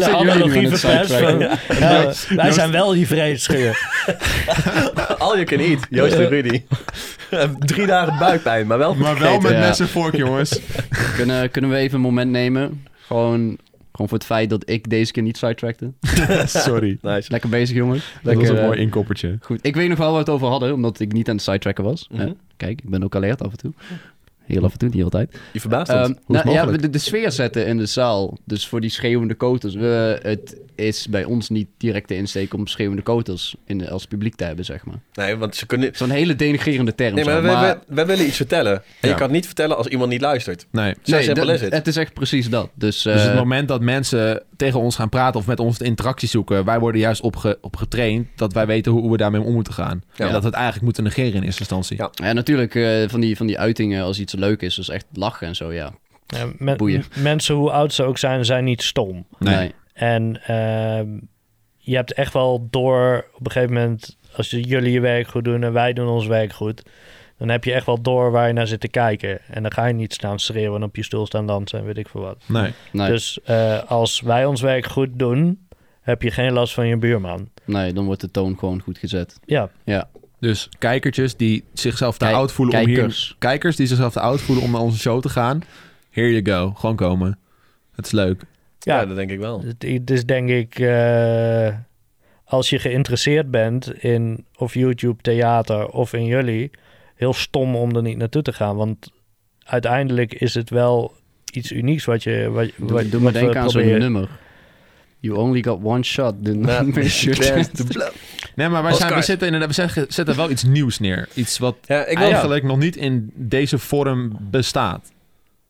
[SPEAKER 2] zijn jullie nu aan
[SPEAKER 4] analogie
[SPEAKER 2] het
[SPEAKER 4] verpest van...
[SPEAKER 2] sidetracken?
[SPEAKER 4] Ja, wij zijn wel die vreedschuur.
[SPEAKER 3] All you can eat, Joost en Rudy. Drie dagen buikpijn, maar wel goed
[SPEAKER 1] Maar wel met
[SPEAKER 3] gegeten.
[SPEAKER 2] ja.
[SPEAKER 1] mes en vork, jongens.
[SPEAKER 2] Kunnen, kunnen we even een moment nemen? Gewoon, gewoon voor het feit dat ik deze keer niet sidetrackte.
[SPEAKER 1] Sorry.
[SPEAKER 3] Nice.
[SPEAKER 2] Lekker bezig, jongens.
[SPEAKER 1] Dat
[SPEAKER 2] Lekker,
[SPEAKER 1] was een
[SPEAKER 2] eh,
[SPEAKER 1] mooi inkoppertje.
[SPEAKER 2] Goed, ik weet nog wel waar we het over hadden, omdat ik niet aan het sidetracken was.
[SPEAKER 3] Mhm.
[SPEAKER 2] Eh, kijk, ik ben ook alert af en toe. Heel af en toe, niet altijd.
[SPEAKER 3] Je verbaast ons.
[SPEAKER 2] Ehm nou, ja,
[SPEAKER 1] mogelijk?
[SPEAKER 2] de, de sfeer zetten in de zaal. Dus voor die schreeuwende koters. We, het is bij ons niet direct de insteek om schreeuwende koters in de, als publiek te hebben, zeg maar.
[SPEAKER 3] nee, want ze kunnen...
[SPEAKER 2] Zo'n hele denigrerende term.
[SPEAKER 3] Nee, maar
[SPEAKER 2] zo,
[SPEAKER 3] wij, wij- wij willen iets vertellen. En je
[SPEAKER 1] Ja.
[SPEAKER 3] kan het niet vertellen als iemand niet luistert.
[SPEAKER 1] Nee.
[SPEAKER 3] Zo
[SPEAKER 2] Nee,
[SPEAKER 3] simpel
[SPEAKER 2] dat-
[SPEAKER 3] is het.
[SPEAKER 2] Het is echt precies dat. Dus,
[SPEAKER 1] Dus
[SPEAKER 2] eh,
[SPEAKER 1] het moment dat mensen tegen ons gaan praten of met ons de interactie zoeken, wij worden juist opge- op getraind dat wij weten hoe, hoe we daarmee om moeten gaan.
[SPEAKER 3] Ja.
[SPEAKER 1] En dat we het eigenlijk moeten negeren in eerste instantie.
[SPEAKER 3] Ja.
[SPEAKER 2] Ja, natuurlijk eh, van, die, van die uitingen als iets leuk is. Dus echt lachen en zo, ja.
[SPEAKER 4] Ja, men-
[SPEAKER 2] Boeien.
[SPEAKER 4] mensen, hoe oud ze ook zijn, zijn niet stom.
[SPEAKER 1] Nee.
[SPEAKER 4] En ehm, je hebt echt wel door op een gegeven moment, als je- jullie je werk goed doen en wij doen ons werk goed, dan heb je echt wel door waar je naar zit te kijken. En dan ga je niet staan schreeuwen en op je stoel staan dansen en weet ik veel wat.
[SPEAKER 1] Nee.
[SPEAKER 2] Nee,
[SPEAKER 4] Dus eh, als wij ons werk goed doen, heb je geen last van je buurman.
[SPEAKER 2] nee, dan wordt de toon gewoon goed gezet.
[SPEAKER 4] Ja,
[SPEAKER 1] Dus kijkertjes die zichzelf te
[SPEAKER 2] Kijk-
[SPEAKER 1] oud voelen om hier...
[SPEAKER 2] Kijkers.
[SPEAKER 1] Kijkers die zichzelf te oud voelen om naar onze show te gaan. Here you go. Gewoon komen. Het is leuk.
[SPEAKER 3] Ja,
[SPEAKER 4] ja,
[SPEAKER 3] dat denk ik wel.
[SPEAKER 4] Het, het is denk ik, eh, als je geïnteresseerd bent in of YouTube, theater of in jullie, heel stom om er niet naartoe te gaan. Want uiteindelijk is het wel iets unieks wat je. Wat, wat,
[SPEAKER 2] Doe, doe me
[SPEAKER 4] wat we
[SPEAKER 2] denken aan zo'n
[SPEAKER 4] proberen.
[SPEAKER 2] nummer. You only got one shot. Then
[SPEAKER 3] Ja.
[SPEAKER 2] miss your chance.
[SPEAKER 1] Nee, maar wij zijn, we,
[SPEAKER 3] Oscar.
[SPEAKER 1] zitten inderdaad, we zeggen- zetten wel iets nieuws neer. Iets wat
[SPEAKER 3] Ja, ik wil...
[SPEAKER 1] eigenlijk nog niet in deze vorm bestaat.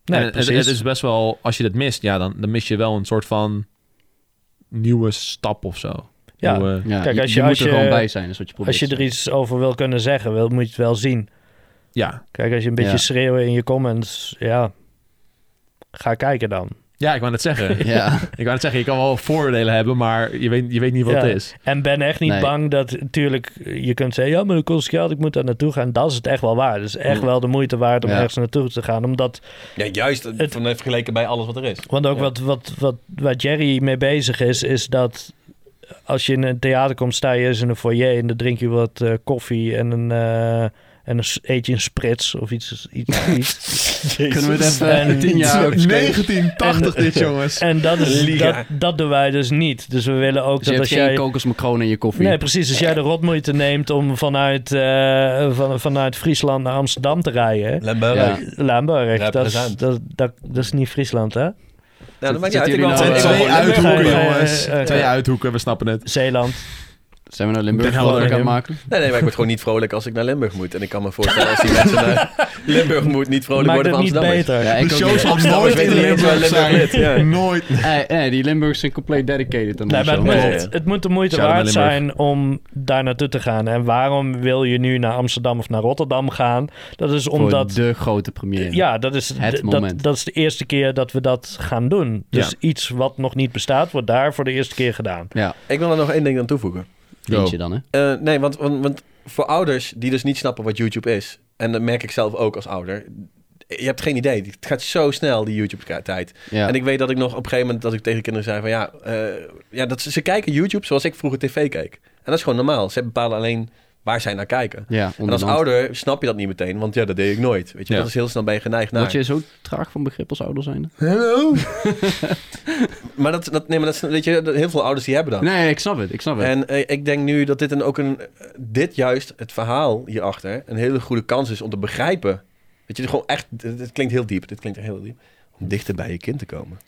[SPEAKER 4] Nee,
[SPEAKER 1] En het,
[SPEAKER 4] precies.
[SPEAKER 1] het is best wel... Als je dat mist, ja, dan, dan mis je wel een soort van nieuwe stap of zo.
[SPEAKER 4] Ja.
[SPEAKER 1] Nieuwe-
[SPEAKER 2] Ja,
[SPEAKER 4] Kijk,
[SPEAKER 2] je-
[SPEAKER 4] als
[SPEAKER 2] je,
[SPEAKER 4] je-
[SPEAKER 2] moet
[SPEAKER 4] als
[SPEAKER 2] er
[SPEAKER 4] je-
[SPEAKER 2] gewoon bij zijn, is wat je probeert.
[SPEAKER 4] als je
[SPEAKER 2] te
[SPEAKER 4] er iets over wil kunnen zeggen, wil, moet je het wel zien.
[SPEAKER 1] ja.
[SPEAKER 4] Kijk, als je een beetje
[SPEAKER 2] Ja.
[SPEAKER 4] schreeuwen in je comments, ja, ga kijken dan.
[SPEAKER 1] ja, ik wou net zeggen.
[SPEAKER 2] zeggen. Ja,
[SPEAKER 1] ik wou net zeggen, je kan wel voordelen hebben, maar je weet, je weet niet wat
[SPEAKER 4] Ja.
[SPEAKER 1] het is.
[SPEAKER 4] En ben echt niet
[SPEAKER 2] Nee.
[SPEAKER 4] bang dat, natuurlijk, je kunt zeggen, ja, maar dat kost geld, ik moet daar naartoe gaan. Dat is het echt wel waar. Dat is echt
[SPEAKER 2] Mm.
[SPEAKER 4] wel de moeite waard om
[SPEAKER 2] Ja.
[SPEAKER 4] ergens naartoe te gaan. Omdat,
[SPEAKER 3] Ja, juist eh,
[SPEAKER 4] Het-
[SPEAKER 3] van- vergeleken bij alles wat er is.
[SPEAKER 4] want ook
[SPEAKER 3] Ja.
[SPEAKER 4] wat, wat, wat, waar Jerry mee bezig is, is dat als je in een theater komt, sta je eens in een foyer en dan drink je wat eh, koffie en een, eh, en een, s- eet je een sprits of iets. iets, iets.
[SPEAKER 2] Kunnen we het even
[SPEAKER 4] En-
[SPEAKER 2] 10 jaar
[SPEAKER 1] Het is
[SPEAKER 2] overspreken?
[SPEAKER 1] 1980 dit, jongens.
[SPEAKER 4] En dat, is,
[SPEAKER 3] Liga.
[SPEAKER 4] dat, dat doen wij dus niet. Dus we willen ook
[SPEAKER 2] Dus je hebt
[SPEAKER 4] dat als
[SPEAKER 2] geen
[SPEAKER 4] jij...
[SPEAKER 2] kokosmacronen in je koffie.
[SPEAKER 4] Nee, precies. Als jij de rotmoeite neemt om vanuit, eh, van, vanuit Friesland naar Amsterdam te rijden...
[SPEAKER 3] Lemberg.
[SPEAKER 2] Ja.
[SPEAKER 3] Nou,
[SPEAKER 4] Limburg, dat, is-
[SPEAKER 3] Represent.
[SPEAKER 4] dat, dat, dat is niet Friesland, hè?
[SPEAKER 3] dat maakt niet
[SPEAKER 2] Zitten
[SPEAKER 3] uit.
[SPEAKER 2] jullie
[SPEAKER 3] Ik wil
[SPEAKER 2] nou,
[SPEAKER 1] En
[SPEAKER 3] het
[SPEAKER 2] eh,
[SPEAKER 3] wel
[SPEAKER 1] twee
[SPEAKER 3] gewoon lekker.
[SPEAKER 1] uithoeken,
[SPEAKER 4] eh, eh,
[SPEAKER 1] jongens.
[SPEAKER 4] eh,
[SPEAKER 1] Twee
[SPEAKER 4] eh.
[SPEAKER 1] uithoeken, we snappen het.
[SPEAKER 4] Zeeland.
[SPEAKER 3] Oh,
[SPEAKER 2] Zijn we nou Limburg
[SPEAKER 1] Den Helder.
[SPEAKER 2] mogelijk aan het maken?
[SPEAKER 3] Nee, nee, maar ik word gewoon niet vrolijk als ik naar Limburg moet. En ik kan me voorstellen als die mensen naar Limburg moet niet vrolijk
[SPEAKER 4] Maakt
[SPEAKER 3] worden
[SPEAKER 4] het
[SPEAKER 3] van
[SPEAKER 4] niet
[SPEAKER 3] Amsterdam.
[SPEAKER 4] beter.
[SPEAKER 2] Ja,
[SPEAKER 1] De
[SPEAKER 2] ik ook
[SPEAKER 1] show zal
[SPEAKER 2] niet.
[SPEAKER 1] nooit
[SPEAKER 3] weten
[SPEAKER 1] in
[SPEAKER 3] niet eens waar
[SPEAKER 1] Limburg
[SPEAKER 3] Limburg ligt, ja.
[SPEAKER 1] zijn. Nooit.
[SPEAKER 2] Eh, eh, die Limburgers zijn compleet dedicated aan
[SPEAKER 4] Nee,
[SPEAKER 2] ons.
[SPEAKER 4] maar het,
[SPEAKER 2] joh.
[SPEAKER 4] moet,
[SPEAKER 3] Nee, ja.
[SPEAKER 4] het moet de moeite
[SPEAKER 1] Shout-out
[SPEAKER 4] waard
[SPEAKER 1] naar Limburg.
[SPEAKER 4] zijn om daar naartoe te gaan. En waarom wil je nu naar Amsterdam of naar Rotterdam gaan? Dat is
[SPEAKER 2] Voor
[SPEAKER 4] omdat.
[SPEAKER 2] de grote première.
[SPEAKER 4] Ja, dat is,
[SPEAKER 2] Het
[SPEAKER 4] d- dat,
[SPEAKER 2] moment.
[SPEAKER 4] dat is de eerste keer dat we dat gaan doen. Dus iets wat nog niet bestaat, wordt daar voor de eerste keer gedaan.
[SPEAKER 2] Ja,
[SPEAKER 3] Ik wil er nog één ding aan toevoegen.
[SPEAKER 2] vind je dan, hè?
[SPEAKER 3] Eh, nee, want, want, want voor ouders die dus niet snappen wat YouTube is, en dat merk ik zelf ook als ouder, je hebt geen idee. Het gaat zo snel, die YouTube-tijd.
[SPEAKER 2] Ja.
[SPEAKER 3] En ik weet dat ik nog op een gegeven moment dat ik tegen kinderen zei van ja, eh, ja dat ze, ze kijken YouTube zoals ik vroeger tv keek. En dat is gewoon normaal. Ze bepalen alleen waar zij naar kijken.
[SPEAKER 2] ja,
[SPEAKER 3] En als
[SPEAKER 2] onderhand.
[SPEAKER 3] ouder snap je dat niet meteen, want ja, dat deed ik nooit. Weet je,
[SPEAKER 1] Ja.
[SPEAKER 3] dat is heel snel ben je geneigd naar.
[SPEAKER 2] Word je zo traag van begrip als ouder zijn?
[SPEAKER 3] Hallo? maar dat, dat, nee, maar dat is, weet je, dat- heel veel ouders die hebben dat.
[SPEAKER 2] Nee, ik snap het, ik snap het.
[SPEAKER 3] En eh, ik denk nu dat dit een, ook een, eh, dit juist, het verhaal hierachter, een hele goede kans is om te begrijpen. Weet je, gewoon echt, dit, dit klinkt heel diep, dit klinkt heel diep. Om dichter bij je kind te komen.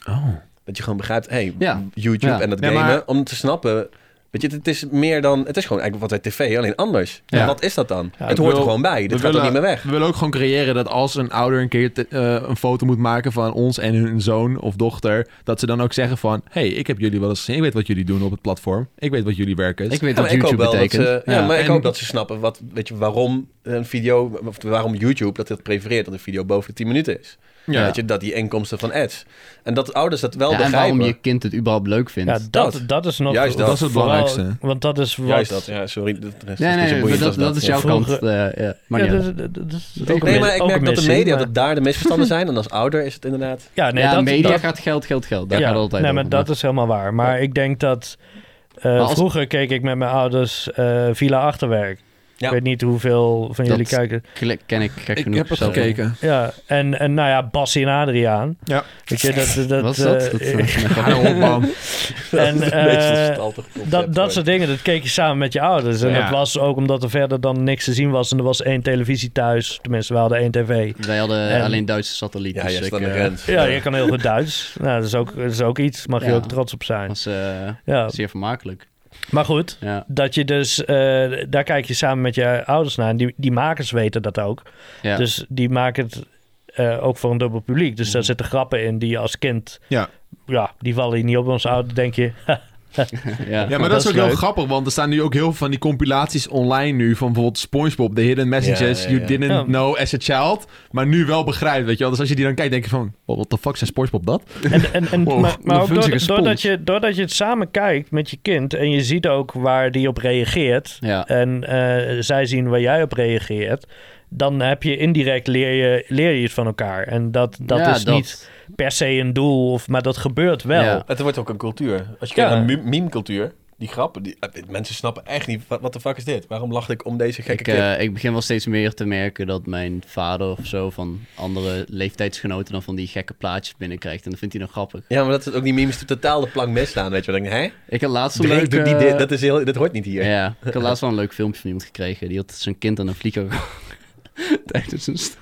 [SPEAKER 3] Dat je gewoon begrijpt, hé, hey,
[SPEAKER 2] Ja.
[SPEAKER 3] YouTube
[SPEAKER 2] Ja.
[SPEAKER 3] en dat
[SPEAKER 1] Ja,
[SPEAKER 3] gamen,
[SPEAKER 1] maar-
[SPEAKER 3] om te snappen. Weet je, het, het is meer dan, het is gewoon eigenlijk wat bij tv, alleen anders.
[SPEAKER 2] Ja.
[SPEAKER 3] Maar wat is dat dan?
[SPEAKER 4] Ja,
[SPEAKER 3] het
[SPEAKER 1] ik
[SPEAKER 3] hoort
[SPEAKER 1] wil-
[SPEAKER 3] er gewoon bij, dit
[SPEAKER 1] we
[SPEAKER 3] gaat er
[SPEAKER 1] willen-
[SPEAKER 3] niet meer weg.
[SPEAKER 1] We willen ook gewoon creëren dat als een ouder een keer te- eh, een foto moet maken van ons en hun zoon of dochter, dat ze dan ook zeggen van, hey, ik heb jullie wel eens gezien, ik weet wat jullie doen op het platform, ik weet wat jullie werken is.
[SPEAKER 2] ik weet
[SPEAKER 3] Ja,
[SPEAKER 2] wat
[SPEAKER 3] maar ik hoop
[SPEAKER 2] YouTube
[SPEAKER 3] wel dat
[SPEAKER 2] betekent.
[SPEAKER 3] ze, ja,
[SPEAKER 2] Ja.
[SPEAKER 3] maar ik
[SPEAKER 1] En-
[SPEAKER 3] hoop dat ze snappen wat, weet je, waarom een video, of waarom YouTube dat het prefereert dat een video boven de 10 minuten is.
[SPEAKER 1] ja.
[SPEAKER 3] Weet je, dat die inkomsten van ads. En dat ouders dat wel
[SPEAKER 2] Ja, en
[SPEAKER 3] begrijpen.
[SPEAKER 2] waarom je kind het überhaupt leuk vindt.
[SPEAKER 4] Ja, dat,
[SPEAKER 3] dat.
[SPEAKER 4] dat is nog.
[SPEAKER 3] Juist dat.
[SPEAKER 1] Dat is het
[SPEAKER 4] vooral-
[SPEAKER 1] belangrijkste.
[SPEAKER 4] Want dat is wat.
[SPEAKER 3] Juist dat, ja, sorry. Dat, dat is
[SPEAKER 2] nee,
[SPEAKER 3] niet zo
[SPEAKER 2] nee, maar
[SPEAKER 3] boeiend
[SPEAKER 2] dat,
[SPEAKER 3] als
[SPEAKER 2] dat is
[SPEAKER 3] ja.
[SPEAKER 2] jouw
[SPEAKER 4] Vroeger-
[SPEAKER 2] kant. eh, ja. Maar
[SPEAKER 4] Ja,
[SPEAKER 2] niet uit.
[SPEAKER 4] dat, is- dat- dat is ook een
[SPEAKER 3] Nee,
[SPEAKER 4] mis-
[SPEAKER 3] maar ik
[SPEAKER 4] ook
[SPEAKER 3] merk
[SPEAKER 4] een
[SPEAKER 3] dat de
[SPEAKER 4] missie,
[SPEAKER 3] media,
[SPEAKER 4] maar-
[SPEAKER 3] dat daar de misverstanden zijn. En als ouder is het inderdaad...
[SPEAKER 4] Ja, nee,
[SPEAKER 2] ja,
[SPEAKER 4] dat,
[SPEAKER 2] media
[SPEAKER 4] dat-
[SPEAKER 2] gaat geld, geld, geld. Daar
[SPEAKER 4] ja,
[SPEAKER 2] gaat het altijd
[SPEAKER 4] nee, maar
[SPEAKER 2] over.
[SPEAKER 4] dat is helemaal waar. Maar ik denk dat... eh,
[SPEAKER 2] als-
[SPEAKER 4] Vroeger keek ik met mijn ouders eh, Villa Achterwerk.
[SPEAKER 3] Ja.
[SPEAKER 4] Ik weet niet hoeveel van
[SPEAKER 2] Dat-
[SPEAKER 4] jullie kijken.
[SPEAKER 2] Klik- Ken ik gek
[SPEAKER 1] Ik
[SPEAKER 2] genoeg
[SPEAKER 1] heb het
[SPEAKER 2] zelf.
[SPEAKER 1] gekeken.
[SPEAKER 4] Ja, en, en nou ja, Bassie en Adriaan.
[SPEAKER 1] Ja.
[SPEAKER 4] Weet je, dat... dat
[SPEAKER 2] Wat is dat?
[SPEAKER 4] eh,
[SPEAKER 2] Dat, eh,
[SPEAKER 1] Daarom, bam.
[SPEAKER 4] En,
[SPEAKER 3] dat is
[SPEAKER 4] eh,
[SPEAKER 3] een beetje een staltig concept,
[SPEAKER 4] dat, dat
[SPEAKER 3] hoor.
[SPEAKER 4] soort dingen, dat keek je samen met je ouders. En
[SPEAKER 1] Ja.
[SPEAKER 4] dat was ook omdat er verder dan niks te zien was. En er was één televisie thuis. Tenminste, we hadden één tv.
[SPEAKER 2] Wij hadden
[SPEAKER 4] En-
[SPEAKER 2] alleen Duitse satellieten.
[SPEAKER 3] Ja,
[SPEAKER 2] dus
[SPEAKER 3] je
[SPEAKER 2] ik,
[SPEAKER 3] staat aan de
[SPEAKER 2] eh,
[SPEAKER 3] grens.
[SPEAKER 4] Ja, je kan heel goed Duits. Nou, dat is ook, dat is ook iets. Mag je
[SPEAKER 2] Ja.
[SPEAKER 4] ook trots op zijn.
[SPEAKER 2] was eh,
[SPEAKER 4] Ja.
[SPEAKER 2] zeer vermakelijk.
[SPEAKER 4] Maar goed,
[SPEAKER 2] Ja,
[SPEAKER 4] Dat je dus, eh, daar kijk je samen met je ouders naar. En die, die makers weten dat ook.
[SPEAKER 2] ja.
[SPEAKER 4] Dus die maken het eh, ook voor een dubbel publiek. Dus daar
[SPEAKER 2] Mhm.
[SPEAKER 4] zitten grappen in die je als kind...
[SPEAKER 1] Ja.
[SPEAKER 4] Ja, die vallen je niet op. Onze ouders denk je...
[SPEAKER 2] ja.
[SPEAKER 1] Ja, maar dat,
[SPEAKER 4] Dat
[SPEAKER 1] is
[SPEAKER 4] is
[SPEAKER 1] ook heel
[SPEAKER 4] leuk.
[SPEAKER 1] grappig, want er staan nu ook heel veel van die compilaties online nu van bijvoorbeeld SpongeBob, The Hidden Messages
[SPEAKER 3] Ja, ja,
[SPEAKER 1] You
[SPEAKER 3] ja.
[SPEAKER 1] Didn't
[SPEAKER 4] Ja.
[SPEAKER 1] Know As a Child, maar nu wel begrijpt, weet je wel. Dus als je die dan kijkt, denk je van, "Wow, what the fuck, zijn SpongeBob dat?
[SPEAKER 4] En, en, en,
[SPEAKER 1] Wow,
[SPEAKER 4] maar maar
[SPEAKER 2] een
[SPEAKER 4] ook
[SPEAKER 2] vunzige
[SPEAKER 4] doord-
[SPEAKER 2] spons.
[SPEAKER 4] doordat, je, doordat je het samen kijkt met je kind... en je ziet ook waar die op reageert...
[SPEAKER 2] Ja.
[SPEAKER 4] en eh, zij zien waar jij op reageert... dan heb je indirect leer je, leer je het van elkaar. En dat, dat
[SPEAKER 2] Ja,
[SPEAKER 4] is niet per se een doel, of, maar dat gebeurt wel.
[SPEAKER 2] Ja.
[SPEAKER 3] Het wordt ook een cultuur. Als je
[SPEAKER 4] Ja.
[SPEAKER 3] kijkt naar meme- meme-cultuur, die grappen, die, eh, mensen snappen echt niet, wat, wat de fuck is dit? Waarom lacht ik om deze gekke
[SPEAKER 2] Ik,
[SPEAKER 3] clip?
[SPEAKER 2] eh, ik begin wel steeds meer te merken dat mijn vader of zo van andere leeftijdsgenoten dan van die gekke plaatjes binnenkrijgt. En dat vindt hij nog grappig.
[SPEAKER 3] Ja, maar dat is ook die memes die totaal de plank misslaan, weet je. Dan denk ik, hè?
[SPEAKER 2] Ik had laatst een
[SPEAKER 3] Drake
[SPEAKER 2] leuk...
[SPEAKER 3] doet
[SPEAKER 2] eh,
[SPEAKER 3] niet dit, dat, is heel, dat hoort niet hier.
[SPEAKER 2] Ja, ik had laatst wel een leuk filmpje van iemand gekregen. Die had zijn kind aan een vlieger gehangen tijdens een stil.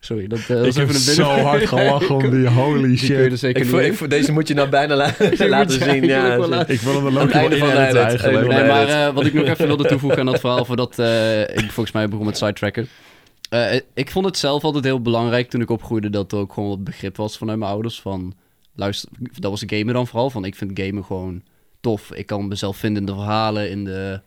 [SPEAKER 2] Sorry, dat, eh, dat
[SPEAKER 1] Ik
[SPEAKER 2] is
[SPEAKER 1] heb
[SPEAKER 2] even een
[SPEAKER 1] zo hard gelachen om die, holy
[SPEAKER 2] Die kun je dus-
[SPEAKER 1] shit.
[SPEAKER 2] er zeker
[SPEAKER 3] Ik
[SPEAKER 2] niet
[SPEAKER 3] voel-
[SPEAKER 2] in.
[SPEAKER 3] ik voel- deze moet je nou bijna la- laten
[SPEAKER 2] je
[SPEAKER 3] zien.
[SPEAKER 2] eigenlijk ook
[SPEAKER 3] Ja, dus-
[SPEAKER 2] wel
[SPEAKER 3] zo.
[SPEAKER 2] laten
[SPEAKER 1] Ik wil hem er ook
[SPEAKER 3] Het
[SPEAKER 1] wel
[SPEAKER 3] einde
[SPEAKER 1] in
[SPEAKER 3] van de
[SPEAKER 1] editen
[SPEAKER 3] edit.
[SPEAKER 1] eigenlijk.
[SPEAKER 2] Nee,
[SPEAKER 3] Nee,
[SPEAKER 2] maar
[SPEAKER 3] dit-
[SPEAKER 2] eh, wat ik nog even wilde toevoegen aan dat verhaal, voordat eh, ik volgens mij begon met sidetracken. Eh, ik vond het zelf altijd heel belangrijk toen ik opgroeide dat er ook gewoon wat begrip was vanuit mijn ouders. Van, luister, dat was gamen dan vooral, van ik vind gamen gewoon tof. Ik kan mezelf vinden in de verhalen, in de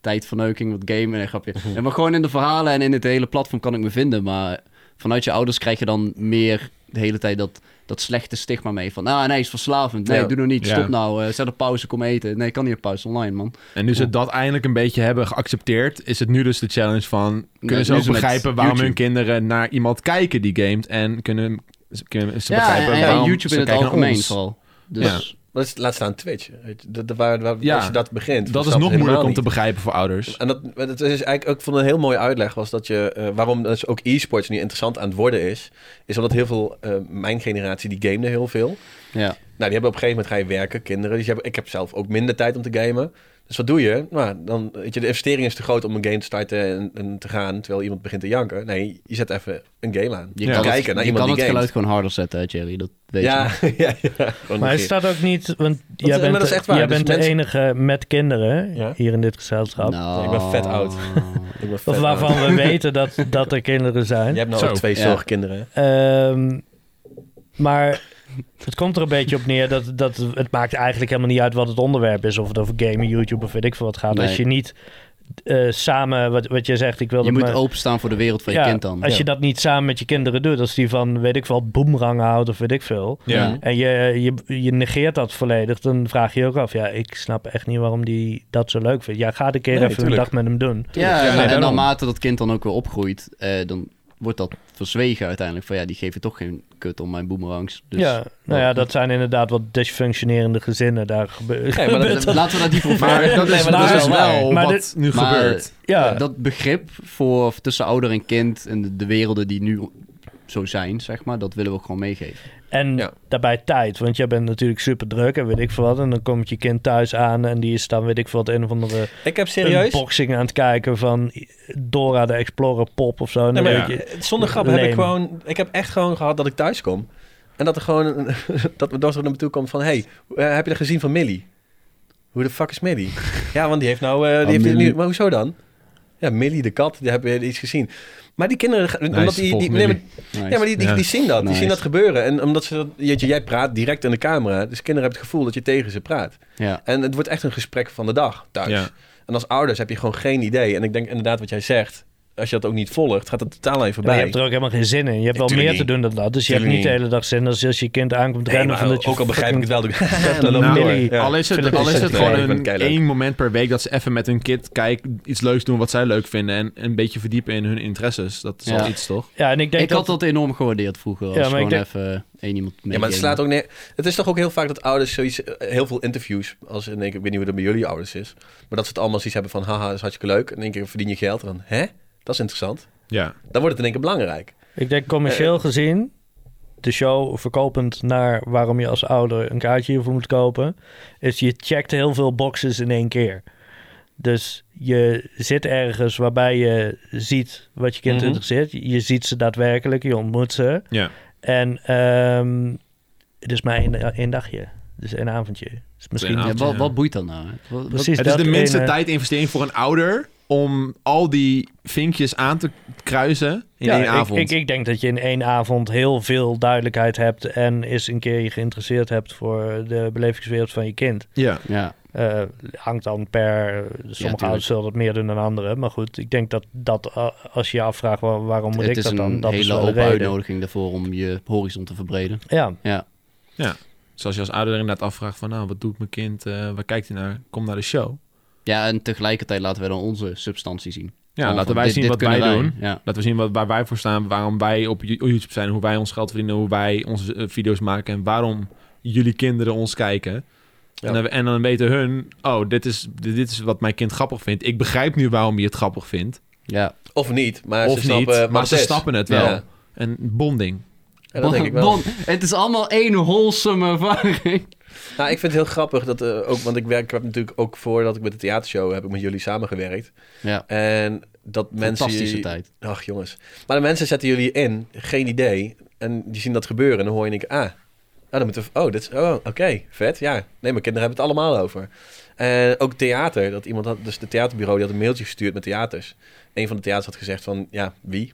[SPEAKER 2] tijdverneuking, wat gamen en grapje. Ja, maar gewoon in de verhalen en in het hele platform kan ik me vinden. Maar vanuit je ouders krijg je dan meer de hele tijd dat, dat slechte stigma mee. Van, ah nee, is verslavend. Nee,
[SPEAKER 3] Ja.
[SPEAKER 2] doe nog niet.
[SPEAKER 1] Ja.
[SPEAKER 2] Stop nou. eh, zet op pauze, kom eten. Nee, kan niet op pauze online, man.
[SPEAKER 1] En nu ze dat eindelijk een beetje hebben geaccepteerd, is het nu dus de challenge van... Kunnen
[SPEAKER 2] Nee,
[SPEAKER 1] ze
[SPEAKER 2] nu
[SPEAKER 1] ook
[SPEAKER 2] is het
[SPEAKER 1] begrijpen waarom hun
[SPEAKER 2] YouTube.
[SPEAKER 1] kinderen naar iemand kijken die gamet en kunnen, kunnen ze
[SPEAKER 2] ja,
[SPEAKER 1] begrijpen
[SPEAKER 2] en, en
[SPEAKER 1] waarom
[SPEAKER 2] YouTube
[SPEAKER 1] ze
[SPEAKER 2] in het
[SPEAKER 1] kijken naar
[SPEAKER 2] algemeen
[SPEAKER 1] ons.
[SPEAKER 2] vooral. Dus
[SPEAKER 3] Dat is, laat staan Twitch. Weet je, Dat, dat- waar, waar,
[SPEAKER 1] Ja.
[SPEAKER 3] als je dat begint.
[SPEAKER 1] Dat is
[SPEAKER 3] snap je
[SPEAKER 1] nog
[SPEAKER 3] helemaal
[SPEAKER 1] moeilijk om
[SPEAKER 3] niet.
[SPEAKER 1] te begrijpen voor ouders.
[SPEAKER 3] En dat, dat is eigenlijk ook van een heel mooie uitleg was dat je, eh, waarom dus ook e-sports nu interessant aan het worden is, is omdat heel veel, eh, mijn generatie, die gamede heel veel.
[SPEAKER 2] Ja.
[SPEAKER 3] Nou, die hebben op een gegeven moment ga je werken, kinderen. Dus je hebt, ik heb zelf ook minder tijd om te gamen. Dus wat doe je? Nou, dan, weet je, de investering is te groot om een game te starten en, en te gaan, terwijl iemand begint te janken. Nee, je zet even een game aan.
[SPEAKER 2] Je
[SPEAKER 1] Ja.
[SPEAKER 2] kan
[SPEAKER 3] Kijken
[SPEAKER 2] het,
[SPEAKER 3] naar
[SPEAKER 2] je
[SPEAKER 3] iemand
[SPEAKER 2] kan
[SPEAKER 3] die
[SPEAKER 2] het geluid
[SPEAKER 3] gamet.
[SPEAKER 2] gewoon harder zetten, hè, Jerry. Dat weet
[SPEAKER 3] Ja,
[SPEAKER 2] je.
[SPEAKER 3] ja, ja. Gewoon
[SPEAKER 4] Maar hij
[SPEAKER 3] negeren.
[SPEAKER 4] staat ook niet, want jij
[SPEAKER 3] maar
[SPEAKER 4] bent,
[SPEAKER 3] dat is
[SPEAKER 4] de-
[SPEAKER 3] echt waar.
[SPEAKER 4] jij
[SPEAKER 3] Dus
[SPEAKER 4] bent de
[SPEAKER 3] mensen-
[SPEAKER 4] enige met kinderen
[SPEAKER 3] Ja.
[SPEAKER 4] hier in dit gezelschap.
[SPEAKER 2] Nou.
[SPEAKER 3] Ik ben vet oud. Ik ben
[SPEAKER 4] Of
[SPEAKER 3] vet,
[SPEAKER 4] waarvan
[SPEAKER 3] man.
[SPEAKER 4] we weten dat, dat er kinderen zijn.
[SPEAKER 3] Je hebt nou
[SPEAKER 1] Zo,
[SPEAKER 3] ook twee
[SPEAKER 2] ja.
[SPEAKER 3] zorgkinderen. hè?
[SPEAKER 4] Ehm, maar het komt er een beetje op neer dat, dat het maakt eigenlijk helemaal niet uit wat het onderwerp is. Of het over gamen, YouTube of weet ik veel wat gaat.
[SPEAKER 2] Nee.
[SPEAKER 4] Als je niet eh, samen, wat, wat jij zegt, ik wil
[SPEAKER 2] Je
[SPEAKER 4] dat
[SPEAKER 2] moet
[SPEAKER 4] mijn-
[SPEAKER 2] openstaan voor de wereld van
[SPEAKER 4] Ja,
[SPEAKER 2] je kind dan.
[SPEAKER 4] Als
[SPEAKER 2] Ja.
[SPEAKER 4] je dat niet samen met je kinderen doet, als die van weet ik veel, boemrang houdt of weet ik veel.
[SPEAKER 1] Ja.
[SPEAKER 2] Ja.
[SPEAKER 4] En je, je, je negeert dat volledig, dan vraag je je ook af. Ja, ik snap echt niet waarom die dat zo leuk vindt. Ja, ga de keer
[SPEAKER 3] Nee,
[SPEAKER 4] even
[SPEAKER 3] tuurlijk.
[SPEAKER 4] een dag met hem doen.
[SPEAKER 2] Ja,
[SPEAKER 1] Ja,
[SPEAKER 2] en-
[SPEAKER 1] nee,
[SPEAKER 2] en
[SPEAKER 1] daarom.
[SPEAKER 2] naarmate dat kind dan ook weer opgroeit, eh, dan wordt dat verzwegen uiteindelijk. Van ja, die geven toch geen kut om mijn boomerangs. Dus
[SPEAKER 4] ja, nou ja, dat zijn inderdaad wat dysfunctionerende gezinnen. Daar gebeurt
[SPEAKER 3] Nee, maar dat-
[SPEAKER 2] dat- laten we dat niet
[SPEAKER 1] Maar
[SPEAKER 2] proberen.
[SPEAKER 1] dat is,
[SPEAKER 3] maar
[SPEAKER 1] dat
[SPEAKER 4] dat
[SPEAKER 1] is
[SPEAKER 4] is
[SPEAKER 1] wel
[SPEAKER 4] waar. Maar
[SPEAKER 1] wat
[SPEAKER 4] dit-
[SPEAKER 1] nu
[SPEAKER 2] Maar-
[SPEAKER 1] gebeurt.
[SPEAKER 4] ja,
[SPEAKER 2] Eh, Dat begrip voor tussen ouder en kind en de, de werelden die nu zo zijn, zeg maar, dat willen we ook gewoon meegeven.
[SPEAKER 4] En
[SPEAKER 3] Ja.
[SPEAKER 4] daarbij tijd, want jij bent natuurlijk super druk en weet ik veel wat. En dan komt je kind thuis aan en die is dan, weet ik veel wat, een of andere
[SPEAKER 3] Ik heb serieus...
[SPEAKER 4] unboxing aan het kijken van Dora de Explorer pop of zo. En
[SPEAKER 3] Nee,
[SPEAKER 4] dan
[SPEAKER 3] maar
[SPEAKER 4] weet je,
[SPEAKER 3] eh, zonder grap heb ik
[SPEAKER 4] Lame.
[SPEAKER 3] gewoon... Ik heb echt gewoon gehad dat ik thuis kom. En dat er gewoon... een- dat mijn dochter naar me toe komt van... Hey, eh, heb je er gezien van Millie? Hoe de fuck is Millie? ja, want die heeft nou... eh, die heeft
[SPEAKER 2] Millie.
[SPEAKER 3] nu, maar hoezo dan? Ja, Millie de kat. Die hebben iets gezien. Maar die kinderen... gaan- omdat die,
[SPEAKER 1] volgt
[SPEAKER 3] die, nee, maar,
[SPEAKER 1] Millie.
[SPEAKER 2] Nice.
[SPEAKER 3] ja, maar die, die,
[SPEAKER 1] Ja.
[SPEAKER 3] die zien dat. Die
[SPEAKER 2] Nice.
[SPEAKER 3] zien dat gebeuren. En omdat ze dat... jeetje, jij praat direct in de camera. Dus kinderen hebben het gevoel dat je tegen ze praat.
[SPEAKER 2] Ja.
[SPEAKER 3] En het wordt echt een gesprek van de dag thuis.
[SPEAKER 1] Ja.
[SPEAKER 3] En als ouders heb je gewoon geen idee. En ik denk inderdaad wat jij zegt. Als je dat ook niet volgt, gaat het totaal aan je
[SPEAKER 4] maar
[SPEAKER 3] voorbij.
[SPEAKER 4] je hebt er ook helemaal geen zin in. Je hebt wel
[SPEAKER 3] Tuurlijk
[SPEAKER 4] meer
[SPEAKER 3] niet.
[SPEAKER 4] te doen dan dat. Dus je hebt
[SPEAKER 3] Tuurlijk
[SPEAKER 4] niet
[SPEAKER 3] niet.
[SPEAKER 4] de hele dag zin als, als je kind aankomt
[SPEAKER 3] Nee,
[SPEAKER 4] rennen.
[SPEAKER 3] maar
[SPEAKER 4] van dat je
[SPEAKER 3] ook al begrijp ik het wel.
[SPEAKER 4] fucking
[SPEAKER 3] dan loop ik door.
[SPEAKER 4] Millie-
[SPEAKER 3] Ja.
[SPEAKER 1] Nou, eh, Al is het,
[SPEAKER 4] Philip
[SPEAKER 1] al
[SPEAKER 4] is
[SPEAKER 1] is het
[SPEAKER 4] het
[SPEAKER 1] gewoon
[SPEAKER 4] leuk,
[SPEAKER 3] ik vind
[SPEAKER 1] een,
[SPEAKER 3] het keileuk.
[SPEAKER 1] één moment per week dat ze even met hun kind kijk, iets leuks doen wat zij leuk vinden. En een beetje verdiepen in hun interesses. Dat is al
[SPEAKER 2] Ja.
[SPEAKER 1] iets, toch?
[SPEAKER 4] Ja, en ik denk
[SPEAKER 2] Ik
[SPEAKER 4] dat...
[SPEAKER 2] had dat enorm gewaardeerd vroeger, als
[SPEAKER 4] Ja, maar ik
[SPEAKER 2] gewoon even één iemand mee
[SPEAKER 3] Ja, maar het slaat ook neer. Het is toch ook heel vaak dat ouders zoiets... eh, Heel veel interviews, als in één keer, ik weet niet hoe dat bij jullie ouders is... maar dat ze het allemaal zoiets hebben van... haha, dat is hartstikke leuk. En in één keer verdien je geld. En dan, hè? Dat is interessant.
[SPEAKER 1] Ja.
[SPEAKER 3] Dan wordt het in één keer belangrijk.
[SPEAKER 4] Ik denk
[SPEAKER 2] Eh,
[SPEAKER 4] commercieel gezien, de show verkopend naar waarom je als ouder een kaartje hiervoor moet kopen, is je checkt heel veel boxes in één keer. Dus je zit ergens waarbij je ziet wat je kind
[SPEAKER 3] Mhm.
[SPEAKER 4] interesseert. Je ziet ze daadwerkelijk, je ontmoet ze.
[SPEAKER 1] Ja.
[SPEAKER 4] En ehm, het is maar één, eh, één dagje. Dus één avondje. Dus misschien
[SPEAKER 1] avond.
[SPEAKER 2] Ja, wat,
[SPEAKER 1] Ja.
[SPEAKER 2] wat boeit dat nou? hè? Wat- wat-
[SPEAKER 4] precies
[SPEAKER 1] het is de
[SPEAKER 4] dat eh,
[SPEAKER 1] minste
[SPEAKER 4] ene-
[SPEAKER 1] tijdinvestering voor een ouder om al die vinkjes aan te kruisen in
[SPEAKER 4] Ja,
[SPEAKER 1] één
[SPEAKER 4] ik-
[SPEAKER 1] avond.
[SPEAKER 4] Ik, ik, denk dat je in één avond heel veel duidelijkheid hebt en eens een keer je geïnteresseerd hebt voor de belevingswereld van je kind.
[SPEAKER 1] ja.
[SPEAKER 2] Ja,
[SPEAKER 4] Eh, hangt dan per. Sommige
[SPEAKER 2] tuurlijk.
[SPEAKER 4] ouders zullen dat meer doen dan anderen. Maar goed, ik denk dat, dat eh, als je je afvraagt wa- waarom moet
[SPEAKER 2] het
[SPEAKER 4] ik
[SPEAKER 2] is
[SPEAKER 4] dat
[SPEAKER 2] een
[SPEAKER 4] dan, dat is
[SPEAKER 2] hele
[SPEAKER 4] wel de
[SPEAKER 2] open
[SPEAKER 4] reden.
[SPEAKER 2] uitnodiging daarvoor om je horizon te verbreden.
[SPEAKER 4] Ja,
[SPEAKER 2] Ja,
[SPEAKER 1] Zoals je Dus als ouder inderdaad afvraagt van, nou, wat doet mijn kind? eh, waar kijkt hij naar? Kom naar de show.
[SPEAKER 2] ja en tegelijkertijd laten we dan onze substantie zien.
[SPEAKER 1] Ja,
[SPEAKER 2] Gewoon
[SPEAKER 1] laten
[SPEAKER 2] van,
[SPEAKER 1] wij
[SPEAKER 2] dit-
[SPEAKER 1] zien
[SPEAKER 2] dit
[SPEAKER 1] wat wij
[SPEAKER 2] kunnen
[SPEAKER 1] doen.
[SPEAKER 2] Ja.
[SPEAKER 1] Laten we zien wat, waar wij voor staan, waarom wij op Yo- YouTube zijn, hoe wij ons geld verdienen, hoe wij onze eh, video's maken en waarom jullie kinderen ons kijken.
[SPEAKER 3] Ja.
[SPEAKER 1] En, dan, en dan weten hun, oh, dit is, dit, dit is wat mijn kind grappig vindt. Ik begrijp nu waarom je het grappig vindt.
[SPEAKER 2] Ja.
[SPEAKER 3] Of niet, maar
[SPEAKER 1] of
[SPEAKER 3] ze
[SPEAKER 1] niet,
[SPEAKER 3] snappen wat
[SPEAKER 1] maar
[SPEAKER 3] het
[SPEAKER 1] ze
[SPEAKER 3] is.
[SPEAKER 1] snappen eh, het wel.
[SPEAKER 3] Ja.
[SPEAKER 1] En bonding.
[SPEAKER 3] En dat denk ik wel.
[SPEAKER 2] Bon, het is allemaal één wholesome ervaring.
[SPEAKER 3] Nou, ik vind het heel grappig dat eh, ook, want ik werk, ik heb natuurlijk ook voordat ik met de theatershow heb ik met jullie samengewerkt.
[SPEAKER 2] Ja,
[SPEAKER 3] En dat mensen.
[SPEAKER 2] fantastische tijd.
[SPEAKER 3] Ach jongens. Maar de mensen zetten jullie in, geen idee. En die zien dat gebeuren. En dan hoor je denk ik, ah, nou, dan moeten we. Oh, dat is. Oh, oké, vet. Ja. Nee, mijn kinderen hebben het allemaal over. En ook theater. Dat iemand had, dus het theaterbureau die had een mailtje gestuurd met theaters. Een van de theaters had gezegd van ja, wie?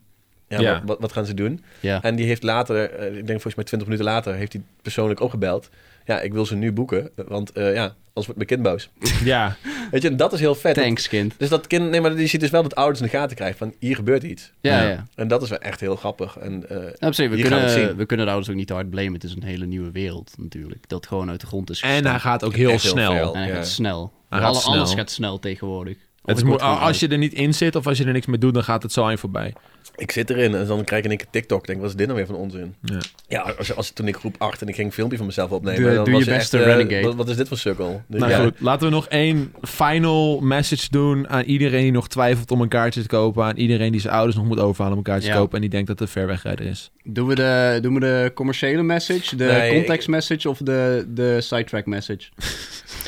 [SPEAKER 3] Ja,
[SPEAKER 1] Ja.
[SPEAKER 3] Wat, wat, wat gaan ze doen?
[SPEAKER 2] Ja.
[SPEAKER 3] En die heeft later, eh, ik denk volgens mij 20 minuten later, heeft hij persoonlijk opgebeld. Ja, ik wil ze nu boeken, want eh, ja, anders wordt mijn kind boos.
[SPEAKER 1] Ja,
[SPEAKER 3] Weet je, en dat is heel vet.
[SPEAKER 2] Thanks, kind.
[SPEAKER 3] Dus dat kind, nee, maar je ziet dus wel dat ouders in de gaten krijgen van hier gebeurt iets.
[SPEAKER 2] Ja,
[SPEAKER 1] Ja.
[SPEAKER 2] ja.
[SPEAKER 3] En dat is wel echt heel grappig. En, eh,
[SPEAKER 2] Nou, op zich, we,
[SPEAKER 3] Hier gaan we het zien.
[SPEAKER 2] kunnen, we kunnen de ouders ook niet te hard blamen. Het is een hele nieuwe wereld natuurlijk. Dat gewoon uit de grond is
[SPEAKER 1] en hij
[SPEAKER 2] gestampt.
[SPEAKER 1] gaat ook heel
[SPEAKER 3] Echt heel
[SPEAKER 1] snel.
[SPEAKER 3] veel.
[SPEAKER 2] En hij
[SPEAKER 3] Ja.
[SPEAKER 2] gaat snel.
[SPEAKER 1] Hij gaat
[SPEAKER 2] Alle,
[SPEAKER 1] snel.
[SPEAKER 2] Alles gaat snel tegenwoordig.
[SPEAKER 1] Het is
[SPEAKER 2] ik
[SPEAKER 1] moe-
[SPEAKER 2] word gewoon
[SPEAKER 1] als je er niet in zit of als je er niks mee doet, dan gaat het zo aan je voorbij.
[SPEAKER 3] Ik zit erin en dan krijg ik een TikTok. Denk, wat is dit nou weer van onzin?
[SPEAKER 1] Ja.
[SPEAKER 3] Ja, als, als, toen ik groep 8 en ik ging een filmpje van mezelf opnemen.
[SPEAKER 2] Doe-
[SPEAKER 3] dan
[SPEAKER 2] doe
[SPEAKER 3] was
[SPEAKER 2] je
[SPEAKER 3] er
[SPEAKER 2] best
[SPEAKER 3] echt,
[SPEAKER 2] een
[SPEAKER 3] eh,
[SPEAKER 2] renegade.
[SPEAKER 3] Wat, wat is dit voor sukkel? Dus
[SPEAKER 1] Nou
[SPEAKER 3] ja.
[SPEAKER 1] goed, laten we nog één final message doen aan iedereen die nog twijfelt om een kaartje te kopen. Aan iedereen die zijn ouders nog moet overhalen om een kaartje
[SPEAKER 2] Ja.
[SPEAKER 1] te kopen en die denkt dat het een verwegrijder is.
[SPEAKER 2] Doen we de, doen we de commerciële message, de
[SPEAKER 3] Nee,
[SPEAKER 2] context message of de, de sidetrack message?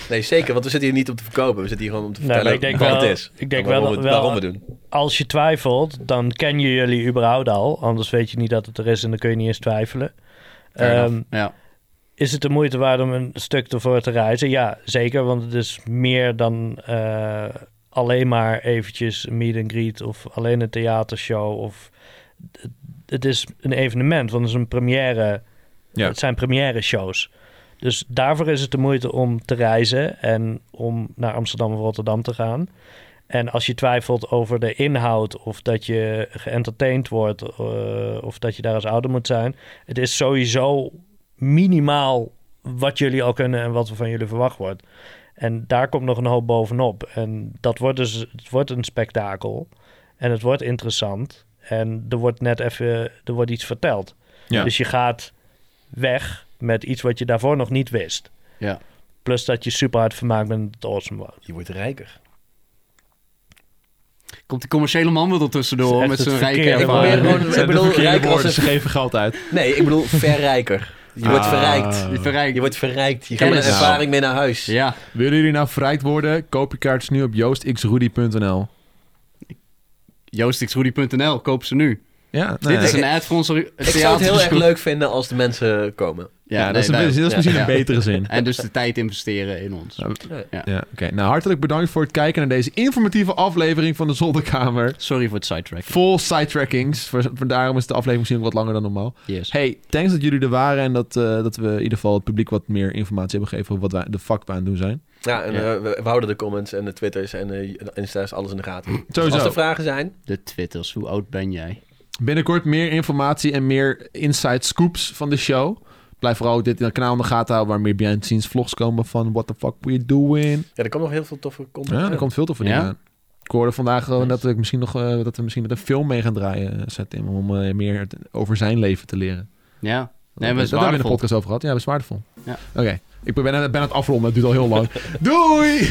[SPEAKER 3] Nee, zeker, want we zitten hier niet om te verkopen. We zitten hier gewoon om te
[SPEAKER 4] Nee, maar
[SPEAKER 3] vertellen
[SPEAKER 4] ik denk
[SPEAKER 3] wat
[SPEAKER 4] wel-
[SPEAKER 3] het is.
[SPEAKER 4] ik denk
[SPEAKER 3] En waarom
[SPEAKER 4] wel-
[SPEAKER 3] we,
[SPEAKER 4] wel-
[SPEAKER 3] waarom we doen.
[SPEAKER 4] Als je twijfelt, dan ken je jullie überhaupt al. Anders weet je niet dat het er is en dan kun je niet eens twijfelen.
[SPEAKER 2] Fair
[SPEAKER 4] Ehm,
[SPEAKER 2] enough. ja.
[SPEAKER 4] is het de moeite waard om een stuk ervoor te reizen? Ja, zeker, want het is meer dan eh, alleen maar eventjes een meet and greet of alleen een theatershow. Of, het, het is een evenement, want het, is een première,
[SPEAKER 1] Ja.
[SPEAKER 4] het zijn première shows. Dus daarvoor is het de moeite om te reizen en om naar Amsterdam of Rotterdam te gaan. En als je twijfelt over de inhoud of dat je geëntertaind wordt eh, of dat je daar als ouder moet zijn, het is sowieso minimaal wat jullie al kunnen en wat er van jullie verwacht wordt. En daar komt nog een hoop bovenop. En dat wordt dus het wordt een spektakel. En het wordt interessant. En er wordt net even er wordt iets verteld.
[SPEAKER 1] Ja.
[SPEAKER 4] Dus je gaat weg met iets wat je daarvoor nog niet wist.
[SPEAKER 2] Ja.
[SPEAKER 4] Plus dat je super hard vermaakt bent dat het awesome was.
[SPEAKER 3] Je wordt rijker.
[SPEAKER 2] Komt die commerciële man weer
[SPEAKER 4] Het is
[SPEAKER 2] tussendoor
[SPEAKER 4] echt
[SPEAKER 2] met
[SPEAKER 4] het
[SPEAKER 2] zijn rijke
[SPEAKER 4] verkeerde
[SPEAKER 3] probeer
[SPEAKER 2] ervaring.
[SPEAKER 3] gewoon-
[SPEAKER 1] Het
[SPEAKER 3] ik
[SPEAKER 1] zijn de
[SPEAKER 3] bedoel,
[SPEAKER 1] verkeerde
[SPEAKER 3] rijker als
[SPEAKER 1] woorden,
[SPEAKER 3] een-
[SPEAKER 1] ze geven geld uit.
[SPEAKER 3] Nee, ik bedoel verrijker. Je wordt
[SPEAKER 1] Ah.
[SPEAKER 3] verrijkt.
[SPEAKER 2] Die verrijkt.
[SPEAKER 3] Je wordt verrijkt. Je gaat met
[SPEAKER 2] Kennis.
[SPEAKER 3] ervaring mee naar huis.
[SPEAKER 2] Ja,
[SPEAKER 1] Willen jullie nou verrijkt worden? Koop je kaartjes nu op joostxrudy.nl.
[SPEAKER 2] joostixrudy.nl, koop ze nu.
[SPEAKER 1] Ja, nou
[SPEAKER 2] Dit
[SPEAKER 1] ja.
[SPEAKER 2] is een ad voor ons
[SPEAKER 3] Ik zou het heel erg leuk vinden als de mensen komen.
[SPEAKER 1] Ja, dat is, een-
[SPEAKER 2] nee,
[SPEAKER 1] dat is
[SPEAKER 2] nee.
[SPEAKER 1] misschien
[SPEAKER 2] Ja.
[SPEAKER 1] een betere zin.
[SPEAKER 2] En dus de tijd investeren in ons.
[SPEAKER 1] Ja, oké. Nou, hartelijk bedankt voor het kijken naar deze informatieve aflevering van de Zolderkamer.
[SPEAKER 2] Sorry voor het sidetrack.
[SPEAKER 1] Vol sidetrackings. Voor- voor- Daarom is de aflevering misschien wat langer dan normaal.
[SPEAKER 2] Yes.
[SPEAKER 1] Hey, thanks dat jullie er waren en dat, eh, dat we in ieder geval het publiek wat meer informatie hebben gegeven over wat wij, de fuck we aan het doen zijn.
[SPEAKER 3] Ja, en
[SPEAKER 2] Ja.
[SPEAKER 3] eh, we, we houden de comments en de twitters en de insta's, alles in de gaten.
[SPEAKER 1] Sowieso.
[SPEAKER 3] Als er vragen zijn,
[SPEAKER 2] De twitters, hoe oud ben jij?
[SPEAKER 1] Binnenkort meer informatie en meer inside scoops van de show. Blijf vooral ook dit in het kanaal in de gaten houden, waar meer behind the scenes vlogs komen van what the fuck we're doing.
[SPEAKER 3] ja, er komt nog heel veel toffe content.
[SPEAKER 1] Ja,
[SPEAKER 3] aan.
[SPEAKER 1] er komt veel te verdienen
[SPEAKER 2] Ja?
[SPEAKER 1] aan. Ik hoorde vandaag gewoon
[SPEAKER 2] Nice.
[SPEAKER 1] dat, ik misschien nog, eh, dat we misschien met een film mee gaan draaien, eh, zei Tim, om eh, meer t- over zijn leven te leren.
[SPEAKER 2] Ja.
[SPEAKER 1] Dat-
[SPEAKER 2] Nee, maar
[SPEAKER 1] dat hebben
[SPEAKER 2] het is
[SPEAKER 1] we in de
[SPEAKER 2] waardevol.
[SPEAKER 1] podcast over gehad. Ja, dat is waardevol.
[SPEAKER 2] Ja.
[SPEAKER 1] Oké, ik ben, ben aan het afronden, het duurt al heel lang. Doei!